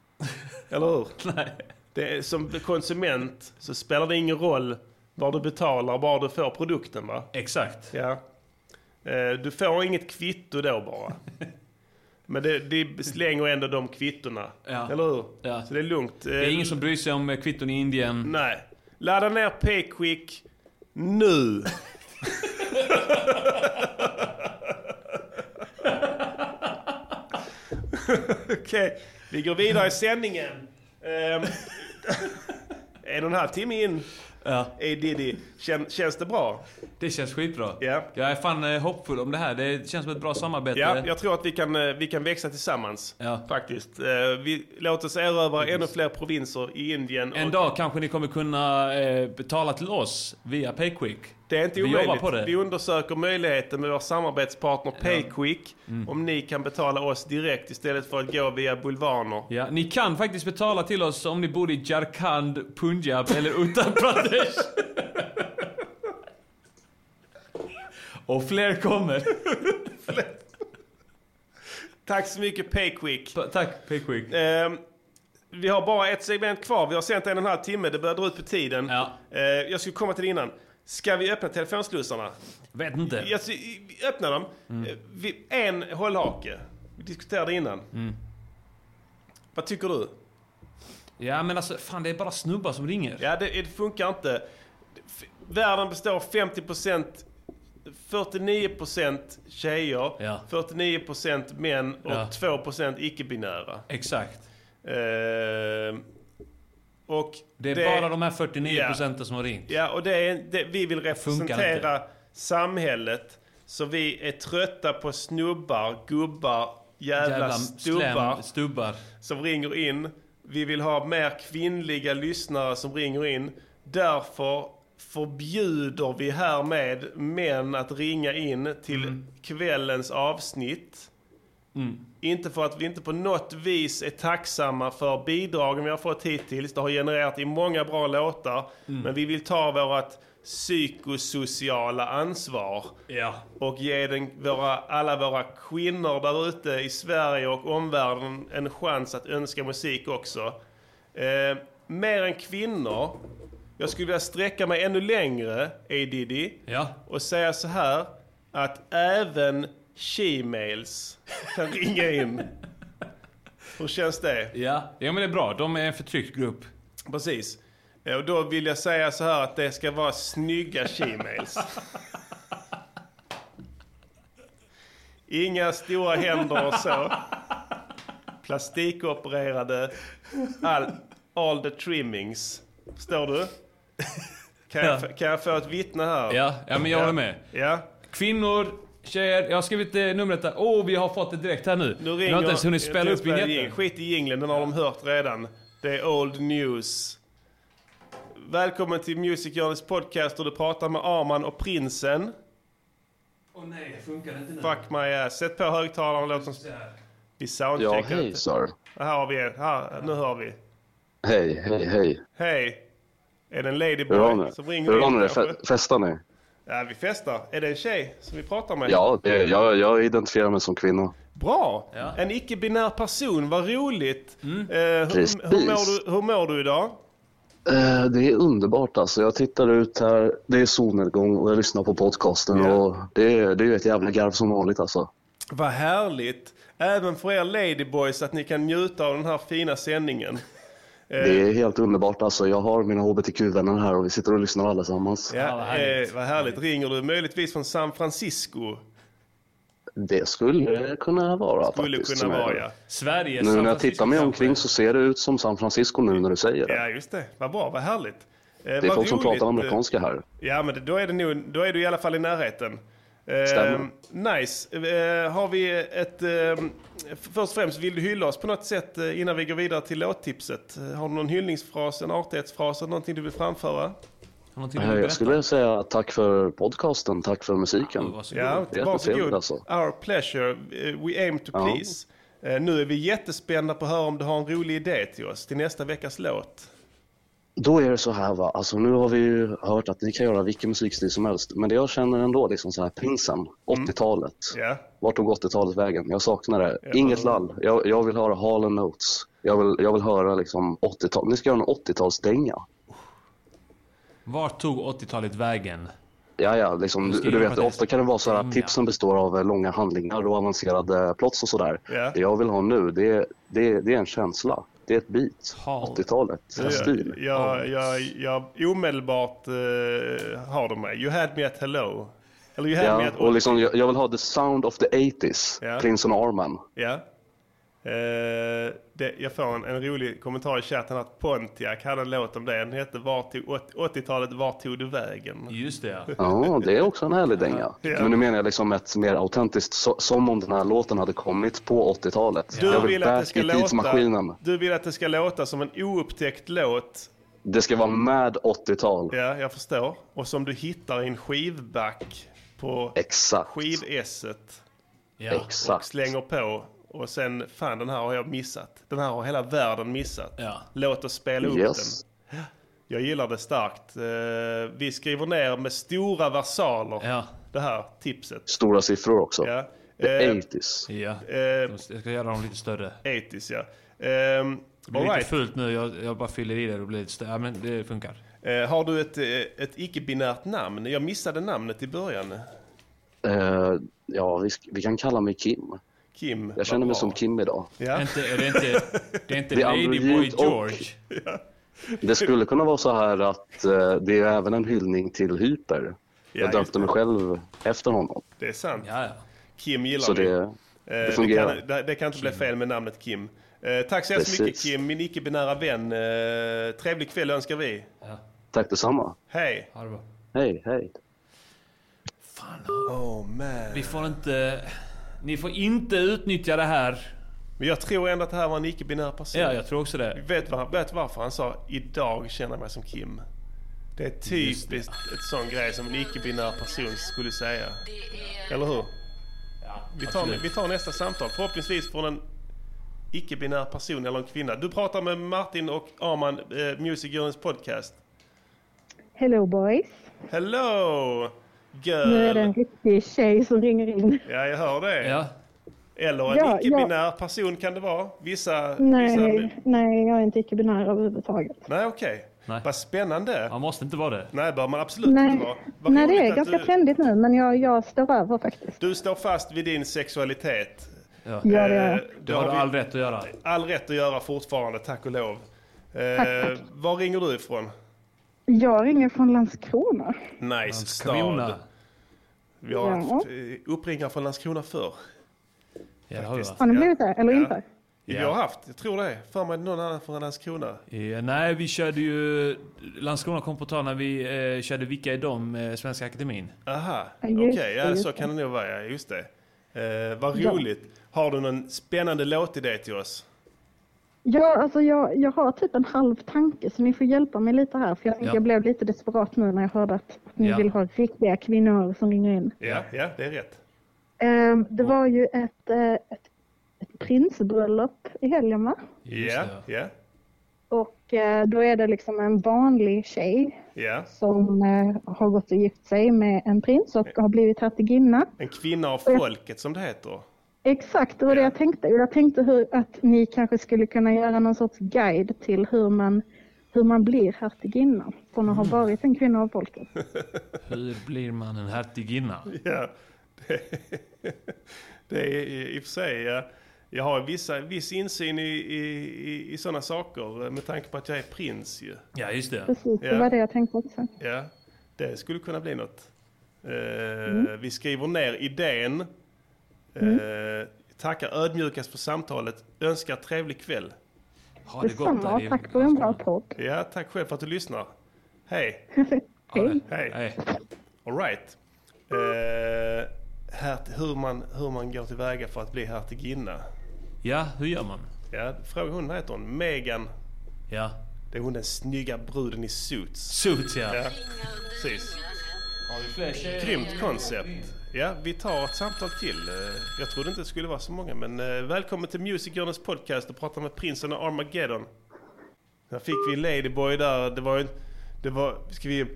S1: [LAUGHS]
S2: Eller hur?
S1: Nej.
S2: Det är, som konsument så spelar det ingen roll vad du betalar, bara du får produkten va?
S1: Exakt.
S2: Ja. Eh, Du får inget kvitto då
S1: [LAUGHS]
S2: bara. Men det, det slänger ändå de kvittorna.
S1: Ja.
S2: Eller hur?
S1: Ja.
S2: Så det är lugnt.
S1: Det är ingen som bryr sig om eh, kvitton i Indien.
S2: Nej. Ladda ner Payquick nu. [LAUGHS] Okej, vi går vidare i sändningen. Ehm, en och en halv timme in.
S1: Ja.
S2: Hey Diddy, Kän, känns det bra?
S1: Det känns skitbra.
S2: Ja.
S1: Jag är fan eh, hoppfull om det här. Det känns som ett bra samarbete.
S2: Ja, jag tror att vi kan, eh, vi kan växa tillsammans. Faktiskt. Eh, vi, låt oss erövra ännu fler provinser i Indien.
S1: En
S2: och-
S1: dag kanske ni kommer kunna eh, betala till oss via Payquick.
S2: Det är inte
S1: Vi jobbar
S2: omöjligt.
S1: på det.
S2: Vi undersöker möjligheten med vår samarbetspartner Payquick.
S1: Mm.
S2: Om ni kan betala oss direkt istället för att gå via bulvaner.
S1: Ja, ni kan faktiskt betala till oss om ni bor i Jharkhand, Punjab eller Uttar Pradesh. Och fler kommer.
S2: Tack så mycket Payquick.
S1: tack Payquick.
S2: Ehm, vi har bara ett segment kvar. Vi har sänt en och en halv timme. Det börjar dra ut på tiden. Eh, jag skulle komma till det innan. Ska vi öppna telefonslussarna?
S1: Vet inte.
S2: Jag, vi öppnar dem.
S1: Mm.
S2: Eh, Vi, en hållhake. Vi diskuterade innan.
S1: Mm.
S2: Vad tycker du?
S1: Ja men alltså, fan det är bara snubbar som ringer.
S2: Ja, det, det funkar inte. F- Världen består av 50%, 49% tjejer, 49% män och
S1: Ja.
S2: 2% icke-binära.
S1: Exakt.
S2: Ehm, och
S1: Det är bara de här 49 procenten som har ringt.
S2: Ja, och det är, det, vi vill
S1: funkar
S2: representera samhället. Så vi är trötta på snubbar, gubbar, jävla,
S1: Jävla
S2: stubbar
S1: slem- stubbar.
S2: som ringer in. Vi vill ha mer kvinnliga lyssnare som ringer in. Därför förbjuder vi härmed män att ringa in till
S1: Mm.
S2: kvällens avsnitt. Inte för att vi inte på något vis är tacksamma för bidragen vi har fått hittills. Det har genererat i många bra låtar.
S1: Mm.
S2: Men vi vill ta vårt psykosociala ansvar
S1: Ja.
S2: och ge den, våra, alla våra kvinnor där ute i Sverige och omvärlden en chans att önska musik också. Eh, mer än kvinnor. Jag skulle vilja sträcka mig ännu längre, A. Diddy, och säga så här att även she-mails kan ringa in. Hur känns det?
S1: Ja. ja, men det är bra. De är en förtryckt grupp.
S2: Precis. Eh, Och då vill jag säga så här att det ska vara snygga she-mails. Inga stora händer och så. Plastikopererade. All, all the trimmings. Står du? Kan, jag,
S1: Ja.
S2: f- kan jag få ett vittne här?
S1: Ja, ja men jag håller med.
S2: Ja.
S1: Kvinnor, tjejer. Jag har skrivit eh, numret där. Åh, oh, vi har fått det direkt här nu. vi har inte ens hunnit spela upp
S2: jing-
S1: vinjetten.
S2: Skit i jinglen, den har de hört redan. Det är old news. Välkommen till Music Journeys podcast och du pratar med Arman och Prinsen.
S1: Åh oh, nej, funkar inte
S2: Fuck my ass. Sätt på högtalaren och låt oss... Vi
S14: Ja,
S2: soundcheckar
S14: hej Sar.
S2: Här har vi en. Här, nu hör vi.
S14: Hej, hej, hej.
S2: Hej. Är det en
S14: Hur har
S2: ladyboy
S14: ni
S2: som
S14: det?
S2: ringer
S14: Hur har ni det?
S2: kanske?
S14: Fe- Festar ni?
S2: Ja, vi festar. Är det en tjej som vi pratar med?
S14: Ja, det, jag, jag identifierar mig som kvinna.
S2: Bra! En icke-binär person, vad roligt! Eh,
S14: Precis.
S2: hur, hur, mår du, hur mår du idag?
S14: Eh, Det är underbart alltså. Jag tittar ut här, det är solnedgång och jag lyssnar på podcasten och det, är- det är ju ett jävla garv som vanligt alltså.
S2: Vad härligt! Även för er ladyboys att ni kan njuta av den här fina sändningen. Eh,
S14: Det är helt underbart alltså. Jag har mina hbtq-vänner här och vi sitter och lyssnar allesammans.
S2: Ja, vad, härligt. Eh, vad härligt. Ringer du möjligtvis från San Francisco?
S14: Det skulle kunna vara
S2: Skulle
S14: faktiskt.
S2: kunna vara, ja.
S1: Sverige,
S14: Nu när jag tittar mig omkring så ser det ut som San Francisco nu när du säger det.
S2: Ja, just det. Vad bra, vad härligt. Eh,
S14: Det är folk som pratar amerikanska här.
S2: Ja, men det- då är, det nog, då är du i alla fall i närheten. Eh,
S14: Stämmer.
S2: nice. Eh, har vi ett... Eh, f- först och främst, vill du hylla oss på något sätt eh, innan vi går vidare till låttipset? Eh, Har du någon hyllningsfras, en artighetsfras, eller någonting du vill framföra?
S1: Någonting
S14: Eh, Jag skulle säga tack för podcasten, tack för musiken.
S2: Ja,
S14: Jättetrevligt
S2: varsågod.
S14: alltså.
S2: Our pleasure. Eh, We aim to
S14: Ja.
S2: please. Eh, Nu är vi jättespända på att höra om du har en rolig idé till oss, till nästa veckas låt.
S14: Då är det så här va, alltså nu har vi ju hört att ni kan göra vilken musikstil som helst, men det jag känner ändå liksom så här
S1: Mm.
S14: prinsen, 80-talet.
S2: Ja.
S14: Vart tog 80-talet vägen? Jag saknar det. Inget lall. Jag, jag vill höra Hall and Notes. Jag vill, jag vill höra liksom 80-tal. Ni ska göra en 80-talsdänga.
S1: Vart tog 80-talet vägen?
S14: Ja, ja, liksom,
S1: Du
S14: du,
S1: ska
S14: du
S1: göra
S14: vet,
S1: det. Mm.
S14: ofta kan det vara så här att tipsen består av eh, långa handlingar och avancerade plots och sådär.
S1: Ja.
S14: Det jag vill ha nu, det, är- det, är- det är en känsla. Det är ett beat. 80-talet. En stil.
S2: Jag, jag, jag, jag omedelbart eh, har de mig. You had me at hello. Eller you had me
S14: Ja,
S2: at...
S14: och liksom, jag, jag vill ha the sound of the 80s.
S2: Ja.
S14: Prinsen och Arman.
S2: Ja. Eh, det, jag får en, en rolig kommentar i chatten att Pontiac hade en låt om det. Den hette Var tog- åt- 80-talet, vart tog du vägen?
S1: Just det,
S14: Ja, det är också en härlig dänga.
S2: Ja.
S14: Men nu menar jag liksom ett mer autentiskt, så, som om den här låten hade kommit på 80-talet.
S2: Du
S14: jag
S2: vill, att det
S14: back
S2: ska
S14: i tidsmaskinen.
S2: låta, du vill att det ska låta som en oupptäckt låt.
S14: Det ska vara mad 80-tal.
S2: Ja, jag förstår. Och som du hittar i en skivback på
S14: Exakt.
S2: skivesset.
S14: Exakt.
S2: Och slänger på. Och sen, fan den här har jag missat. Den här har hela världen missat. Låt oss spela upp
S14: Yes.
S2: den. Jag gillar det starkt. Eh, Vi skriver ner med stora versaler det här tipset.
S14: Stora siffror också.
S2: Ja.
S14: The
S2: Eh,
S14: 80s.
S1: Ja.
S14: Eh,
S2: Jag
S1: ska göra dem lite större.
S2: 80s Eh, ja. Ehm,
S1: Det blir
S2: all
S1: lite
S2: right.
S1: fullt nu, jag, jag bara fyller i det och blir lite större. Ja, men det funkar.
S2: Eh, Har du ett, eh, ett icke-binärt namn? Jag missade namnet i början.
S14: Eh, ja, vi, sk- vi kan kalla mig Kim.
S2: Kim.
S14: Jag känner mig som Kim idag.
S2: Ja.
S1: Inte, är det inte, det är inte
S14: Det är
S1: Ladyboy
S14: androgynt och-
S1: George?
S14: Det skulle kunna vara så här att eh, det är även en hyllning till Hyper.
S2: Ja,
S14: Jag döpte mig själv efter honom.
S2: Det är sant. Kim gillar
S14: Så
S2: vi.
S14: det-
S2: Eh,
S14: det fungerar.
S2: kan, det, det kan inte bli fel med namnet Kim. Eh, tack så hemskt
S14: Precis.
S2: mycket Kim, min icke-binära vän. Eh, trevlig kväll önskar vi.
S14: Tack detsamma.
S2: Hej!
S1: Ha det bra.
S14: Hej, hej.
S2: Oh man.
S1: Vi får inte... Ni får inte utnyttja det här.
S2: Men jag tror ändå att det här var en icke-binär person.
S1: Ja, jag tror också det.
S2: Vet, var, vet varför han sa idag känner jag mig som Kim? Det är typiskt ett sån grej som en icke-binär person skulle säga. Eller hur? vi, tar,
S1: absolut.
S2: vi tar nästa samtal. Förhoppningsvis från en icke-binär person eller en kvinna. Du pratar med Martin och Arman, eh, Music Journeys podcast.
S15: Hello boys.
S2: Hello! Girl!
S15: Nu är det en riktig tjej som ringer in.
S2: Uh, Ja, jag hör det. Eller en
S15: Ja,
S2: icke-binär person kan det vara. Vissa... vissa...
S15: Nej, nej, jag är inte icke-binär överhuvudtaget.
S2: Nej, okej. Vad spännande. Man
S1: måste inte vara det.
S2: Nej, bör man absolut
S15: Nej,
S2: inte vara. Vad
S15: nej, det
S2: roligt
S15: är
S2: att
S15: ganska
S2: du,
S15: trendigt nu, men jag, jag står över faktiskt.
S2: Du står fast vid din sexualitet. Eh,
S1: Ja,
S15: det gör jag.
S1: Det har du all rätt att göra.
S2: All rätt att göra fortfarande, tack och lov. Eh,
S15: Tack,
S2: Var ringer du ifrån?
S15: Jag ringer från Landskrona.
S2: Nice
S1: Landskrona.
S2: stad. Vi har
S15: Ja.
S2: haft eh, uppringare från Landskrona förr.
S1: Ja, det har vi va?
S15: Har ni blivit det eller inte?
S2: Vi har haft, jag tror det. För mig någon annan från Landskrona.
S1: Eh, nej, vi körde ju... Landskrona kom på tal när vi eh, körde Vilka är de? Eh, Svenska Akademin.
S2: Aha,
S1: Ja,
S2: okej.
S1: just det,
S2: Ja,
S1: just
S2: så
S1: det.
S2: kan det nog vara. Ja, just det. Eh, vad
S15: Ja.
S2: roligt. Har du någon spännande låtidé till oss?
S15: Ja, alltså jag, jag har typ en halv tanke så ni får hjälpa mig lite här för jag,
S2: Ja.
S15: jag blev lite desperat nu när jag hörde att, att ni
S2: Ja.
S15: vill ha riktiga kvinnor som ringer in.
S2: Ja, ja det är rätt.
S15: Ehm, det var ju ett, eh, ett, ett prinsbröllop i helgen va?
S2: Ja, ja.
S15: Och eh, då är det liksom en vanlig tjej
S2: Ja.
S15: som eh, har gått och gift sig med en prins och har blivit hertiginna.
S2: En kvinna av folket som det heter. [LAUGHS]
S15: Exakt, det var det jag tänkte. Jag tänkte hur, att ni kanske skulle kunna göra någon sorts guide till hur man, hur man blir hertiginna från
S6: Mm.
S15: att ha varit en kvinna av folket.
S1: Hur blir man en hertiginna?
S2: Ja, det, det är i och för sig... ja. Jag har vissa, viss insyn i, i, i, i sådana saker eh, med tanke på att jag är prins ju.
S1: Ja, just det.
S15: Precis, det var det jag tänkte också.
S2: Ja, det skulle kunna bli något. Eh, Vi skriver ner idén. Eh, Tackar ödmjukast för samtalet. Önskar trevlig kväll. Ha
S15: Detsamma, tack för en bra podd.
S2: Ja, tack själv för att du lyssnar. Hej.
S15: Hej.
S2: Hej.
S1: Eh,
S2: All right. Eh, här, hur, man, hur man går tillväga för att bli hertiginna.
S1: Ja, hur gör man?
S2: Ja, fråga hon, vad heter hon? Megan.
S1: Ja.
S2: Det är hon den snygga bruden i Suits.
S1: Suits, ja.
S2: Precis.
S1: Har vi fler tjejer?
S2: Grymt koncept. Ja, vi tar ett samtal till. Eh, Jag trodde inte det skulle vara så många, men eh, välkommen till Music Journeys podcast och prata med prinsen av Armageddon. Där fick vi en Ladyboy där. Det var ju... Det var... Ska vi...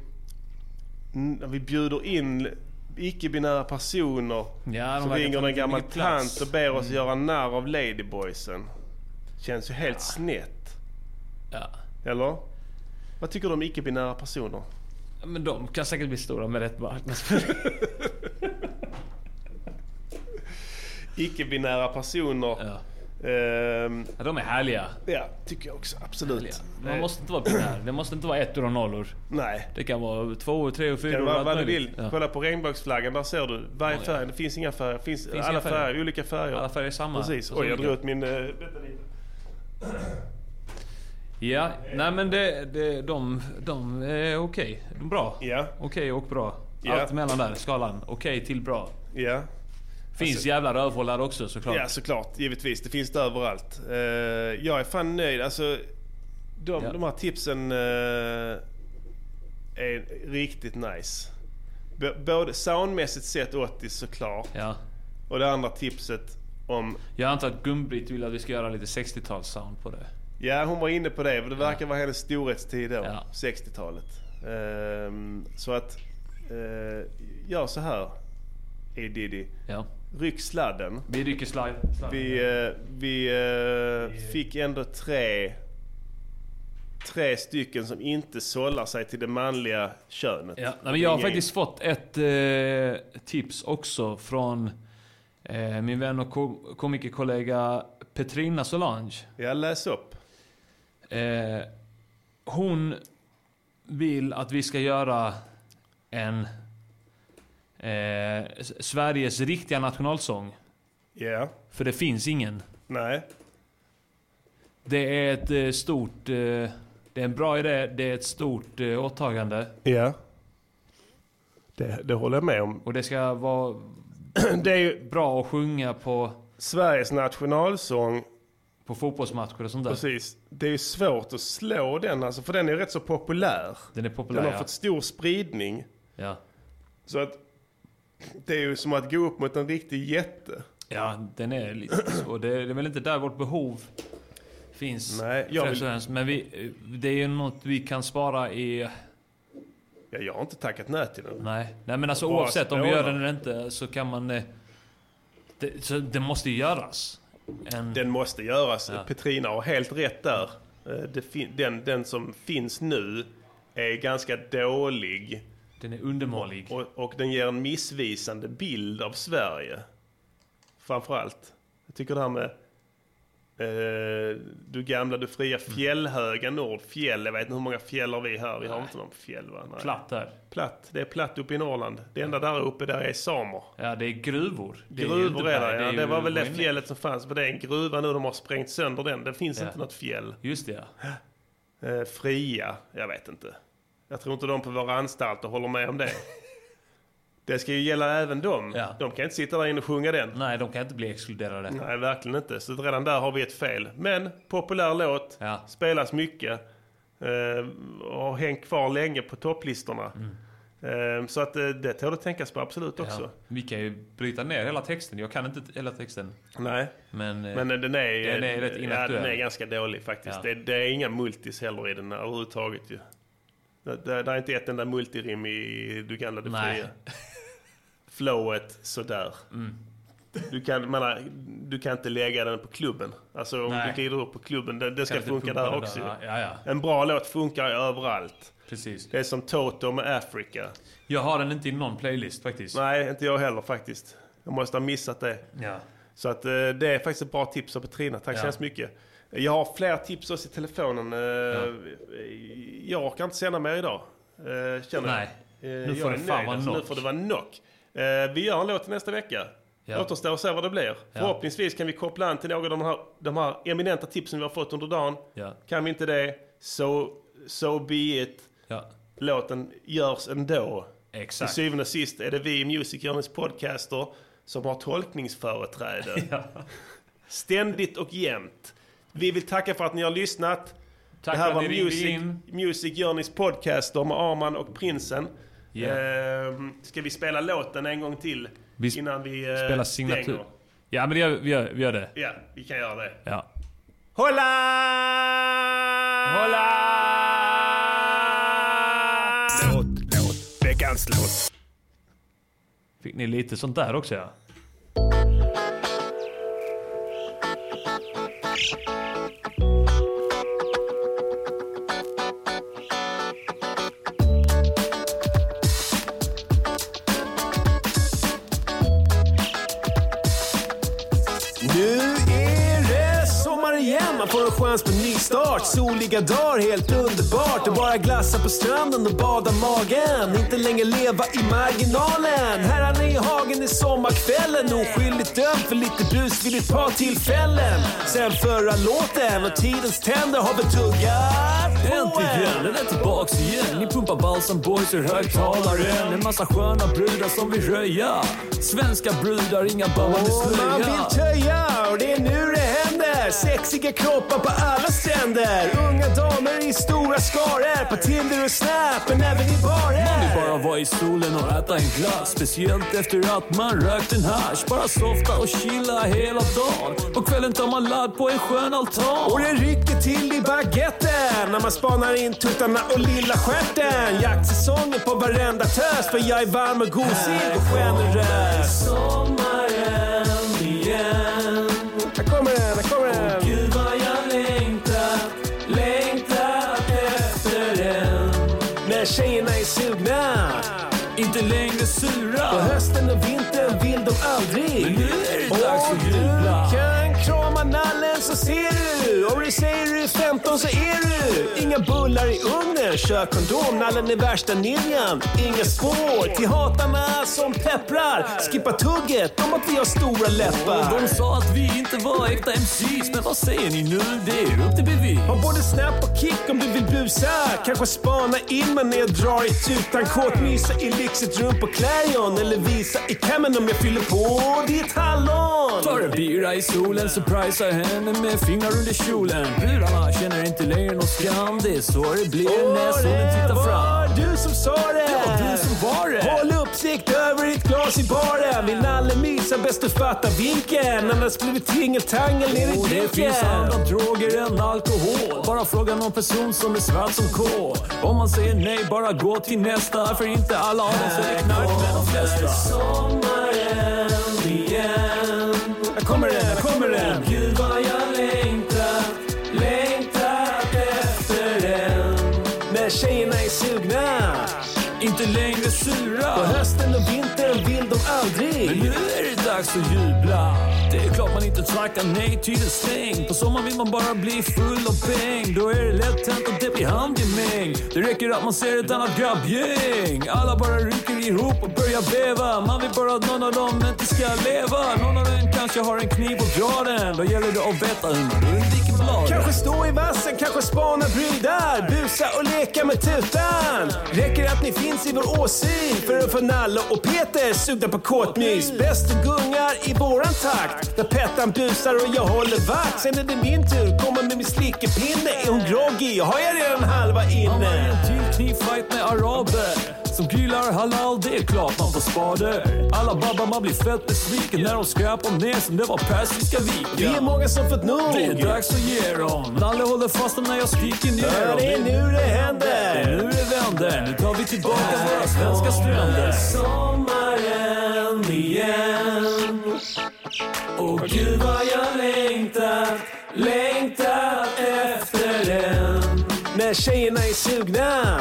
S2: Mm, Vi bjuder in icke-binära personer
S1: Ja, de
S2: som
S1: verkar
S2: ringer
S1: ta
S2: en
S1: lite
S2: gammal
S1: mycket plats.
S2: tant och ber oss
S1: Mm.
S2: göra narr av Ladyboysen. Känns ju helt snett.
S1: Ja.
S2: Eller? Vad tycker du om icke-binära personer?
S1: Ja, Men de kan säkert bli stora med rätt [LAUGHS] marknadsföring.
S2: icke-binära personer. Ehm,
S1: de är härliga.
S2: Ja, tycker jag också. Absolut.
S1: Man måste inte vara binär. Det måste inte vara ettor och nollor.
S2: Nej.
S1: Det kan vara tvåor, treor,
S2: Det kan
S1: fyror och
S2: vara
S1: allt
S2: vad du
S1: möjligt.
S2: vill.
S1: Ja.
S2: Kolla på regnbågsflaggan, där ser du. Varje
S1: Ja, ja.
S2: färg, det finns inga färger. Det finns
S1: Finns
S2: alla
S1: inga
S2: färger.
S1: färger.
S2: olika färger.
S1: Alla färger är samma.
S2: Precis.
S1: Och så
S2: Oj, jag
S1: olika.
S2: drog ut min... eh, vänta lite.
S1: Ja, nej men det, det, de, de är okej. De är Bra.
S2: Ja.
S1: Okej och bra.
S2: Ja.
S1: Allt mellan där, skalan. Okej till bra.
S2: Ja.
S1: Finns
S2: Alltså-
S1: jävla rövhållare också såklart.
S2: Ja, såklart. Givetvis. Det finns det överallt. Eh, jag är fan nöjd. Alltså, de,
S1: Ja.
S2: de här tipsen eh, är riktigt nice. B- både soundmässigt sett 80 såklart. Och det andra tipset om...
S1: Jag antar att Gun-Britt vill att vi ska göra lite 60-tals sound på det.
S2: Ja, hon var inne på det. för Det verkar vara hennes storhetstid då. 60-talet. Ehm, så att... Uh, gör så här. E. Diddy. Ryck sladden.
S1: Vi rycker slag, sladden.
S2: Vi, eh, vi eh, fick ändå tre... Tre stycken som inte sållar sig till det manliga könet.
S1: Ja, nej, men jag har
S2: Ingen-
S1: faktiskt fått ett eh, tips också från eh, min vän och kom- komikerkollega Petrina Solange.
S2: Ja, läs upp.
S1: Eh, hon vill att vi ska göra en eh, S- Sveriges riktiga nationalsång.
S2: Ja.
S1: För det finns ingen.
S2: Nej.
S1: Det är ett eh, stort... Eh, det är en bra idé. Det är ett stort eh, åtagande.
S2: Ja. Det, det håller jag med om.
S1: Och det ska vara
S2: [CLEARS THROAT] det är ju
S1: bra att sjunga på...
S2: Sveriges nationalsång.
S1: På fotbollsmatcher och sånt där.
S2: Precis. Det är ju svårt att slå den alltså, för den är rätt så populär.
S1: Den är populär,
S2: Den har
S1: ja.
S2: fått stor spridning.
S1: Ja.
S2: Så att det är ju som att gå upp mot en riktig jätte.
S1: Ja, den är lite svår. Det är, det är väl inte där vårt behov finns.
S2: Nej, jag
S1: jag
S2: vill-
S1: Men vi, eh, det är ju något vi kan spara i...
S2: Ja, jag har inte tackat nej till den.
S1: Nej, nej men alltså
S2: Bara
S1: oavsett om vi
S2: spåna.
S1: gör den eller inte så kan man... eh, Det, så det måste ju göras. En,
S2: Den måste göras. Petrina har helt rätt där. Eh, Det fin- den, den som finns nu är ganska dålig.
S1: Den är undermålig.
S2: Och, och den ger en missvisande bild av Sverige. Framförallt. Jag tycker det här med eh, du gamla, du fria,
S1: Mm.
S2: fjällhöga nord. Fjäll, jag vet inte hur många fjäll har vi här? Vi har inte någon fjäll va? Nej.
S1: Platt där.
S2: Platt. Det är platt uppe i Norrland. Det enda där uppe där är samer.
S1: ja, det är gruvor. Det är ju
S2: Gruvor
S1: inte
S2: är
S1: berg,
S2: det, ja.
S1: ju
S2: Det var väl det
S1: ruiner.
S2: fjället som fanns. För det är en gruva nu. De har sprängt sönder den. Det finns
S1: Ja.
S2: inte något fjäll.
S1: Just det, ja.
S2: Eh, fria? Jag vet inte. Jag tror inte de på våra anstalter håller med om det. det ska ju gälla även dem. De kan inte sitta där inne och sjunga den.
S1: Nej, de kan inte bli exkluderade.
S2: Nej, verkligen inte. Så redan där har vi ett fel. Men populär låt, spelas mycket eh, och har hängt kvar länge på topplistorna. Ehm, Så att eh, det tål att tänkas på absolut också.
S1: Ja. Vi kan ju bryta ner hela texten. Jag kan inte hela texten.
S2: Nej.
S1: Men, eh,
S2: Men eh, den är,
S1: den är rätt
S2: ja,
S1: inaktuell.
S2: den är ganska dålig faktiskt. Det,
S1: Ja.
S2: det är inga multis heller i den överhuvudtaget ju. Det, det, det är inte ett enda multirim i Du gamla du
S1: Nej. Mm.
S2: fria. Flowet sådär. Du, kan, man, har- du kan inte lägga den på klubben. Alltså om
S1: Nej.
S2: du glider upp på klubben, det, det ska
S1: inte
S2: funka
S1: pumpa
S2: där
S1: det
S2: också.
S1: där.
S2: ju.
S1: Ja, ja.
S2: En bra låt funkar ju överallt.
S1: Precis.
S2: Det är som Toto med Africa.
S1: Jag har den inte i någon playlist faktiskt.
S2: Nej, inte jag heller faktiskt. Jag måste ha missat det.
S1: Ja.
S2: Så att, eh, det är faktiskt ett bra tips av Petrina. Tack så
S1: Ja.
S2: hemskt mycket. Jag har fler tips också i telefonen. Eh, Jag orkar inte sända mer idag. eh, Känner
S1: Nej.
S2: jag.
S1: Nu
S2: Eh, jag
S1: får
S2: är
S1: det fan
S2: nöjd,
S1: vara
S2: alltså. Nu
S1: knock.
S2: får det vara knock. Eh, Vi gör en låt till nästa vecka.
S1: Ja.
S2: Återstår att se vad det blir.
S1: Ja.
S2: Förhoppningsvis kan vi koppla an till några av de här, de här eminenta tipsen vi har fått under dagen.
S1: Ja.
S2: Kan vi inte det, so, so be it. Låten görs ändå. Till
S1: Exakt.
S2: syvende och sist är det vi i Music Journeys podcaster som har tolkningsföreträde. Ständigt och jämt. Vi vill tacka för att ni har lyssnat.
S1: Tack
S2: det här
S1: för
S2: var
S1: att ni ringde
S2: Music, Music Journeys podcaster med Arman och Prinsen.
S1: Ja.
S2: Ehm, ska vi spela låten en gång till
S1: Vi sp-
S2: innan vi eh,
S1: Spela signatur.
S2: stänger?
S1: Ja men det gör, vi, gör, vi gör det.
S2: Ja, vi kan göra det.
S1: Ja.
S2: Hola! Hola!
S10: Låt, låt, veckans låt.
S1: Fick ni lite sånt där också ja?
S5: Nu är det sommar igen, man får en chans på nystart. Soliga dagar, helt underbart. Och bara glassa på stranden och bada magen. Inte längre leva i marginalen. Herrarna i hagen är sommarkvällen. Oskyldigt dömd för lite brus vid ett par tillfällen. Sen förra låten och tidens tänder har betuggat på
S6: Äntligen
S5: en.
S6: är den tillbaks igen. Ni pumpar Balsam Boys ur högtalaren. En massa sköna brudar som vill röja. Svenska brudar, inga ballande
S5: Man
S6: slöja.
S5: vill töja och det är nu det händer. Sexiga kroppar på alla stränder. Unga damer i stora skaror. På Tinder och Snap, men även i
S6: Man
S5: barer.
S6: vill bara vara i solen och äta en glass. Speciellt efter att man rökt en hasch. Bara softa och chilla hela dagen. På kvällen tar man ladd på en skön altan.
S5: Och det rycker till i baguetten när man spanar in tuttarna och lilla stjärten. Jaktsäsongen på varenda tös för jag är varm och gosig och generös.
S6: Sommaren igen.
S5: Här kommer den, här kommer den.
S6: Gud vad jag längtar, längtar efter den.
S5: När tjejerna är sugna.
S6: Inte längre sura.
S5: På hösten och vintern vill de aldrig.
S6: Men nu är det dags
S5: Om
S6: att jubla.
S5: du kan krama nallen så ser du. Om du säger du är 15 så är du. Inga bullar i ugnen, kör kondom. Nallen är värsta ninjan. Inga spår till hatarna som pepprar. Skippa tugget om att vi har stora läppar.
S6: De sa att vi inte var äkta MCs, men vad säger ni nu? Det är upp till bevis.
S5: Har både snap och kick om du vill busa. Kanske spana in mig när jag drar i tutan. Kåtmysa i lyxigt rum på Clarion. Eller visa i kammen om jag fyller på ditt hallon.
S6: Tar en bira i solen, surprisar henne med fingrar under kjolen. Brudarna känner inte längre någon skam. Det är så det blir när solen tittar fram.
S5: Du som sa det!
S6: Det var du som var det.
S5: Håll uppsikt över ditt glas i baren. Vill Nalle mysa bäst du fattar vinkeln. Annars blir det tingeltangel ner i
S6: Och det finns andra
S5: drinken.
S6: droger än alkohol. Bara fråga någon person som är svart som kol. Om man säger nej, bara gå till nästa. För inte alla av oss är knark, men de flesta. Sommaren igen.
S5: Här kommer den, här kommer den.
S6: Gud vad jag längtat, längtat efter den.
S5: När tjejerna är sugna.
S6: Inte längre sura.
S5: På hösten och vintern vill de aldrig.
S6: Men nu är det dags att jubla. Det är klart man inte tackar nej till det stäng. På sommaren vill man bara bli full av peng. Då är det lätt hänt att det blir handgemäng. Det räcker att man ser ett annat grabbgäng. Alla bara rycker ihop och börjar beva. Man vill bara att någon av dem inte ska leva. Någon av dem kanske har en kniv och drar den. Då gäller det att veta hur man undviker bladen.
S5: Kanske stå i vassen, kanske spana brudar, busa och leka med tutan. Räcker att ni finns i vår åsyn för att få Nalle och Peter sugna på kåtmys. Bäst du gungar i våran takt, där Pettan busar och jag håller vakt. Sen är det min tur, kommer med min slickepinne. Är hon groggy har jag redan halva
S6: Han var i
S5: inne.
S6: en till knivfight med araber. Som grillar halal, det är klart man får spader. Alla babbar man blir fett besviken när de skräpar ner som det var Persiska viken.
S5: Vi är många som fått nog.
S6: Det är dags att ge dem. Nalle håller fast dem när jag skriker ner dem.
S5: Det är nu det händer.
S6: Det är nu det vänder. Nu tar vi tillbaka våra svenska stränder.
S9: Sommaren igen Och gud vad jag längtar, längtar efter den
S5: När tjejerna är sugna.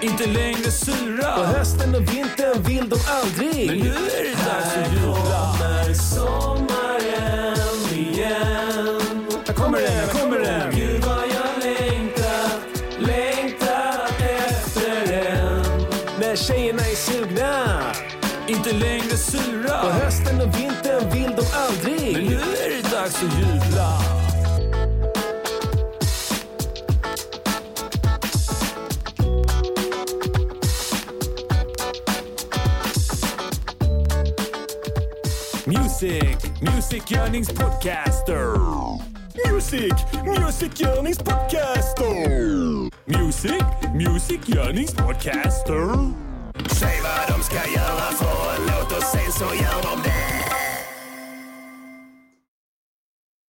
S6: Inte längre sura.
S5: På hösten och vintern vill de aldrig.
S6: Men nu är det dags att jubla.
S9: Kommer sommaren igen
S6: Här kommer den, här kommer den.
S9: Gud vad jag längtar, längtar efter den
S5: När tjejerna är sugna.
S6: Inte längre sura.
S5: På hösten och vintern vill de aldrig.
S6: Men nu är det dags att jubla.
S10: Music, Music Yearnings Podcaster. Music, Music Yearnings Podcaster. Music, Music Yearnings Podcaster.
S9: Säg vad de ska göra för en låt och sen så gör de det